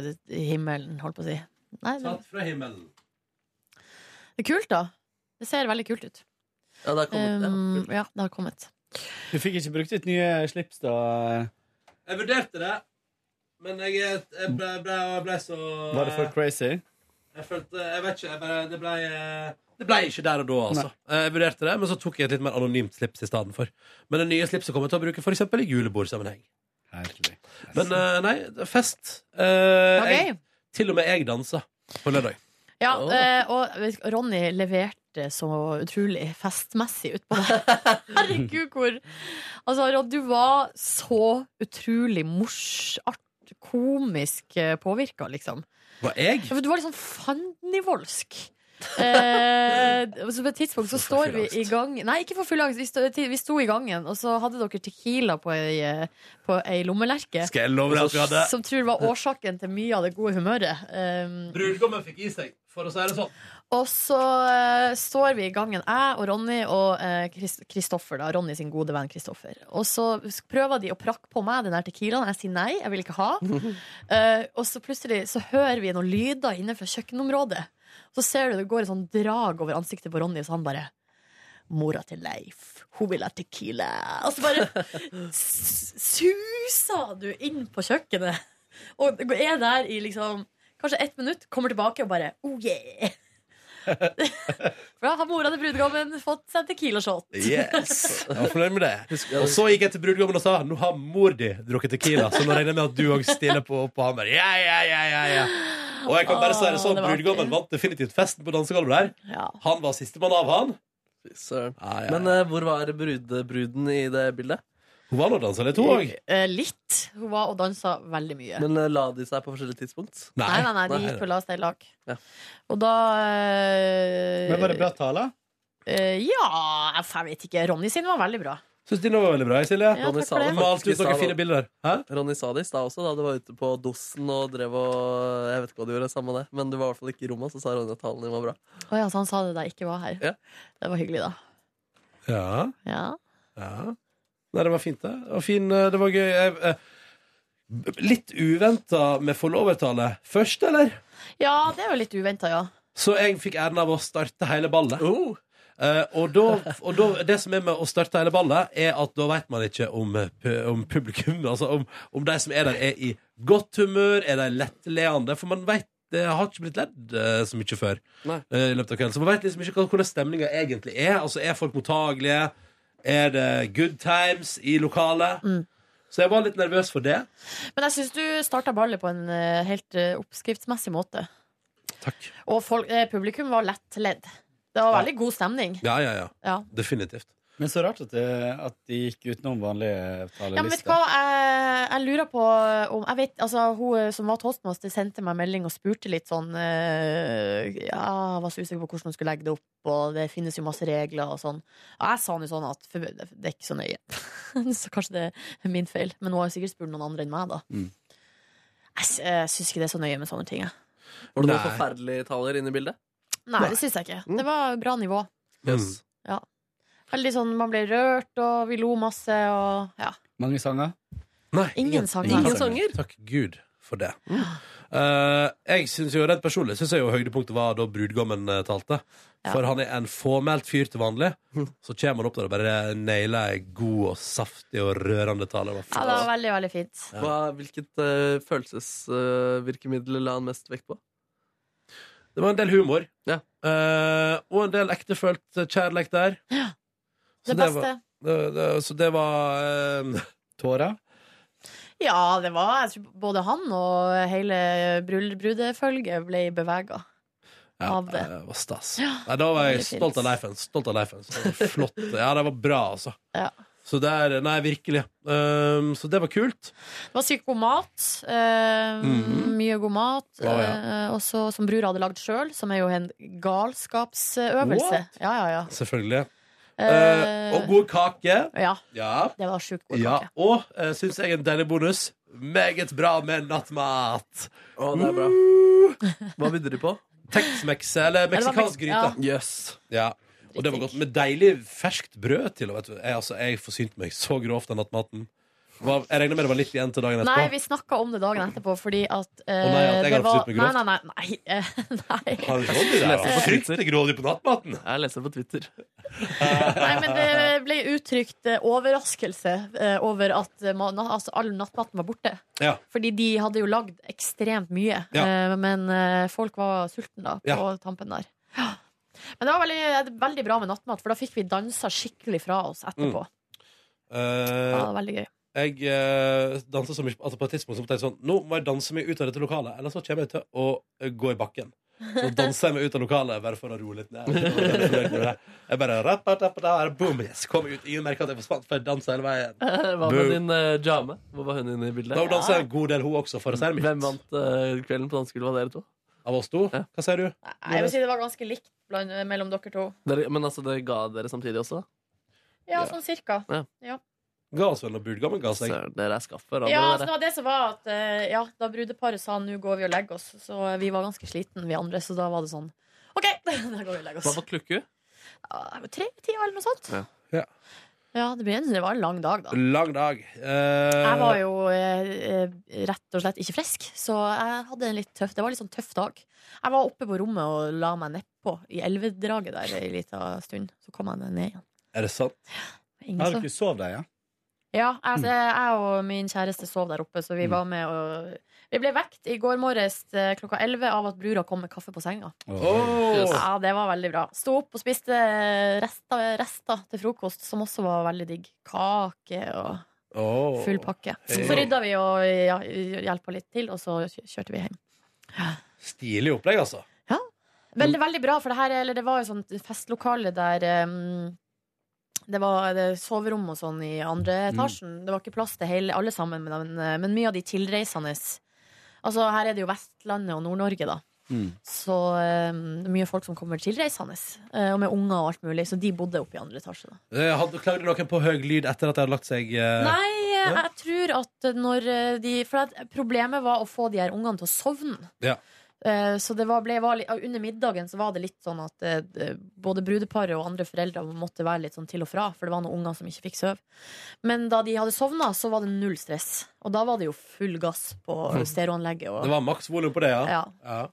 Speaker 3: eh, himmelen, holdt på å si. Nei, det,
Speaker 2: Tatt fra himmelen.
Speaker 3: det er kult, da. Det ser veldig kult ut.
Speaker 4: Ja, det er kommet, ja.
Speaker 3: Um, ja, det har kommet.
Speaker 7: Du fikk ikke brukt ditt nye slips, da?
Speaker 2: Jeg vurderte det, men jeg, jeg ble, ble, ble så eh,
Speaker 7: Var det for crazy?
Speaker 2: Jeg følte, jeg vet ikke, jeg bare, det ble eh, det ble ikke der og da, altså. Eh, Jeg vurderte det, men så tok jeg et litt mer anonymt slips i stedet for. Men det nye slipset kommer jeg til å bruke for eksempel i julebordsammenheng.
Speaker 7: Herlig.
Speaker 2: Men eh, nei, det er fest. Eh,
Speaker 3: Ok.
Speaker 2: jeg, til og med jeg dansa på lørdag.
Speaker 3: Ja,
Speaker 4: Åh.
Speaker 3: eh, og vet du, Ronny leverte så utrolig festmessig utpå det. Herregud, hvor Altså, Ron, du var så utrolig morsart, komisk påvirka, liksom.
Speaker 2: Var jeg?
Speaker 3: Ja, for du var liksom fandenivoldsk. Eh, så på et tidspunkt så
Speaker 2: For
Speaker 3: står vi
Speaker 2: full
Speaker 3: i gang Nei, ikke for full angst. Vi sto, vi sto i gangen, og så hadde dere Tequila på ei, eh, på ei lommelerke.
Speaker 2: Skal jeg love deg at vi hadde
Speaker 3: Som tror var årsaken til mye av det gode humøret. Um,
Speaker 2: Brudgommen fikk i seg, for å si det sånn.
Speaker 3: Og så eh, står vi i gangen, jeg og Ronny og eh, Krist- Kristoffer, da, Ronny sin gode venn Kristoffer. Og så s- prøver de å prakke på meg den der tequilaen. Jeg sier nei, jeg vil ikke ha. Eh, og så plutselig så hører vi noen lyder inne fra kjøkkenområdet. Så ser du det går et sånn drag over ansiktet på Ronny, så han bare Mora til Leif, hun vil ha tequila. Og så bare s- suser du inn på kjøkkenet og er der i liksom kanskje ett minutt, kommer tilbake og bare oh yeah. For da har mora til brudgommen fått seg tequila-shot.
Speaker 2: Yes. Jeg var fornøyd med det. Og så gikk jeg til brudgommen og sa nå har mor di drukket Tequila, så nå regner jeg med at du òg stiller på på Hammer. Ja, ja, ja, ja, ja. Og jeg kan bare si det
Speaker 3: Åh,
Speaker 2: sånn,
Speaker 3: det var artig.
Speaker 2: brudgommen vant definitivt festen på dansegulvet der.
Speaker 3: Ja.
Speaker 2: Han var sistemann av, han.
Speaker 4: Fy søren.
Speaker 2: Ja, ja.
Speaker 4: Men eh, hvor var brud, bruden i det bildet?
Speaker 2: hun var nå dansa litt, hun òg.
Speaker 3: Eh, litt. Hun var og dansa veldig mye.
Speaker 4: Men eh, la de seg på forskjellige tidspunkt?
Speaker 3: nei, nei, nei, de
Speaker 2: nei.
Speaker 3: gikk og la seg i lag.
Speaker 4: Ja.
Speaker 3: Og da eh,
Speaker 7: Men var det bra taler?
Speaker 3: eh, ja, jeg vet ikke. Ronny sin var veldig bra.
Speaker 2: Syns Stina var veldig bra, jeg, Silje.
Speaker 3: Ja,
Speaker 4: Ronny
Speaker 3: takk
Speaker 4: sa
Speaker 3: for
Speaker 4: det
Speaker 3: det.
Speaker 2: Malte ut noen fine bilder. Hæ?
Speaker 4: Ronny sa det i stad også, da du var ute på dosen og drev og Jeg vet ikke hva du gjorde, samme det, men du var i hvert fall ikke i rommet, så sa Ronny at talen din var bra.
Speaker 3: Å ja, så han sa det da jeg ikke var her.
Speaker 4: Ja.
Speaker 3: Det var hyggelig, da.
Speaker 2: Ja.
Speaker 3: Ja.
Speaker 2: Ja. Nei, det var fint, det. Det var, fin, eh, det var gøy. Jeg, eh, b- litt uventa med forlovertale først, eller?
Speaker 3: ja, det er jo litt uventa, ja.
Speaker 2: Så jeg fikk æren av å starte hele ballet. Eh, og da, og da, det som er med å starte hele ballet, er at da veit man ikke om, eh, pu- om publikum Altså om, om de som er der, er i godt humør, er de lettleende? For man veit det har ikke blitt ledd eh, så mye før.
Speaker 4: Nei.
Speaker 2: eh, i løpet av kvelden Så man veit liksom ikke hva- hvordan stemninga egentlig er. Altså Er folk mottagelige? Er det good times i lokalet?
Speaker 3: Mm.
Speaker 2: Så jeg var litt nervøs for det.
Speaker 3: Men jeg syns du starta ballet på en eh, helt eh, oppskriftsmessig måte.
Speaker 2: Takk
Speaker 3: Og folk, eh, publikum var lettledd. Det var veldig god stemning.
Speaker 2: Ja, ja, ja.
Speaker 3: Ja.
Speaker 2: Definitivt.
Speaker 7: Men så rart at det, at de gikk utenom vanlige
Speaker 3: Ja, men vet du
Speaker 7: talelister.
Speaker 3: hva, jeg, jeg lurer på om jeg vet, altså, Hun som var toastmaster, sendte meg melding og spurte litt sånn eh, Ja, jeg var så usikker på hvordan hun skulle legge det opp, og det finnes jo masse regler og sånn. Og jeg sa nå sånn at for, det er ikke så nøye. så kanskje det er min feil. Men hun har jo sikkert spurt noen andre enn meg, da.
Speaker 7: Mm.
Speaker 3: Jeg, s- jeg syns ikke det er så nøye med sånne ting, jeg.
Speaker 4: Var det noen
Speaker 2: Nei.
Speaker 4: forferdelige taler inne i bildet?
Speaker 3: Nei, det syns jeg ikke. Det var bra nivå.
Speaker 4: Yes.
Speaker 3: Veldig sånn, Man ble rørt, og vi lo masse, og ja.
Speaker 7: Mange sanger.
Speaker 2: Nei,
Speaker 3: Ingen altså. sanger.
Speaker 7: Ingen
Speaker 4: Ingen sanger?
Speaker 2: Takk Gud for det. Eh, jeg synes jo Rent personlig synes jeg jo høydepunktet var da brudgommen eh, talte.
Speaker 3: Ja. Mm.
Speaker 2: For han er en fåmælt fyr til vanlig. Så kommer han opp der og bare nailer ei god og saftig og rørende tale. Det var
Speaker 3: ja. Det var veldig, veldig fint.
Speaker 4: Hva, hvilket eh, følelsesvirkemiddel la han mest vekt på?
Speaker 2: Det var en del humor.
Speaker 4: Ja.
Speaker 2: Eh, og en del ektefølt eh, kjærlighet der. Så
Speaker 3: Det
Speaker 2: det var-
Speaker 3: beste.
Speaker 2: Det, det, så det var eh,
Speaker 7: Tårer.
Speaker 3: Ja, det var jeg tror både han og hele brul- brudefølget ble bevega.
Speaker 2: Ja, eh,
Speaker 3: av det.
Speaker 2: det var stas. Nei, da var jeg
Speaker 3: det er
Speaker 2: stolt av
Speaker 3: fint.
Speaker 2: Leifen. Stolt av Leifen. Så det var Flott. Ja, det var bra, altså.
Speaker 3: Ja.
Speaker 2: Så der, nei, virkelig. Um, så det var kult.
Speaker 3: Det var sykt god mat. eh,
Speaker 2: Mhm.
Speaker 3: Mye god mat.
Speaker 2: Å, ja.
Speaker 3: eh, også som brura hadde lagd sjøl, som er jo en galskapsøvelse.
Speaker 2: What?
Speaker 3: Ja, ja, ja.
Speaker 2: Selvfølgelig.
Speaker 3: Eh,
Speaker 2: Eh, og god kake.
Speaker 3: ja,
Speaker 2: Ja.
Speaker 3: det var sjukt god
Speaker 2: ja.
Speaker 3: kake.
Speaker 2: Og uh, syns jeg en deilig bonus. Meget bra med nattmat.
Speaker 4: Å, det er bra. Mm. Hva begynner de på?
Speaker 2: Tex-mex, eller
Speaker 3: det var
Speaker 2: meksikansk
Speaker 3: mek-
Speaker 2: gryte.
Speaker 4: Jøss.
Speaker 2: Ja. Og det var godt med deilig ferskt brød til. og Vet du. Jeg, altså, jeg forsynte meg så grovt av nattmaten. Var, jeg regner med det var litt igjen til dagen etterpå.
Speaker 3: Nei, vi snakka om det dagen etterpå, fordi at eh,
Speaker 2: Å nei, at jeg
Speaker 3: det
Speaker 2: hadde
Speaker 3: var
Speaker 2: flytt meg
Speaker 3: Nei,
Speaker 2: grovt.
Speaker 3: nei, nei. nei, eh, nei.
Speaker 2: Har du råd i det?
Speaker 4: Leser på
Speaker 2: Fryktelig grådig på nattmaten.
Speaker 4: Jeg leser på Twitter.
Speaker 3: nei, men det ble uttrykt eh, overraskelse eh, over at eh, ma- na- altså, all nattmaten var borte.
Speaker 2: Ja.
Speaker 3: Fordi de hadde jo lagd ekstremt mye,
Speaker 2: Ja.
Speaker 3: eh, men eh, folk var sultne da, på tampen der. Ja. Men det var veldig, veldig bra med nattmat, for da fikk vi dansa skikkelig fra oss etterpå. Ja, det
Speaker 2: Eh,
Speaker 3: var veldig gøy.
Speaker 2: jeg eh, danset så mye altså På et tidspunkt så tenkte jeg sånn Nå må jeg danse meg ut av dette lokalet, ellers så kommer jeg til å eh, gå i bakken. Så danser jeg meg ut av lokalet bare for å roe litt ned. Jeg var veldig fornøyd med det. Jeg bare rappa, rappa, der, boom, yes, kom ut. Ingen merker at jeg forsvant, for jeg dansa hele veien.
Speaker 4: Hva
Speaker 2: Boo.
Speaker 4: med din eh, jame? Hvor var hun inne i bildet?
Speaker 2: Da dansa jeg en god del, hun også, for å si det
Speaker 4: Hvem
Speaker 2: mildt.
Speaker 4: vant eh, kvelden på dansegulvet av dere to?
Speaker 2: Av oss to. Hva sier du?
Speaker 3: Nei, jeg vil si det var ganske likt blant, eh, mellom dere to.
Speaker 4: Dere, men altså, det ga dere samtidig også?
Speaker 3: Ja,
Speaker 4: Ja.
Speaker 3: sånn cirka.
Speaker 2: Ga oss vel noe budgammen, ga seg.
Speaker 4: Søren, dere er skaffer.
Speaker 3: Ja, så det var det som var at eh, ja, da brudeparet sa nå går vi og legger oss, så eh, vi var ganske sliten vi andre, så da var det sånn OK, da går vi og legger
Speaker 4: Hva
Speaker 3: oss.
Speaker 4: var klukku?
Speaker 3: Ja, Tre-tida Ah, eller noe sånt.
Speaker 4: Ja.
Speaker 2: Ja.
Speaker 3: Ja, det, ble en, det var en lang dag, da.
Speaker 2: Lang dag.
Speaker 3: Jeg var jo eh, eh, rett og slett ikke frisk, så jeg hadde en litt tøff, det var en litt sånn tøff dag. Jeg var oppe på rommet og la meg nedpå i elvedraget der en liten stund. Så kom jeg ned igjen.
Speaker 2: Er det sant?
Speaker 3: Ingen
Speaker 7: Har
Speaker 3: så-
Speaker 7: dere sovet der, ja?
Speaker 3: Ja, altså, jeg og min kjæreste sov der oppe, så vi var med og Vi ble vekt i går morges eh, klokka 11 av at brura kom med kaffe på senga.
Speaker 2: Åh.
Speaker 3: Ja, Det var veldig bra. Sto opp og spiste eh, rester, rester til frokost, som også var veldig digg. Kake og
Speaker 2: Åh.
Speaker 3: Full pakke.
Speaker 2: Hei.
Speaker 3: Så rydda vi og ja, hjelpa litt til, og så kjø- kjørte vi hjem.
Speaker 2: Stilig opplegg, altså.
Speaker 3: Veldig, veldig bra, for det her Eller det var jo sånt festlokale der em, det var eh, det soverom og sånn i andre etasjen. Det var ikke plass til hele, alle sammen, men, eh, men mye av de tilreisende Altså, her er det jo Vestlandet og Nord-Norge, da.
Speaker 7: Mm.
Speaker 3: Så em, det er mye folk som kommer tilreisende. eh, Og med unger og alt mulig. Så de bodde oppe i andre etasje, da.
Speaker 2: Eh, hadde- Klagde noen på høy lyd etter at jeg hadde lagt seg? eh,
Speaker 3: Nei, jeg tror at når eh, de For at problemet var å få de her ungene til å sovne.
Speaker 2: Ja.
Speaker 3: Eh, Så det var, ble, var, litt- under middagen så var det litt sånn at eh, både brudeparet og andre foreldre måtte være litt sånn til og fra, for det var noen unger som ikke fikk sove. Men da de hadde sovna, så var det null stress. Og da var det jo full gass på stereoanlegget.
Speaker 2: Mm. Det
Speaker 3: Og,
Speaker 2: var maksvolum på det, ja.
Speaker 3: ja.
Speaker 2: ja.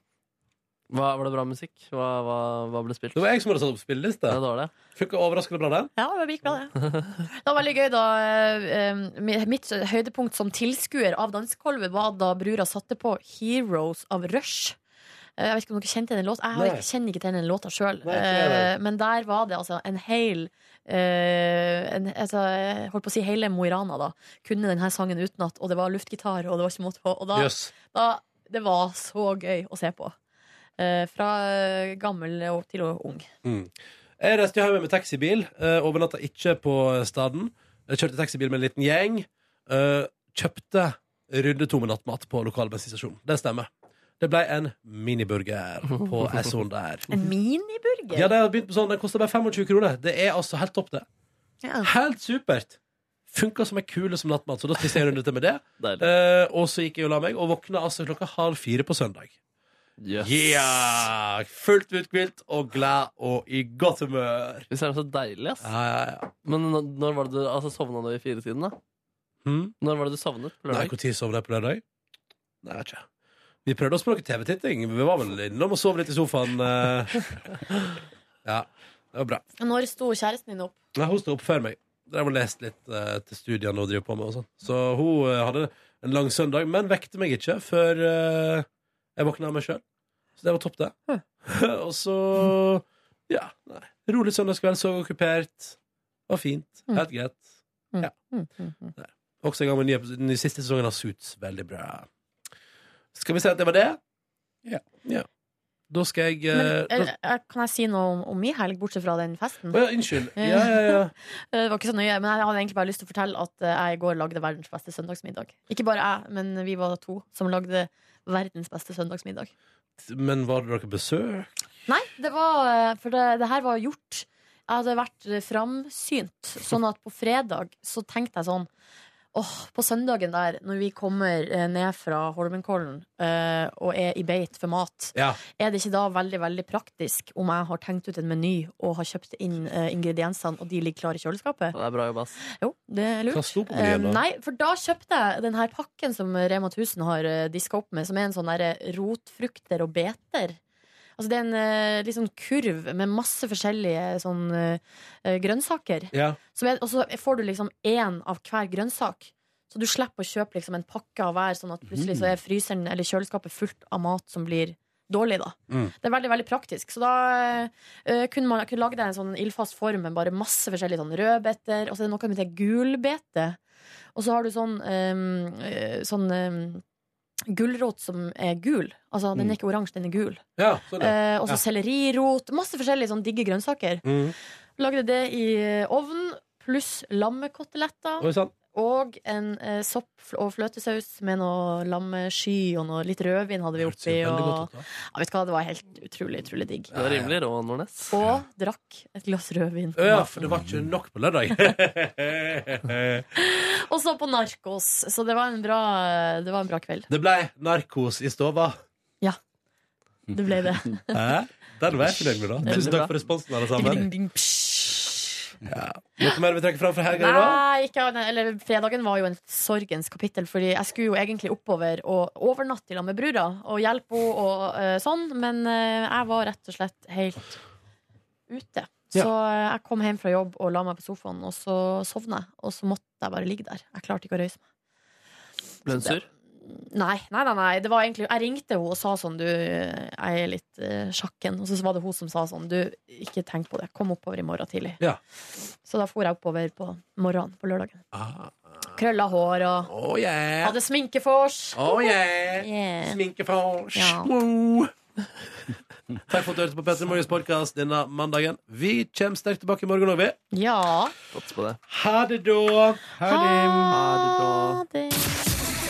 Speaker 4: Hva, var det bra musikk? Hva, hva, hva ble spilt?
Speaker 2: Det var jeg som hadde satt opp spilleliste.
Speaker 4: Ja, det var det.
Speaker 2: Funka overraskende bra, den.
Speaker 3: Ja, det gikk bra, det. Det var veldig gøy, da. eh, eh, Mitt høydepunkt som tilskuer av dansekolvet var da brura satte på 'Heroes' av Rush. Eh, Jeg vet ikke om dere kjente den låta Jeg har
Speaker 2: Nei.
Speaker 3: ikke- kjenner ikke til den låta sjøl.
Speaker 2: Nei, ikke jeg heller.
Speaker 3: Men der var det altså en hel eh, en, altså, Jeg holdt på å si hele Mo i Rana, da. Kunne denne sangen utenat, og det var luftgitar, og det var ikke måte på. Og da,
Speaker 2: Jøss.
Speaker 3: da Det var så gøy å se på. Eh, Fra eh, gammel og- til og ung.
Speaker 2: Jeg reiste hjem med taxibil. eh, Overnatta ikke på staden. Jeg kjørte taxibil med en liten gjeng. eh, Kjøpte runde to med nattmat på lokal bensinstasjon. Det stemmer. Det ble en miniburger på Essoen der.
Speaker 3: En miniburger?
Speaker 2: Ja, de har begynt med sånn, Den koster bare 25 kroner. Det er altså helt topp, det.
Speaker 3: Ja.
Speaker 2: Helt supert. Funka som ei kule som nattmat, så da spiste jeg en runde til med det.
Speaker 4: Deilig.
Speaker 2: Eh, og så gikk jeg og la meg, og våkna altså klokka halv fire på søndag.
Speaker 4: Yes.
Speaker 2: Yeah! Fullt uthvilt og glad og i godt humør.
Speaker 4: Vi ser det så deilig, ass.
Speaker 2: Ja, ja, ja.
Speaker 4: Men når, når var det du altså, sovna du i firetiden, da?
Speaker 2: Hm?
Speaker 4: Når var det du sovnet?
Speaker 2: Nei,
Speaker 4: På lørdag?
Speaker 2: Når sov jeg på lørdag? Nei, jeg vet ikke. Vi prøvde oss på noe TV-titting. Vi var vel innom og sov litt i sofaen. eh. ja, det var bra.
Speaker 3: Når sto kjæresten din opp?
Speaker 2: Nei, hun sto opp før meg. Drev og leste litt eh, til studiene hun driver på med. og sånn. Så hun eh, hadde en lang søndag, men vekte meg ikke før eh, jeg våkna av meg sjøl. Så det var topp, det. og så Ja. Nei. Rolig søndagskveld, så okkupert. Var fint.
Speaker 3: Mm.
Speaker 2: Helt greit. Også i gang med ny episode, den siste sesongen av Suits. Veldig bra. Skal vi si at det var det?
Speaker 7: Ja.
Speaker 2: Da skal jeg
Speaker 3: Men,
Speaker 2: eh, da,
Speaker 3: eh, eh, kan jeg si noe om, om min helg, bortsett fra den festen?
Speaker 2: Å ja, Unnskyld. Ja, ja, ja.
Speaker 3: Eh, Det var ikke så nøye, men jeg hadde egentlig bare lyst til å fortelle at eh, jeg i går lagde verdens beste søndagsmiddag. Ikke bare jeg, men vi var to som lagde verdens beste søndagsmiddag.
Speaker 2: Men var det dere besøk?
Speaker 3: Nei, det var eh, For det, det her var gjort. Jeg hadde vært eh, framsynt, sånn at på fredag så tenkte jeg sånn Åh, på søndagen der, når vi kommer eh, ned fra Holmenkollen eh, og er i beit for mat,
Speaker 2: Ja.
Speaker 3: er det ikke da veldig veldig praktisk om jeg har tenkt ut en meny og har kjøpt inn eh, ingrediensene, og de ligger klare i kjøleskapet?
Speaker 4: Det er bra jobba, ass.
Speaker 3: Jo, det er lurt.
Speaker 2: Hva sto på
Speaker 3: Eh,
Speaker 2: menyen da?
Speaker 3: nei, for da kjøpte jeg den her pakken som Rema 1000 har uh, diska opp med, som er en sånn derre rotfrukter og beter. Altså det er en eh, litt sånn kurv med masse forskjellige sånn eh, grønnsaker.
Speaker 2: Ja.
Speaker 3: Som er, og så får du liksom én av hver grønnsak. Så du slipper å kjøpe liksom en pakke av hver, sånn at plutselig så er
Speaker 2: Mhm.
Speaker 3: fryseren eller kjøleskapet fullt av mat som blir dårlig, da.
Speaker 2: Mm.
Speaker 3: Det er veldig veldig praktisk. Så da eh, kunne man kunne lage det i en sånn ildfast form med bare masse forskjellige sånn rødbeter, og så er det noe med det gulbete. Og så har du sånn, eh, eh, sånn eh, gulrot som er gul. Altså den er ikke oransje, den er gul.
Speaker 2: Mm. ja sånn, ja.
Speaker 3: Eh, og så sellerirot. Masse forskjellige sånn digge grønnsaker.
Speaker 2: Mm.
Speaker 3: Lagde det i ovnen, pluss lammekoteletter
Speaker 2: Oi sann.
Speaker 3: og sånn. en eh, sopp fl- og fløtesaus med noe lammesky og noe litt rødvin hadde vi
Speaker 2: Hørtes jo
Speaker 3: oppi.
Speaker 2: veldig godt
Speaker 3: Og,
Speaker 2: ut, da.
Speaker 3: ja, vet du hva, det var helt utrolig, utrolig digg.
Speaker 4: Du er rimelig rå, Nordnes.
Speaker 3: Og drakk et glass rødvin.
Speaker 2: Å Ja, for det var ikke nok på lørdag.
Speaker 3: Og så på Narkos. Så det var en bra, det var en bra kveld.
Speaker 2: det ble narkos i stova. Mm.
Speaker 3: Det ble det.
Speaker 2: Hæ? Den var jeg fornøyd med, da. Tusen takk for responsen, alle sammen.
Speaker 3: Ding, ding, ding, psh.
Speaker 2: Noe mer vi trekker fram fra helga i dag?
Speaker 3: Nei, ikke annet. Eller fredagen var jo en sorgens kapittel, Fordi jeg skulle jo egentlig oppover og overnatte i lag med brura og hjelpe henne og eh, sånn, men eh, jeg var rett og slett helt ute. Så eh, jeg kom hjem fra jobb og la meg på sofaen, og så sovna jeg. Og så måtte jeg bare ligge der. Jeg klarte ikke å røyse meg.
Speaker 4: Ble hun sur?
Speaker 3: Nei, nei, nei, nei. Det var egentlig, jeg ringte henne og sa sånn Du, jeg er litt eh, sjakken. Og så var det hun som sa sånn Du, ikke tenk på det. Kom oppover i morgen tidlig.
Speaker 2: Ja.
Speaker 3: Så da for jeg oppover på morgenen på lørdagen.
Speaker 2: Ah.
Speaker 3: Krølla hår og
Speaker 2: Oh yeah.
Speaker 3: hadde sminkefors.
Speaker 2: Oh yeah.
Speaker 3: Yeah.
Speaker 2: Sminkefors.
Speaker 3: Ja.
Speaker 2: Wow. Takk for at du hørte på Petter Morgens podkast denne mandagen. Vi kommer sterkt tilbake i morgen òg, vi.
Speaker 3: Ja.
Speaker 4: Satser på det.
Speaker 2: Ha det, da.
Speaker 3: Ha det.
Speaker 4: Ha
Speaker 3: det.